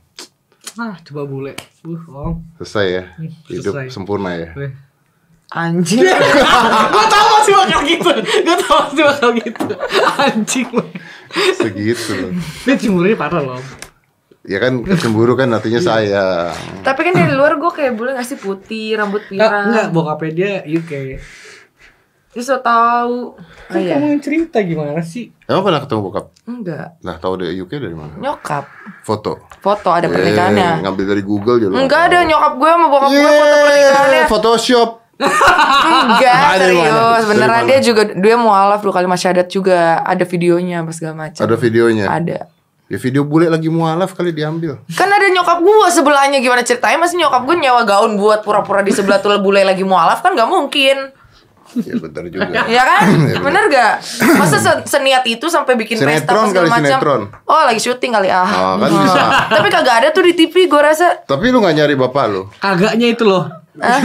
[SPEAKER 3] Nah, coba bule Uh, Om Eh,
[SPEAKER 1] Selesai ya. Hidup
[SPEAKER 3] selesai. Iya.
[SPEAKER 1] sempurna ya.
[SPEAKER 2] Anjing.
[SPEAKER 3] Gue tau masih bakal gitu Gue tau masih bakal gitu Anjing lo
[SPEAKER 1] Segitu loh.
[SPEAKER 3] Dia cemburunya parah loh Om.
[SPEAKER 1] Ya kan cemburu kan artinya sayang.
[SPEAKER 2] Tapi kan dari luar gue kayak bule ngasih putih, rambut
[SPEAKER 3] Nggak, Nggak, Ah,
[SPEAKER 2] pirang.
[SPEAKER 3] bokapnya dia UK
[SPEAKER 2] Terus lo tahu. Oh
[SPEAKER 3] Kan
[SPEAKER 2] iya.
[SPEAKER 3] kamu yang cerita gimana sih?
[SPEAKER 1] Emang pernah ketemu bokap?
[SPEAKER 2] Enggak.
[SPEAKER 1] Nah, tahu dari UK dari mana?
[SPEAKER 2] Nyokap.
[SPEAKER 1] Foto.
[SPEAKER 2] Foto Iya. ada
[SPEAKER 1] Eh,
[SPEAKER 2] pernikahannya.
[SPEAKER 1] ngambil dari Google ya lu.
[SPEAKER 2] Enggak ada nyokap gue sama bokap gue foto
[SPEAKER 1] Yeay,
[SPEAKER 2] pernikahannya.
[SPEAKER 1] Photoshop.
[SPEAKER 2] Enggak,
[SPEAKER 1] Nah, dari Iya. mana?
[SPEAKER 2] serius.
[SPEAKER 1] Dari
[SPEAKER 2] Beneran
[SPEAKER 1] mana?
[SPEAKER 2] dia juga dia mualaf dua kali masyadat juga ada videonya apa segala macam.
[SPEAKER 1] Ada videonya.
[SPEAKER 2] Ada.
[SPEAKER 1] Ya video bule lagi mualaf kali diambil.
[SPEAKER 2] Kan ada nyokap gue sebelahnya gimana ceritanya masih nyokap gue nyewa gaun buat pura-pura di sebelah tuh bule lagi mualaf kan nggak mungkin.
[SPEAKER 1] Ya benar juga.
[SPEAKER 2] Ya
[SPEAKER 1] Iya,
[SPEAKER 2] kan? Bener gak? Masa se- seniat itu sampai bikin pesta
[SPEAKER 1] Sinetron
[SPEAKER 2] apa segala
[SPEAKER 1] kali,
[SPEAKER 2] macam.
[SPEAKER 1] sinetron.
[SPEAKER 2] Oh, lagi syuting kali
[SPEAKER 1] Oh,
[SPEAKER 2] ah.
[SPEAKER 1] kan bisa.
[SPEAKER 2] Tapi kagak ada tuh di TV gue rasa.
[SPEAKER 1] Tapi lu nggak nyari bapak lu?
[SPEAKER 3] Kagaknya itu loh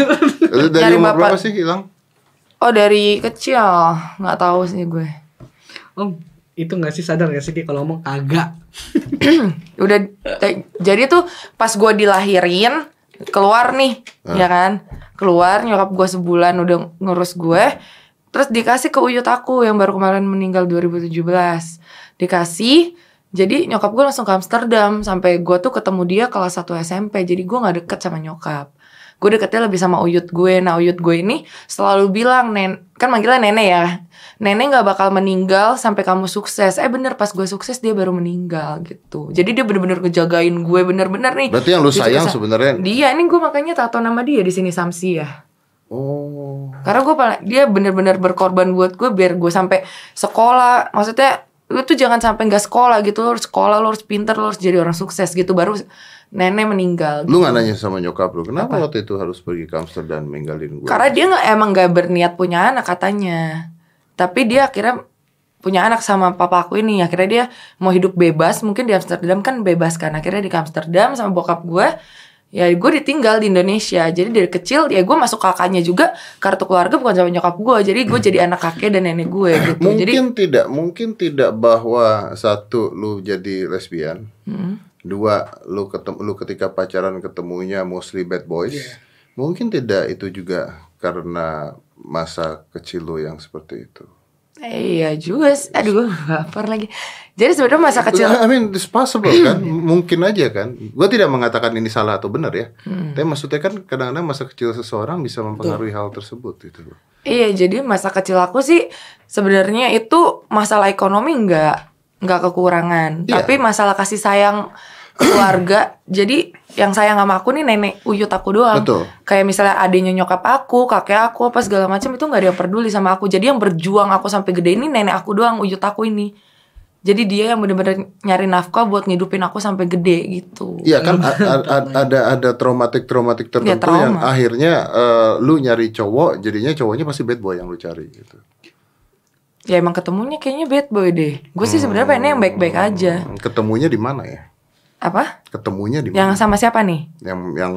[SPEAKER 1] Lu dari
[SPEAKER 2] Nyari
[SPEAKER 1] umur
[SPEAKER 2] bapak.
[SPEAKER 1] berapa sih hilang?
[SPEAKER 2] Oh, dari kecil nggak tahu sih gue.
[SPEAKER 3] Om, itu gak sih sadar gak sih dia kalau ngomong kagak
[SPEAKER 2] Udah te- jadi tuh pas gue dilahirin keluar nih, ya kan? Keluar nyokap gue sebulan udah ngurus gue. Terus dikasih ke uyut aku yang baru kemarin meninggal 2017. Dikasih jadi nyokap gue langsung ke Amsterdam sampai gue tuh ketemu dia kelas 1 SMP. Jadi gue nggak deket sama nyokap. Gue deketnya lebih sama uyut gue. Nah uyut gue ini selalu bilang nen kan manggilnya nenek ya. Nenek nggak bakal meninggal sampai kamu sukses. Eh bener pas gue sukses dia baru meninggal gitu. Jadi dia bener-bener ngejagain gue bener-bener nih.
[SPEAKER 1] Berarti yang lu
[SPEAKER 2] Dia
[SPEAKER 1] sayang
[SPEAKER 2] suka-
[SPEAKER 1] sebenarnya-
[SPEAKER 2] Dia ini gue makanya tato nama dia di sini Samsi ya.
[SPEAKER 1] Oh.
[SPEAKER 2] Karena gue paling dia bener-bener berkorban buat gue biar gue sampai sekolah. Maksudnya lu tuh jangan sampai nggak sekolah gitu. Lu harus sekolah, lu harus pinter, lu harus jadi orang sukses gitu. Baru nenek meninggal.
[SPEAKER 1] Lu nggak nanya sama nyokap lu, kenapa waktu itu harus pergi ke Amsterdam ninggalin gue?
[SPEAKER 2] Karena dia nggak emang nggak berniat punya anak katanya. Tapi dia akhirnya punya anak sama papa aku ini. Akhirnya dia mau hidup bebas. Mungkin di Amsterdam kan bebas kan. Akhirnya di Amsterdam sama bokap gue. Ya gue ditinggal di Indonesia. Jadi dari kecil ya gue masuk kakaknya juga. Kartu keluarga bukan sama nyokap gue. Jadi gue jadi anak kakek dan nenek gue gitu. Jadi
[SPEAKER 1] mungkin tidak, mungkin tidak bahwa satu lu jadi lesbian,
[SPEAKER 2] hmm.
[SPEAKER 1] dua lu ketemu lu ketika pacaran ketemunya mostly bad boys,
[SPEAKER 2] Iya.
[SPEAKER 1] mungkin tidak itu juga karena masa kecil lu yang seperti itu.
[SPEAKER 2] Eh, iya juga. sih. Aduh, gue baper lagi. Jadi sebenarnya masa kecil
[SPEAKER 1] I mean, it's possible
[SPEAKER 2] Hmm.
[SPEAKER 1] kan, mungkin aja kan. Gue tidak mengatakan ini salah atau benar ya.
[SPEAKER 2] Hmm.
[SPEAKER 1] Tapi maksudnya kan kadang-kadang masa kecil seseorang bisa mempengaruhi hal tersebut gitu loh.
[SPEAKER 2] Iya, jadi masa kecil aku sih sebenarnya itu masalah ekonomi nggak nggak kekurangan,
[SPEAKER 1] Iya.
[SPEAKER 2] tapi masalah kasih sayang keluarga. jadi yang sayang sama aku nih nenek uyut aku doang.
[SPEAKER 1] Betul.
[SPEAKER 2] Kayak misalnya adiknya nyokap aku, kakek aku, apa segala macam itu nggak ada yang peduli sama aku. Jadi yang berjuang aku sampai gede ini nenek aku doang, uyut aku ini. Jadi dia yang bener-bener nyari nafkah buat ngidupin aku sampai gede gitu.
[SPEAKER 1] Iya kan a- a- a- ada ada traumatik traumatik tertentu
[SPEAKER 2] Iya, trauma.
[SPEAKER 1] yang akhirnya eh, lu nyari cowok, jadinya cowoknya pasti bad boy yang lu cari gitu.
[SPEAKER 2] Ya emang ketemunya kayaknya bad boy deh. Gue sih sebenarnya pengennya yang baik-baik aja.
[SPEAKER 1] Hmm, Ketemunya di mana ya?
[SPEAKER 2] Apa?
[SPEAKER 1] Ketemunya di mana?
[SPEAKER 2] Yang sama siapa nih?
[SPEAKER 1] Yang yang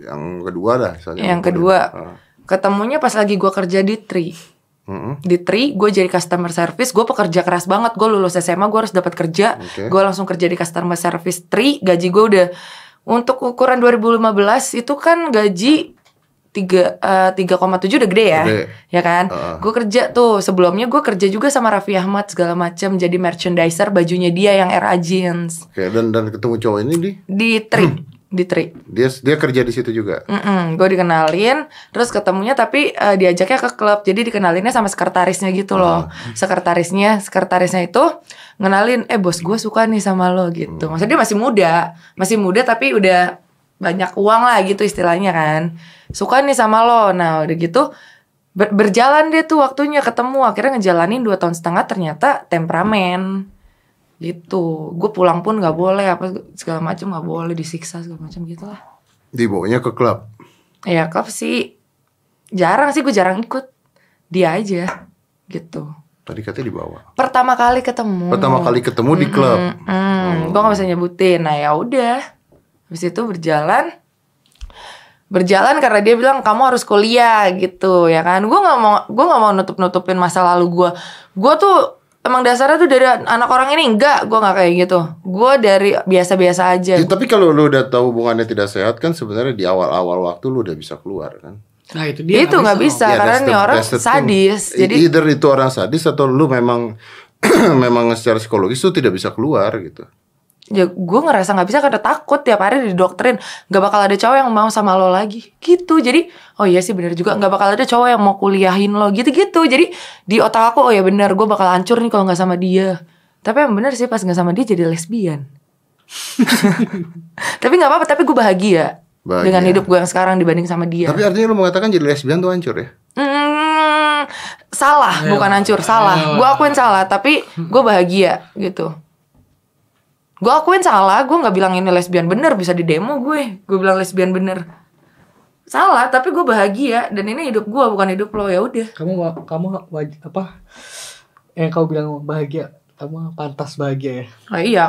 [SPEAKER 1] yang kedua dah misalnya.
[SPEAKER 2] Yang kedua,
[SPEAKER 1] ah.
[SPEAKER 2] ketemunya pas lagi gua kerja di Tri.
[SPEAKER 1] Mm-mm.
[SPEAKER 2] Di Tri, gue jadi customer service, gue pekerja keras banget. Gue lulus SMA, gue harus dapat kerja.
[SPEAKER 1] Oke.
[SPEAKER 2] Gue langsung kerja di customer service Tri. Gaji gue udah untuk ukuran 2015 itu kan gaji tiga eh, 3,7 udah gede ya,
[SPEAKER 1] Gede.
[SPEAKER 2] ya kan?
[SPEAKER 1] Heeh.
[SPEAKER 2] Gue kerja tuh sebelumnya gue kerja juga sama Raffi Ahmad segala macam jadi merchandiser bajunya dia yang era jeans
[SPEAKER 1] Oke, dan dan ketemu cowok ini di
[SPEAKER 2] di Tri, di Tri.
[SPEAKER 1] dia dia kerja di situ juga.
[SPEAKER 2] gue dikenalin, terus ketemunya tapi eh, diajaknya ke klub, jadi dikenalinnya sama sekretarisnya gitu loh. Sekretarisnya, sekretarisnya itu ngenalin, eh bos gue suka nih sama lo gitu. Maksudnya dia masih muda, masih muda tapi udah banyak uang lah gitu istilahnya kan. Suka nih sama lo, nah udah gitu ber- berjalan deh tuh waktunya ketemu, akhirnya ngejalanin dua tahun setengah ternyata temperamen gitu. Gue pulang pun nggak boleh apa segala macam nggak boleh disiksa segala macam gitu lah.
[SPEAKER 1] Dibawanya ke klub.
[SPEAKER 2] Ya klub sih jarang sih gue jarang ikut dia aja gitu.
[SPEAKER 1] Tadi katanya dibawa.
[SPEAKER 2] Pertama kali ketemu.
[SPEAKER 1] Pertama kali ketemu di klub. Oh.
[SPEAKER 2] Hmm, gue gak bisa nyebutin. Nah ya udah. Habis itu berjalan berjalan karena dia bilang kamu harus kuliah gitu ya kan gue nggak mau gue nggak mau nutup nutupin masa lalu gue gue tuh emang dasarnya tuh dari anak orang ini enggak gue nggak kayak gitu gue dari biasa biasa aja
[SPEAKER 1] Ya, tapi kalau lu udah tahu hubungannya tidak sehat kan sebenarnya di awal-awal waktu lu udah bisa keluar kan.
[SPEAKER 3] Nah itu dia.
[SPEAKER 2] itu nggak bisa,
[SPEAKER 1] Ya,
[SPEAKER 2] karena
[SPEAKER 1] that's the-
[SPEAKER 2] nih orang
[SPEAKER 1] that's the thing.
[SPEAKER 2] sadis
[SPEAKER 1] E-
[SPEAKER 2] jadi
[SPEAKER 1] either itu orang sadis atau lu memang memang secara psikologis tuh tidak bisa keluar gitu.
[SPEAKER 2] ya gue ngerasa nggak bisa karena takut tiap hari didoktrin nggak bakal ada cowok yang mau sama lo lagi gitu jadi oh iya sih bener juga nggak bakal ada cowok yang mau kuliahin lo gitu gitu jadi di otak aku oh ya bener gue bakal hancur nih kalau nggak sama dia tapi yang bener sih pas nggak sama dia jadi lesbian tapi nggak apa-apa tapi gue bahagia,
[SPEAKER 1] Bahagia.
[SPEAKER 2] dengan hidup gue yang sekarang dibanding sama dia
[SPEAKER 1] Tapi artinya lu mengatakan jadi lesbian tuh hancur ya?
[SPEAKER 2] Hmm,
[SPEAKER 3] Iya.
[SPEAKER 2] salah bukan hancur salah gue akuin salah tapi
[SPEAKER 3] Hmm.
[SPEAKER 2] gue bahagia gitu gue akuin salah gue nggak bilang ini lesbian bener bisa di demo gue gue bilang lesbian bener salah tapi gue bahagia dan ini hidup gue bukan hidup lo ya udah
[SPEAKER 3] Kamu wa- kamu waj- apa? Yang kau bilang bahagia, kamu pantas bahagia ya.
[SPEAKER 2] Nah, iya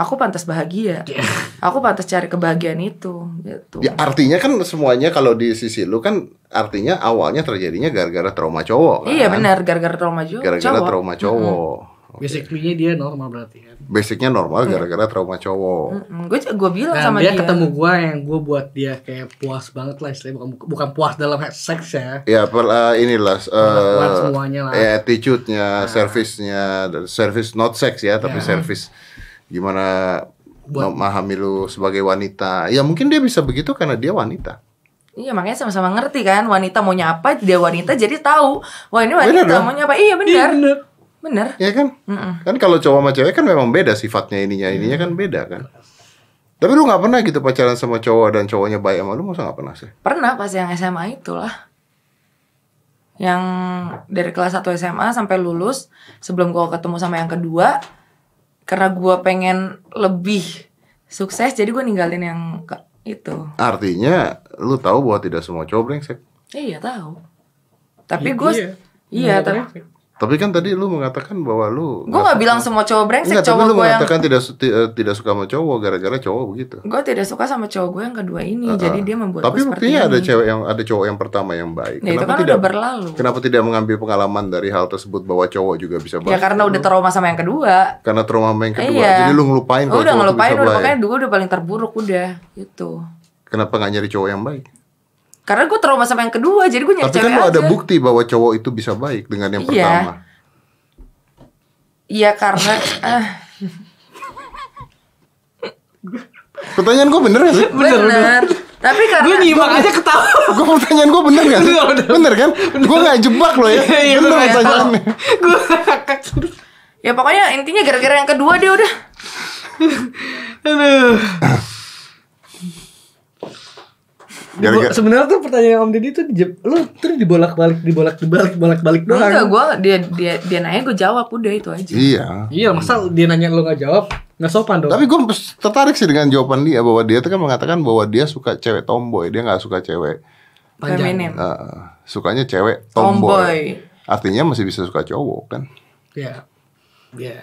[SPEAKER 2] aku pantas bahagia
[SPEAKER 3] Iya.
[SPEAKER 2] aku pantas cari kebahagiaan itu gitu
[SPEAKER 1] Ya artinya kan semuanya kalau di sisi lu kan artinya awalnya terjadinya gara-gara trauma cowok kan?
[SPEAKER 2] iya benar gara-gara trauma juga
[SPEAKER 1] Gara-gara
[SPEAKER 2] cowok.
[SPEAKER 1] trauma cowok.
[SPEAKER 3] Basically dia normal berarti kan.
[SPEAKER 1] Basicnya normal
[SPEAKER 2] Mm.
[SPEAKER 1] gara-gara trauma cowok.
[SPEAKER 2] gue gue bilang
[SPEAKER 3] Nah,
[SPEAKER 2] sama
[SPEAKER 3] dia,
[SPEAKER 2] dia,
[SPEAKER 3] ketemu gua yang gua buat dia kayak puas banget lah istilahnya bukan bukan puas dalam seks ya.
[SPEAKER 1] Ya, per, eh, inilah eh,
[SPEAKER 3] Perlakuan semuanya lah. Ah.
[SPEAKER 1] ya, attitude-nya, service-nya, dan service not sex ya, tapi service gimana
[SPEAKER 3] Buat-
[SPEAKER 1] memahami lu sebagai wanita. Ya mungkin dia bisa begitu karena dia wanita.
[SPEAKER 2] Iya makanya sama-sama ngerti kan wanita maunya apa dia wanita jadi tahu wah ini wanita
[SPEAKER 1] Bener dong?
[SPEAKER 2] maunya apa iya benar benar
[SPEAKER 1] Ya kan?
[SPEAKER 3] Hmm.
[SPEAKER 1] Kan kalau cowok sama cewek kan memang beda sifatnya ininya, ininya kan beda kan. Tapi lu nggak pernah gitu pacaran sama cowok dan cowoknya baik sama lu, masa nggak pernah sih?
[SPEAKER 2] pernah pas yang SMA itulah yang dari kelas 1 SMA sampai lulus sebelum gua ketemu sama yang kedua karena gua pengen lebih sukses jadi gua ninggalin yang ke- itu
[SPEAKER 1] Artinya lu tahu bahwa tidak semua cowok brengsek.
[SPEAKER 2] iya tahu tapi
[SPEAKER 3] Iya,
[SPEAKER 2] gue
[SPEAKER 3] iya.
[SPEAKER 2] iya tapi
[SPEAKER 1] Tapi kan tadi lu mengatakan bahwa lu
[SPEAKER 2] gue nggak bilang semua cowok
[SPEAKER 1] Enggak,
[SPEAKER 2] brengsek
[SPEAKER 1] tapi lu
[SPEAKER 2] cowok gue Kan yang
[SPEAKER 1] mengatakan tidak su- ti- eh, tidak suka sama cowok gara-gara cowok begitu.
[SPEAKER 2] gue tidak suka sama cowok gue yang kedua ini jadi dia membuat
[SPEAKER 1] Tapi
[SPEAKER 2] seperti
[SPEAKER 1] buktinya ada
[SPEAKER 2] ini.
[SPEAKER 1] cewek yang ada cowok yang pertama yang baik.
[SPEAKER 2] Nah, itu kan udah berlalu.
[SPEAKER 1] Kenapa tidak mengambil pengalaman dari hal tersebut bahwa cowok juga bisa baik?
[SPEAKER 2] Ya karena udah trauma sama yang kedua.
[SPEAKER 1] Karena trauma sama yang kedua.
[SPEAKER 2] Iya.
[SPEAKER 1] Jadi lu ngelupain kalau
[SPEAKER 2] udah
[SPEAKER 1] cowok tuh
[SPEAKER 2] ngelupain
[SPEAKER 1] bisa
[SPEAKER 2] udah
[SPEAKER 1] baik.
[SPEAKER 2] makanya gue udah paling terburuk udah gitu.
[SPEAKER 1] Kenapa nggak nyari cowok yang baik?
[SPEAKER 2] Karena gue trauma sama yang kedua, jadi gue nyari
[SPEAKER 1] Tapi
[SPEAKER 2] Iya, cewek
[SPEAKER 1] kan lu
[SPEAKER 2] aja.
[SPEAKER 1] ada bukti bahwa cowok itu bisa baik dengan yang
[SPEAKER 2] Iya.
[SPEAKER 1] pertama.
[SPEAKER 2] Iya karena ah,
[SPEAKER 1] Pertanyaan gue bener gak sih?
[SPEAKER 2] bener. Tapi karena
[SPEAKER 3] Gue nyimak aja ketawa.
[SPEAKER 1] Gue pertanyaan gue bener gak sih?
[SPEAKER 3] Bener, bener.
[SPEAKER 1] Bener kan? Gue gak jebak loh ya
[SPEAKER 3] Iya, iya,
[SPEAKER 1] Bener
[SPEAKER 3] bener.
[SPEAKER 1] pertanyaannya
[SPEAKER 3] Gue ngakak.
[SPEAKER 2] ya pokoknya intinya gara-gara yang kedua dia udah
[SPEAKER 3] Aduh. Gua-
[SPEAKER 1] Gara-gara
[SPEAKER 3] Sebenarnya tuh pertanyaan Om Deddy tuh di- lu terus dibolak-balik, dibolak-balik, bolak-balik doang.
[SPEAKER 2] enggak gue dia dia dia nanya gue jawab udah itu aja.
[SPEAKER 1] Iya
[SPEAKER 3] Iya, masa dia nanya lu nggak jawab, nggak sopan dong.
[SPEAKER 1] Tapi gue tertarik sih dengan jawaban dia Bahwa dia tuh kan mengatakan bahwa dia suka cewek tomboy Dia gak suka cewek
[SPEAKER 2] Feminim.
[SPEAKER 1] eh, Sukanya cewek tomboy.
[SPEAKER 2] Tomboy.
[SPEAKER 1] Artinya masih bisa suka cowok kan
[SPEAKER 3] Iya. Iya.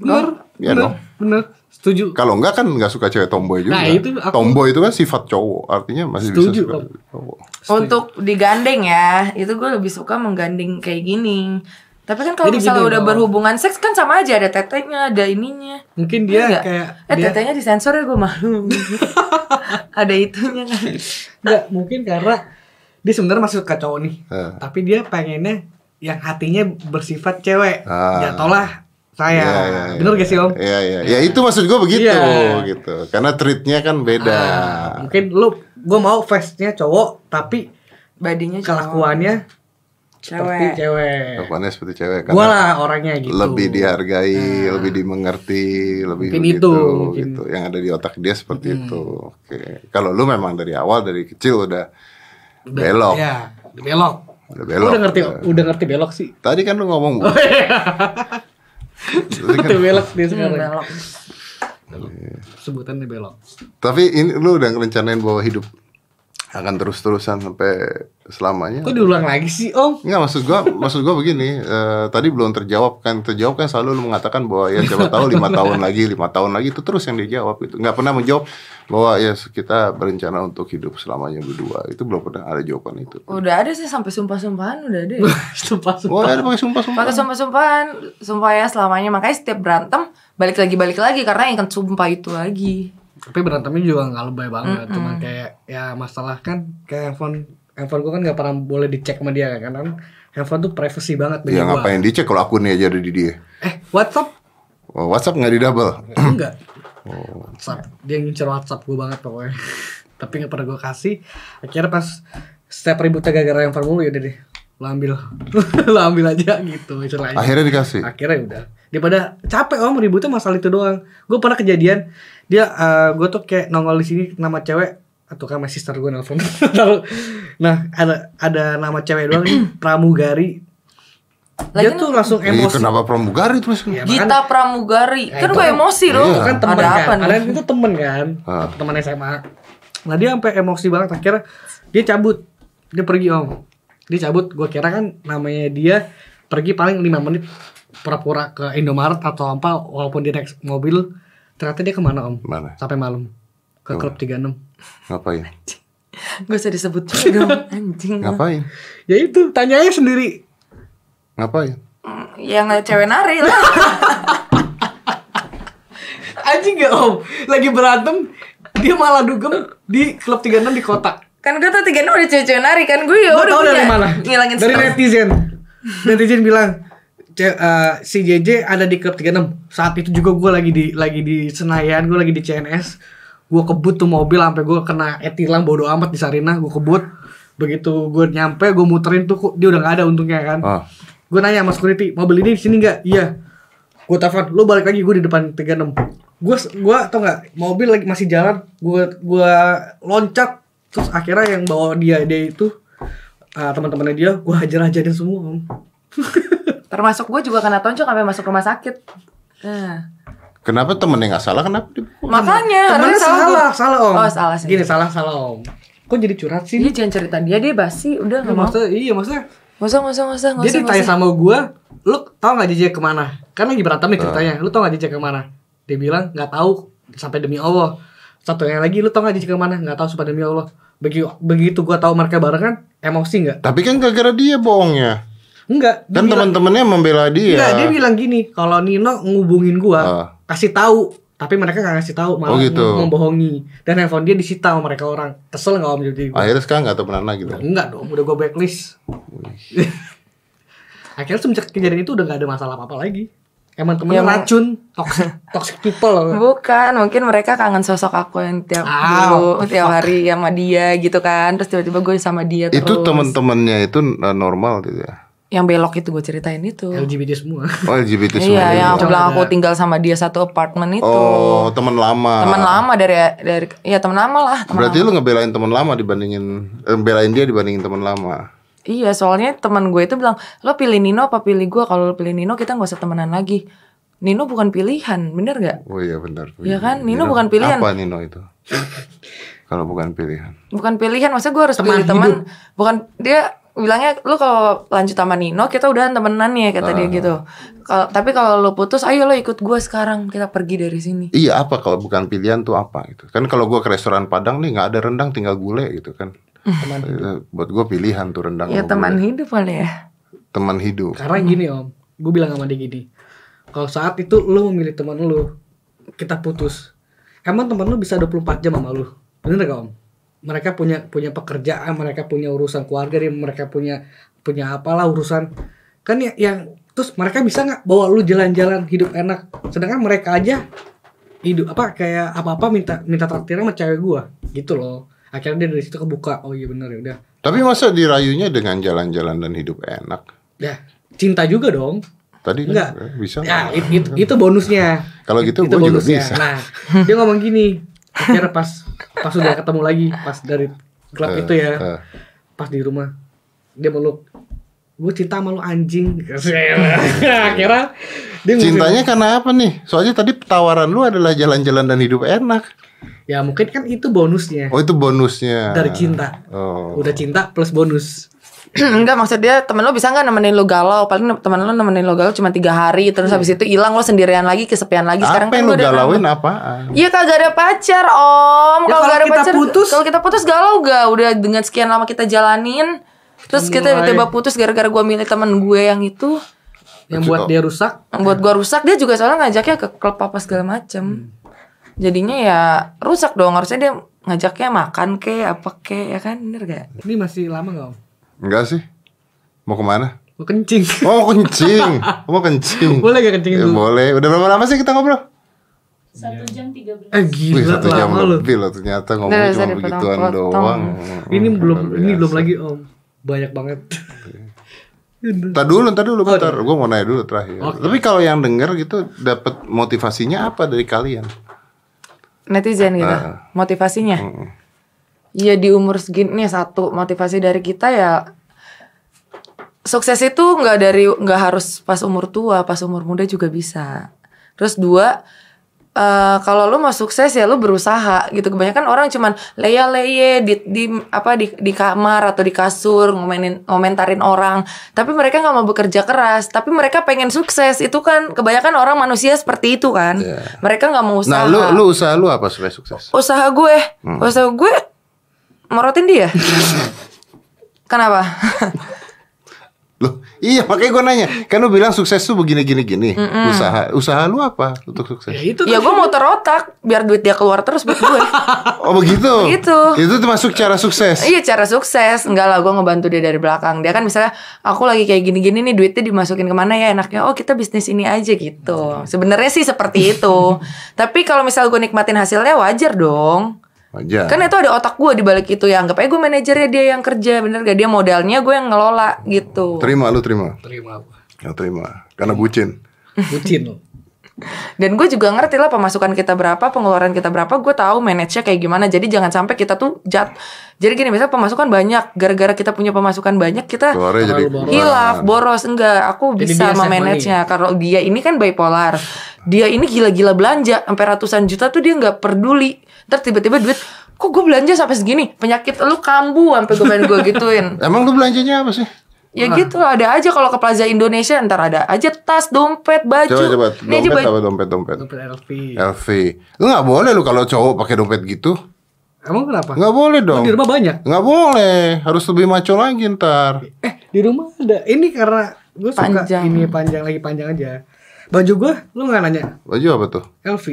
[SPEAKER 2] Bener,
[SPEAKER 1] Iya
[SPEAKER 3] bener,
[SPEAKER 1] dong.
[SPEAKER 3] bener. Setuju.
[SPEAKER 1] Kalau enggak kan nggak suka cewek tomboy juga
[SPEAKER 3] Nah, itu aku-
[SPEAKER 1] Tomboy itu kan sifat cowok Artinya masih
[SPEAKER 3] Setuju,
[SPEAKER 1] bisa suka
[SPEAKER 3] Om.
[SPEAKER 1] cowok
[SPEAKER 2] Untuk digandeng ya, itu gue lebih suka menggandeng kayak gini. Tapi kan kalau
[SPEAKER 3] Jadi
[SPEAKER 2] misalnya
[SPEAKER 3] gini
[SPEAKER 2] udah
[SPEAKER 3] dong.
[SPEAKER 2] berhubungan seks kan sama aja ada tetenya, ada ininya.
[SPEAKER 3] Mungkin dia Iya,
[SPEAKER 2] Enggak?
[SPEAKER 3] kayak
[SPEAKER 2] eh
[SPEAKER 3] dia
[SPEAKER 2] tetenya disensor ya gue malu. ada itunya kan.
[SPEAKER 3] enggak mungkin karena dia sebenarnya masih suka cowok nih.
[SPEAKER 1] Eh.
[SPEAKER 3] Tapi dia pengennya yang hatinya bersifat cewek.
[SPEAKER 1] Ah.
[SPEAKER 3] Ya tolah saya.
[SPEAKER 1] Iya, iya, iya.
[SPEAKER 3] Bener gak sih, Om?
[SPEAKER 1] Iya iya. Ya itu maksud gue begitu
[SPEAKER 3] Iya.
[SPEAKER 1] gitu. Karena treatnya kan beda.
[SPEAKER 3] Ah, mungkin lu gue mau face-nya cowok tapi
[SPEAKER 2] Badinya cowok.
[SPEAKER 3] kelakuannya seperti
[SPEAKER 2] cewek.
[SPEAKER 3] cewek.
[SPEAKER 1] Kelakuannya seperti cewek karena
[SPEAKER 3] Gue lah orangnya gitu. Nah.
[SPEAKER 1] lebih dihargai, lebih dimengerti, lebih
[SPEAKER 3] Mungkin
[SPEAKER 1] begitu
[SPEAKER 3] itu, mungkin. Hmm.
[SPEAKER 1] gitu. Yang ada di otak dia seperti itu. Oke. Kalau lu memang dari awal dari kecil udah belok.
[SPEAKER 3] Ya, belok.
[SPEAKER 1] Udah
[SPEAKER 3] Lu
[SPEAKER 1] belok. Iya.
[SPEAKER 3] udah ngerti, Oh, iya.
[SPEAKER 1] udah.
[SPEAKER 3] udah ngerti belok sih.
[SPEAKER 1] Tadi kan lu ngomong Bu. Tadi kan-
[SPEAKER 3] Tuh belok dia
[SPEAKER 2] Hmm,
[SPEAKER 3] sekarang.
[SPEAKER 2] belok.
[SPEAKER 3] Sebutannya belok.
[SPEAKER 1] tapi ini lu udah ngerencanain bahwa hidup akan terus-terusan sampai selamanya.
[SPEAKER 3] Kok diulang lagi sih, Om?
[SPEAKER 1] Enggak maksud gua, maksud gua begini, eh, tadi belum terjawab kan, terjawab kan selalu lu mengatakan bahwa ya siapa tahu lima tahun lagi, lima tahun lagi itu terus yang dijawab gitu. Enggak pernah menjawab bahwa ya kita berencana untuk hidup selamanya berdua. Itu belum pernah ada jawaban itu.
[SPEAKER 2] Udah ada sih sampai sumpah-sumpahan udah ada. ya.
[SPEAKER 3] Sumpah,
[SPEAKER 1] Wah,
[SPEAKER 3] sumpah.
[SPEAKER 1] ada pakai sumpah-sumpah.
[SPEAKER 2] Pakai sumpah-sumpahan, sumpah ya selamanya. Makanya setiap berantem balik lagi balik lagi karena yang akan sumpah itu lagi.
[SPEAKER 3] Tapi berantemnya juga nggak lebay banget. Cuman kayak ya masalah kan kayak handphone handphone gua kan nggak pernah boleh dicek sama dia kan karena handphone tuh privacy banget bagi
[SPEAKER 1] Ya
[SPEAKER 3] gua.
[SPEAKER 1] ngapain dicek kalau akunnya aja ada di dia.
[SPEAKER 3] Eh, WhatsApp
[SPEAKER 1] Oh, WhatsApp nggak Oh. di double.
[SPEAKER 3] enggak. WhatsApp. Dia ngincer WhatsApp gua banget pokoknya. Tapi nggak pernah gua kasih. Akhirnya pas setiap ributnya gara-gara handphone mulu ya deh. Lo ambil. Lo ambil aja gitu. Istilahnya.
[SPEAKER 1] Akhirnya dikasih.
[SPEAKER 3] akhirnya ya udah daripada capek om ributnya masalah itu doang gue pernah kejadian dia eh, gue tuh kayak nongol di sini nama cewek atau kan my sister gue nelfon Tahu. nah ada ada nama cewek doang nih, pramugari dia
[SPEAKER 2] Lagi
[SPEAKER 3] tuh langsung
[SPEAKER 1] Ih,
[SPEAKER 3] emosi
[SPEAKER 1] kenapa pramugari terus?
[SPEAKER 3] Ya,
[SPEAKER 2] Iya.
[SPEAKER 3] makanya-
[SPEAKER 2] Gita Pramugari.
[SPEAKER 3] Ya,
[SPEAKER 2] Kan
[SPEAKER 3] itu
[SPEAKER 2] gue
[SPEAKER 3] kan-
[SPEAKER 2] emosi
[SPEAKER 1] Iya.
[SPEAKER 2] loh.
[SPEAKER 1] Itu
[SPEAKER 3] kan temen
[SPEAKER 2] Ada
[SPEAKER 3] kan
[SPEAKER 2] apa nih?
[SPEAKER 3] kalian itu temen kan
[SPEAKER 1] Ah.
[SPEAKER 3] teman SMA nah dia sampai emosi banget akhirnya dia cabut dia pergi om dia cabut gue kira kan namanya dia pergi paling lima menit pura-pura ke Indomaret atau apa walaupun dia naik mobil ternyata dia kemana om
[SPEAKER 1] Mana?
[SPEAKER 3] sampai malam ke klub 36
[SPEAKER 1] Ngapain?
[SPEAKER 2] Gak usah disebut dong anjing.
[SPEAKER 1] Ngapain?
[SPEAKER 3] ya itu tanyanya sendiri
[SPEAKER 1] Ngapain?
[SPEAKER 2] Mm, Yang cewek nari lah.
[SPEAKER 3] anjing gak om lagi berantem dia malah dugem di klub 36 di kotak
[SPEAKER 2] kan gue tuh tiga udah cewek-cewek nari kan gue ya
[SPEAKER 3] Lo
[SPEAKER 2] udah
[SPEAKER 3] tau
[SPEAKER 2] punya
[SPEAKER 3] dari mana?
[SPEAKER 2] ngilangin
[SPEAKER 3] dari
[SPEAKER 2] stres.
[SPEAKER 3] netizen. netizen bilang "Ce- eh, si JJ ada di klub 36. Saat itu juga gue lagi di lagi di Senayan, gue lagi di CNS. Gue kebut tuh mobil sampai gue kena etilang bodo amat di Sarinah, gue kebut. Begitu gue nyampe, gue muterin tuh kok dia udah nggak ada untungnya kan.
[SPEAKER 1] Ah.
[SPEAKER 3] Gue nanya sama security, mobil ini di sini nggak? Iya. Gue telepon, lo balik lagi gue di depan 36. Gue gue tau nggak? Mobil lagi masih jalan, gue gue loncat terus akhirnya yang bawa dia dia itu ah, teman-temannya dia, gue hajar hajarin semua om.
[SPEAKER 2] Termasuk gue juga kena tonjok sampai masuk rumah sakit. Nah,
[SPEAKER 1] Kenapa temennya nggak salah? Kenapa dipukul?
[SPEAKER 2] makanya
[SPEAKER 3] Temennya
[SPEAKER 2] harusnya
[SPEAKER 3] salah,
[SPEAKER 2] gua.
[SPEAKER 3] salah, om.
[SPEAKER 2] Oh salah sih.
[SPEAKER 3] Gini
[SPEAKER 2] Iya.
[SPEAKER 3] salah salah om. Kok jadi curhat sih?
[SPEAKER 2] Dia jangan cerita dia dia basi
[SPEAKER 3] Iya,
[SPEAKER 2] udah nggak mau.
[SPEAKER 3] maksudnya, iya maksudnya
[SPEAKER 2] Nggak usah nggak usah nggak usah nggak
[SPEAKER 3] dia
[SPEAKER 2] usah, nggak
[SPEAKER 3] ditanya
[SPEAKER 2] usah.
[SPEAKER 3] sama gue, lu tau nggak JJ kemana? Kan lagi berantem
[SPEAKER 1] Ah.
[SPEAKER 3] nih ceritanya, lu tau nggak JJ kemana? Dia bilang nggak tahu sampai demi Allah. Satu yang lagi, lu tau nggak JJ kemana? Nggak tahu sampai demi Allah. Begi, begitu gue tahu mereka barengan, emosi nggak?
[SPEAKER 1] Tapi kan gara-gara dia bohongnya.
[SPEAKER 3] Enggak. dia
[SPEAKER 1] Dan
[SPEAKER 3] bilang-
[SPEAKER 1] teman-temannya membela Kan dia.
[SPEAKER 3] Enggak, dia bilang gini, kalau Nino ngubungin gua,
[SPEAKER 1] Ah.
[SPEAKER 3] kasih tahu, tapi mereka nggak ngasih tahu, malah
[SPEAKER 1] Oh, gitu.
[SPEAKER 3] membohongi. Dan handphone dia disita sama mereka orang. Kesel nggak om jadi?
[SPEAKER 2] gitu.
[SPEAKER 3] gua?
[SPEAKER 1] Akhirnya sekarang nggak temenan lagi
[SPEAKER 2] Iya,
[SPEAKER 1] dong.
[SPEAKER 3] Enggak dong, udah gua blacklist. Akhirnya semenjak kejadian itu udah nggak ada masalah apa-apa lagi. Emang temennya
[SPEAKER 2] Ya, emang-
[SPEAKER 3] racun, toxic, toxic people.
[SPEAKER 2] Bukan, mungkin mereka kangen sosok aku yang tiap
[SPEAKER 3] Ah, what
[SPEAKER 2] dulu,
[SPEAKER 3] the
[SPEAKER 2] tiap
[SPEAKER 3] fuck.
[SPEAKER 2] hari sama dia gitu kan. Terus tiba-tiba gue sama dia terus.
[SPEAKER 1] Itu teman-temannya itu eh, normal gitu ya.
[SPEAKER 2] Yang belok itu gue ceritain itu.
[SPEAKER 3] LGBT semua.
[SPEAKER 1] Oh LGBT semua.
[SPEAKER 2] Iya, yang
[SPEAKER 1] juga.
[SPEAKER 2] aku bilang aku tinggal sama dia satu apartemen itu.
[SPEAKER 1] Oh, teman lama.
[SPEAKER 2] Teman lama dari dari ya teman lama lah, teman
[SPEAKER 1] Berarti lu ngebelain teman lama dibandingin eh, belain dia dibandingin teman lama.
[SPEAKER 2] Iya, soalnya teman gue itu bilang, lo pilih Nino apa pilih gue? Kalau lo pilih Nino, kita nggak usah temenan lagi. Nino bukan pilihan, bener gak?
[SPEAKER 1] Oh iya benar.
[SPEAKER 2] Iya kan? Nino bukan pilihan.
[SPEAKER 1] Apa Nino itu? Kalau bukan pilihan.
[SPEAKER 2] Bukan pilihan, maksudnya gue harus pilih teman. Bukan dia bilangnya lo kalau lanjut sama Nino, kita udahan temenan ya kata dia gitu. Kalau tapi kalau lo putus, ayo lo ikut gue sekarang, kita pergi dari sini.
[SPEAKER 1] Iya apa kalau bukan pilihan tuh apa gitu kan kalau gua ke restoran Padang nih nggak ada rendang tinggal gulai gitu kan Eh, buat gua pilihan tuh rendang sama
[SPEAKER 2] Ya teman
[SPEAKER 1] gulai.
[SPEAKER 2] hidup kali ya.
[SPEAKER 1] teman hidup
[SPEAKER 3] Karena gini om, gue bilang sama dia gini, kalau saat itu lu memilih teman lu, kita putus. Emang teman lu bisa 24 jam sama lu, bener gak om? Mereka punya punya pekerjaan, mereka punya urusan keluarga, dia- mereka punya punya apalah urusan. Kan ya- yang terus mereka bisa nggak bawa lu jalan-jalan hidup enak, sedangkan mereka aja hidup apa kayak apa-apa minta minta traktirnya sama cewek gua gitu loh. Akhirnya dia dari situ kebuka, oh iya bener ya udah.
[SPEAKER 1] tapi masa dirayunya dengan jalan-jalan dan hidup enak
[SPEAKER 3] Ya cinta juga dong.
[SPEAKER 1] tadi kan
[SPEAKER 3] Enggak.
[SPEAKER 1] eh, bisa
[SPEAKER 3] Ya,
[SPEAKER 1] nggak?
[SPEAKER 3] it- it- itu bonusnya.
[SPEAKER 1] kalau gitu
[SPEAKER 3] itu
[SPEAKER 1] gua juga
[SPEAKER 3] bonusnya.
[SPEAKER 1] bisa
[SPEAKER 3] Nah, dia ngomong gini. Akhirnya pas pas udah ketemu lagi pas dari klub
[SPEAKER 1] Eh,
[SPEAKER 3] itu ya,
[SPEAKER 1] eh.
[SPEAKER 3] pas di rumah dia meluk. Gue cinta sama lu anjing. Akhirnya dia ngurusin-
[SPEAKER 1] cintanya karena apa nih soalnya tadi tawaran lu adalah jalan-jalan dan hidup enak
[SPEAKER 3] Ya mungkin kan itu bonusnya
[SPEAKER 1] oh itu bonusnya
[SPEAKER 3] dari cinta.
[SPEAKER 1] oh
[SPEAKER 3] Udah cinta plus bonus.
[SPEAKER 2] Enggak maksud dia temen lo bisa nggak nemenin lo galau Paling temen lo nemenin lo galau cuma tiga hari Terus habis itu hilang lo sendirian lagi kesepian lagi Sekarang
[SPEAKER 1] Iya. apa yang
[SPEAKER 2] kan
[SPEAKER 1] lu
[SPEAKER 2] lo udah
[SPEAKER 1] galauin apaan
[SPEAKER 2] Iya kagak ada pacar om
[SPEAKER 3] Ya,
[SPEAKER 2] Kalau
[SPEAKER 3] kalau
[SPEAKER 2] gak ada
[SPEAKER 3] kita
[SPEAKER 2] pacar
[SPEAKER 3] putus-
[SPEAKER 2] Kalau kita putus galau gak Udah dengan sekian lama kita jalanin Terus kita
[SPEAKER 3] Mulai.
[SPEAKER 2] tiba-tiba putus gara-gara gue milih temen gue yang itu
[SPEAKER 3] Yang buat dia rusak.
[SPEAKER 2] Yang buat gue rusak Dia juga soalnya ngajaknya ke klub apa segala macem Jadinya ya rusak dong Harusnya dia ngajaknya makan ke apa ke Ya kan bener gak
[SPEAKER 3] Ini masih lama gak om?
[SPEAKER 1] enggak sih mau kemana
[SPEAKER 3] Gue kencing.
[SPEAKER 1] Oh kencing, mau kencing.
[SPEAKER 3] Boleh gak kencingin
[SPEAKER 1] Ya,
[SPEAKER 3] dulu?
[SPEAKER 1] boleh. Udah berapa lama sih kita ngobrol?
[SPEAKER 4] Satu jam tiga belas.
[SPEAKER 3] Eh
[SPEAKER 1] Wih,
[SPEAKER 3] gila
[SPEAKER 1] satu jam
[SPEAKER 3] lama lu.
[SPEAKER 1] lebih loh ternyata
[SPEAKER 2] Nggak,
[SPEAKER 1] ngomongnya
[SPEAKER 2] bisa
[SPEAKER 1] cuma begituan
[SPEAKER 2] dipotong-potong.
[SPEAKER 1] doang.
[SPEAKER 3] Ini belum ini
[SPEAKER 1] Oh, biasa.
[SPEAKER 3] belum lagi om. Banyak banget.
[SPEAKER 1] Ntar dulu, ntar
[SPEAKER 2] Oh,
[SPEAKER 1] dulu, bentar.
[SPEAKER 2] iya.
[SPEAKER 1] Gue mau nanya dulu terakhir.
[SPEAKER 3] Oke.
[SPEAKER 1] Tapi kalau yang denger gitu dapat motivasinya apa dari kalian?
[SPEAKER 2] netizen gitu
[SPEAKER 1] Ah.
[SPEAKER 2] motivasinya ya di umur segini satu motivasi dari kita ya sukses itu nggak dari nggak harus pas umur tua pas umur muda juga bisa terus dua eh, kalau lu mau sukses ya lu berusaha gitu kebanyakan orang cuman leya leye di, di apa di, di kamar atau di kasur ngomenin ngomentarin orang tapi mereka nggak mau bekerja keras tapi mereka pengen sukses itu kan kebanyakan orang manusia seperti itu kan mereka nggak mau
[SPEAKER 1] Nah,
[SPEAKER 2] usaha
[SPEAKER 1] lu lu usaha lu apa supaya sukses?
[SPEAKER 2] usaha gue usaha gue morotin dia kenapa
[SPEAKER 1] Loh, iya makanya gue nanya. Kan lu bilang sukses tuh begini gini gini. Usaha usaha lu apa untuk
[SPEAKER 3] Ya
[SPEAKER 1] sukses?
[SPEAKER 3] itu
[SPEAKER 2] ya gue muter otak biar duit dia keluar terus buat gue
[SPEAKER 1] Oh begitu.
[SPEAKER 2] iya. Begitu.
[SPEAKER 1] Itu termasuk cara sukses.
[SPEAKER 2] iya cara sukses enggak lah gue ngebantu dia dari belakang dia kan misalnya aku lagi kayak gini-gini nih duitnya dimasukin kemana ya enaknya oh kita bisnis ini aja gitu sebenarnya sih seperti itu tapi kalau misal gue nikmatin hasilnya wajar dong
[SPEAKER 1] Wajar.
[SPEAKER 2] Kan itu ada otak gue di balik itu ya anggap aja gue manajernya dia yang kerja bener gak dia modalnya gue yang ngelola gitu
[SPEAKER 1] Terima lu terima.
[SPEAKER 3] terima apa?
[SPEAKER 1] Yang terima karena bucin.
[SPEAKER 3] Bucin lo.
[SPEAKER 2] Dan gue juga ngerti lah pemasukan kita berapa, pengeluaran kita berapa, gue tahu manage-nya kayak gimana. Jadi jangan sampai kita tuh jat. Jadi gini, misalnya pemasukan banyak, gara-gara kita punya pemasukan banyak, kita
[SPEAKER 1] Keluarnya jadi
[SPEAKER 3] Terlalu
[SPEAKER 2] Ah, hilaf, boros, enggak. Aku
[SPEAKER 3] Jadi
[SPEAKER 2] bisa
[SPEAKER 3] dia safe
[SPEAKER 2] memanage-nya. Kalau dia ini kan bipolar. Dia ini gila-gila belanja, sampai ratusan juta tuh dia nggak peduli. Ntar tiba-tiba duit, kok gue belanja sampai segini? Penyakit lu kambuh, sampai gue pengen gue gituin.
[SPEAKER 1] Emang lu belanjanya apa sih?
[SPEAKER 2] Ya gitu lah, ada aja kalau ke Plaza Indonesia ntar ada aja tas, dompet, baju.
[SPEAKER 1] Coba coba
[SPEAKER 2] Ini aja
[SPEAKER 1] dompet
[SPEAKER 2] baju-
[SPEAKER 1] apa dompet dompet.
[SPEAKER 3] Dompet LV.
[SPEAKER 1] LV. Lu nggak boleh lu kalau cowok pakai dompet gitu.
[SPEAKER 3] Emang kenapa? Kan
[SPEAKER 1] Nggak boleh dong.
[SPEAKER 3] Di rumah banyak.
[SPEAKER 1] Nggak boleh. Harus lebih maco lagi ntar.
[SPEAKER 3] Eh, di rumah ada. Ini karena gue suka
[SPEAKER 2] Panjang.
[SPEAKER 3] ini panjang lagi panjang aja. Baju gue, lu nggak nanya
[SPEAKER 1] Baju apa tuh?
[SPEAKER 3] LV.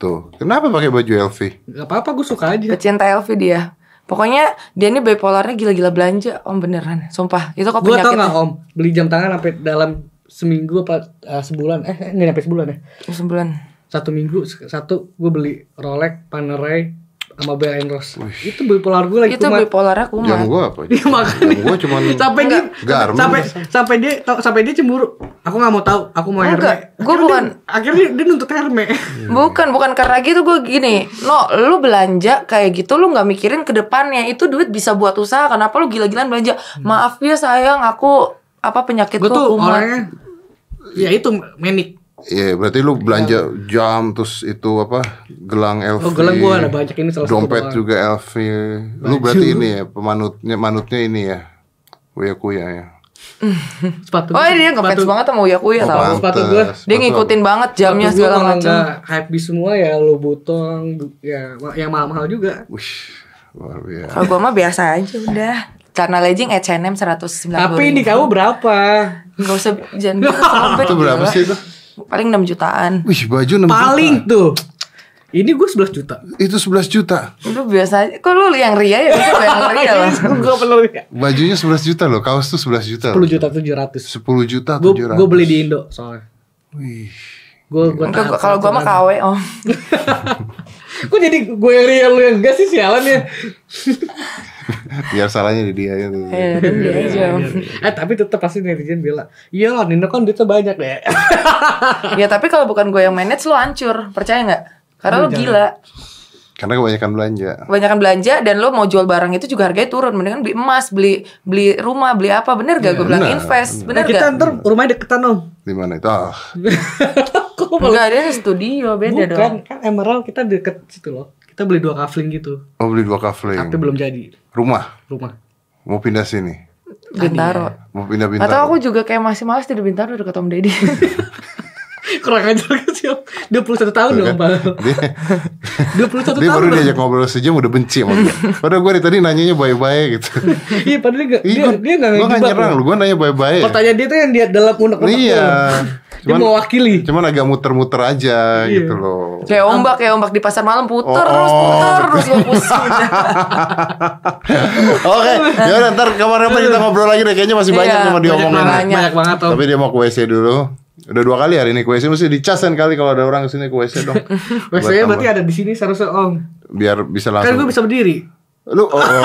[SPEAKER 1] Tuh. Kenapa pakai baju LV?
[SPEAKER 3] Gak apa-apa, gue suka aja.
[SPEAKER 2] pecinta LV dia. Pokoknya dia ini bipolarnya gila-gila belanja, om beneran, sumpah. Itu kok
[SPEAKER 3] Gue tau
[SPEAKER 2] penyakit.
[SPEAKER 3] nggak om, beli jam tangan sampai dalam seminggu apa eh, sebulan eh eh, nggak nyampe sebulan ya
[SPEAKER 2] Sebulan.
[SPEAKER 3] satu minggu se- satu gue beli Rolex Panerai sama Bell and Ross itu bipolar gue lagi
[SPEAKER 2] Itu
[SPEAKER 3] kumat.
[SPEAKER 2] bipolar aku
[SPEAKER 1] Jam
[SPEAKER 2] mah.
[SPEAKER 1] gua apa?
[SPEAKER 3] Iya makanya.
[SPEAKER 1] Jam gua cuman
[SPEAKER 3] sampai dia
[SPEAKER 1] Garmin.
[SPEAKER 3] sampai sampai dia tau- sampai dia cemburu. Aku nggak mau tahu. Aku mau
[SPEAKER 2] Enggak,
[SPEAKER 3] Herme.
[SPEAKER 2] gua
[SPEAKER 3] Akhirnya
[SPEAKER 2] bukan.
[SPEAKER 3] dia- akhirnya dia nuntut Herme.
[SPEAKER 2] Bukan, bukan karena gitu gue gini. No, lu belanja kayak gitu lu nggak mikirin ke depannya. Itu duit bisa buat usaha. Kenapa lu gila-gilaan belanja? Maaf ya sayang, aku apa penyakitku
[SPEAKER 3] gue tuh
[SPEAKER 2] kumat.
[SPEAKER 3] orangnya ya itu menik.
[SPEAKER 1] Iya, berarti lu belanja jam terus itu apa? Gelang LV.
[SPEAKER 3] Oh, gelang gua ada banyak, ini salah satu
[SPEAKER 1] Dompet
[SPEAKER 3] doang.
[SPEAKER 1] juga LV. Lu
[SPEAKER 3] Baju.
[SPEAKER 1] berarti ini ya, pemanutnya manutnya ini ya. Uya kuya ya.
[SPEAKER 3] Sepatu.
[SPEAKER 2] Oh dia ngefans banget sama Uya Kuya
[SPEAKER 3] Oh,
[SPEAKER 2] tau.
[SPEAKER 3] paham. sepatu gua.
[SPEAKER 2] Dia ngikutin banget jamnya segala macam.
[SPEAKER 3] hype di semua ya lo butong ya yang mahal-mahal juga.
[SPEAKER 1] Wih, luar biasa.
[SPEAKER 2] Kalau gue mah biasa aja udah. Karena legging H&M 190
[SPEAKER 3] Tapi ini kamu berapa?
[SPEAKER 2] Gak usah jangan bilang sampai
[SPEAKER 1] Itu berapa
[SPEAKER 2] gila.
[SPEAKER 1] sih itu?
[SPEAKER 2] Paling 6 jutaan.
[SPEAKER 1] Wih, baju 6
[SPEAKER 3] Paling tuh. Ini gue 11
[SPEAKER 1] juta.
[SPEAKER 3] juta.
[SPEAKER 1] Itu 11 juta.
[SPEAKER 2] Lu biasa aja. Kok lu yang ria ya? Bisa lu yang ria loh.
[SPEAKER 3] gue perlu ya.
[SPEAKER 1] Bajunya 11 juta loh, kaos tuh 11 juta.
[SPEAKER 3] 10 juta 700.
[SPEAKER 1] 10 juta
[SPEAKER 3] Gue
[SPEAKER 1] 700.
[SPEAKER 3] gue beli di Indo soalnya.
[SPEAKER 1] Wih.
[SPEAKER 3] Gue gue
[SPEAKER 2] Enggak, gua- kalau gue mah oh. KW om.
[SPEAKER 3] Kok jadi gue yang real lu yang enggak sih sialan ya?
[SPEAKER 1] Biar salahnya di dia ya.
[SPEAKER 2] Ya, dan dia aja om.
[SPEAKER 3] eh tapi tetap pasti netizen bilang, iya lah Nino kan duitnya banyak deh.
[SPEAKER 2] Ya tapi kalau bukan gue yang manage lu hancur. Percaya nggak? Karena lu gila.
[SPEAKER 1] Karena kebanyakan belanja.
[SPEAKER 2] Kebanyakan belanja dan lu mau jual barang itu juga harganya turun. Mendingan beli emas, beli beli rumah, beli apa. Bener gak gue bilang
[SPEAKER 1] bener,
[SPEAKER 2] invest?
[SPEAKER 3] nah,
[SPEAKER 2] Bener
[SPEAKER 3] kita
[SPEAKER 2] gak?
[SPEAKER 3] ntar rumahnya deketan om.
[SPEAKER 1] Di mana itu? Ah,
[SPEAKER 3] Kok malah-
[SPEAKER 2] Enggak, dia di studio beda
[SPEAKER 3] Bukan
[SPEAKER 2] dong.
[SPEAKER 3] kan Emerald kita deket situ loh. Kita beli dua kafling gitu,
[SPEAKER 1] oh beli dua
[SPEAKER 3] tapi
[SPEAKER 1] kafling.
[SPEAKER 3] belum jadi
[SPEAKER 1] Rumah.
[SPEAKER 3] rumah.
[SPEAKER 1] Mau pindah sini.
[SPEAKER 2] Bintaro.
[SPEAKER 1] Mau pindah
[SPEAKER 2] Atau
[SPEAKER 1] bintang.
[SPEAKER 2] aku juga kayak masih males di Bintaro deket Om Deddy
[SPEAKER 3] Kurang ajar kan sih om. 21 tahun dong bang.
[SPEAKER 1] kan? Dia, dia
[SPEAKER 3] 21 tahun.
[SPEAKER 1] baru
[SPEAKER 3] Bang.
[SPEAKER 1] diajak ngobrol sejam udah benci sama gue. Padahal gue dari tadi nanyanya bye-bye gitu.
[SPEAKER 3] Iya padahal dia nggak-
[SPEAKER 1] Ih,
[SPEAKER 3] dia
[SPEAKER 1] gua-
[SPEAKER 3] dia
[SPEAKER 1] gua
[SPEAKER 3] nggak
[SPEAKER 1] nggak
[SPEAKER 3] ngejebak,
[SPEAKER 1] nyerang
[SPEAKER 3] loh.
[SPEAKER 1] lu, gue nanya bye-bye.
[SPEAKER 3] Pertanyaan dia tuh yang dia dalam unek-unek tuh.
[SPEAKER 1] Iya.
[SPEAKER 3] Dia
[SPEAKER 1] Cuman-
[SPEAKER 3] mewakili. Iya.
[SPEAKER 1] Cuman agak muter-muter aja gitu loh.
[SPEAKER 2] Kayak ombak, kayak ombak di pasar malam puter
[SPEAKER 1] Oh,
[SPEAKER 2] terus,
[SPEAKER 1] oh.
[SPEAKER 2] puter terus gue pusing
[SPEAKER 1] Oke, ya udah, ntar kapan-kapan kita ngobrol lagi deh. Kayaknya masih banyak
[SPEAKER 2] Iya,
[SPEAKER 1] yang mau diomongin.
[SPEAKER 2] banyak
[SPEAKER 1] nih.
[SPEAKER 3] Banyak
[SPEAKER 2] banget.
[SPEAKER 3] banget om.
[SPEAKER 1] Tapi dia mau ke WC dulu. Udah dua kali hari ini ke WC mesti dicasen kali kalau ada orang kesini ke WC dong.
[SPEAKER 3] Biasanya berarti
[SPEAKER 1] tambah-
[SPEAKER 3] ada di sini seharusnya om.
[SPEAKER 1] biar bisa
[SPEAKER 3] Kan
[SPEAKER 1] langsung.
[SPEAKER 3] gue bisa berdiri.
[SPEAKER 1] Lu oh, oh.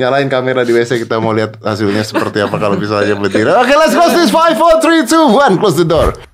[SPEAKER 1] nyalain kamera di WC kita mau lihat hasilnya seperti apa kalau bisa aja berdiri. Oke, let's close this 5 4 3 2 1 close the door.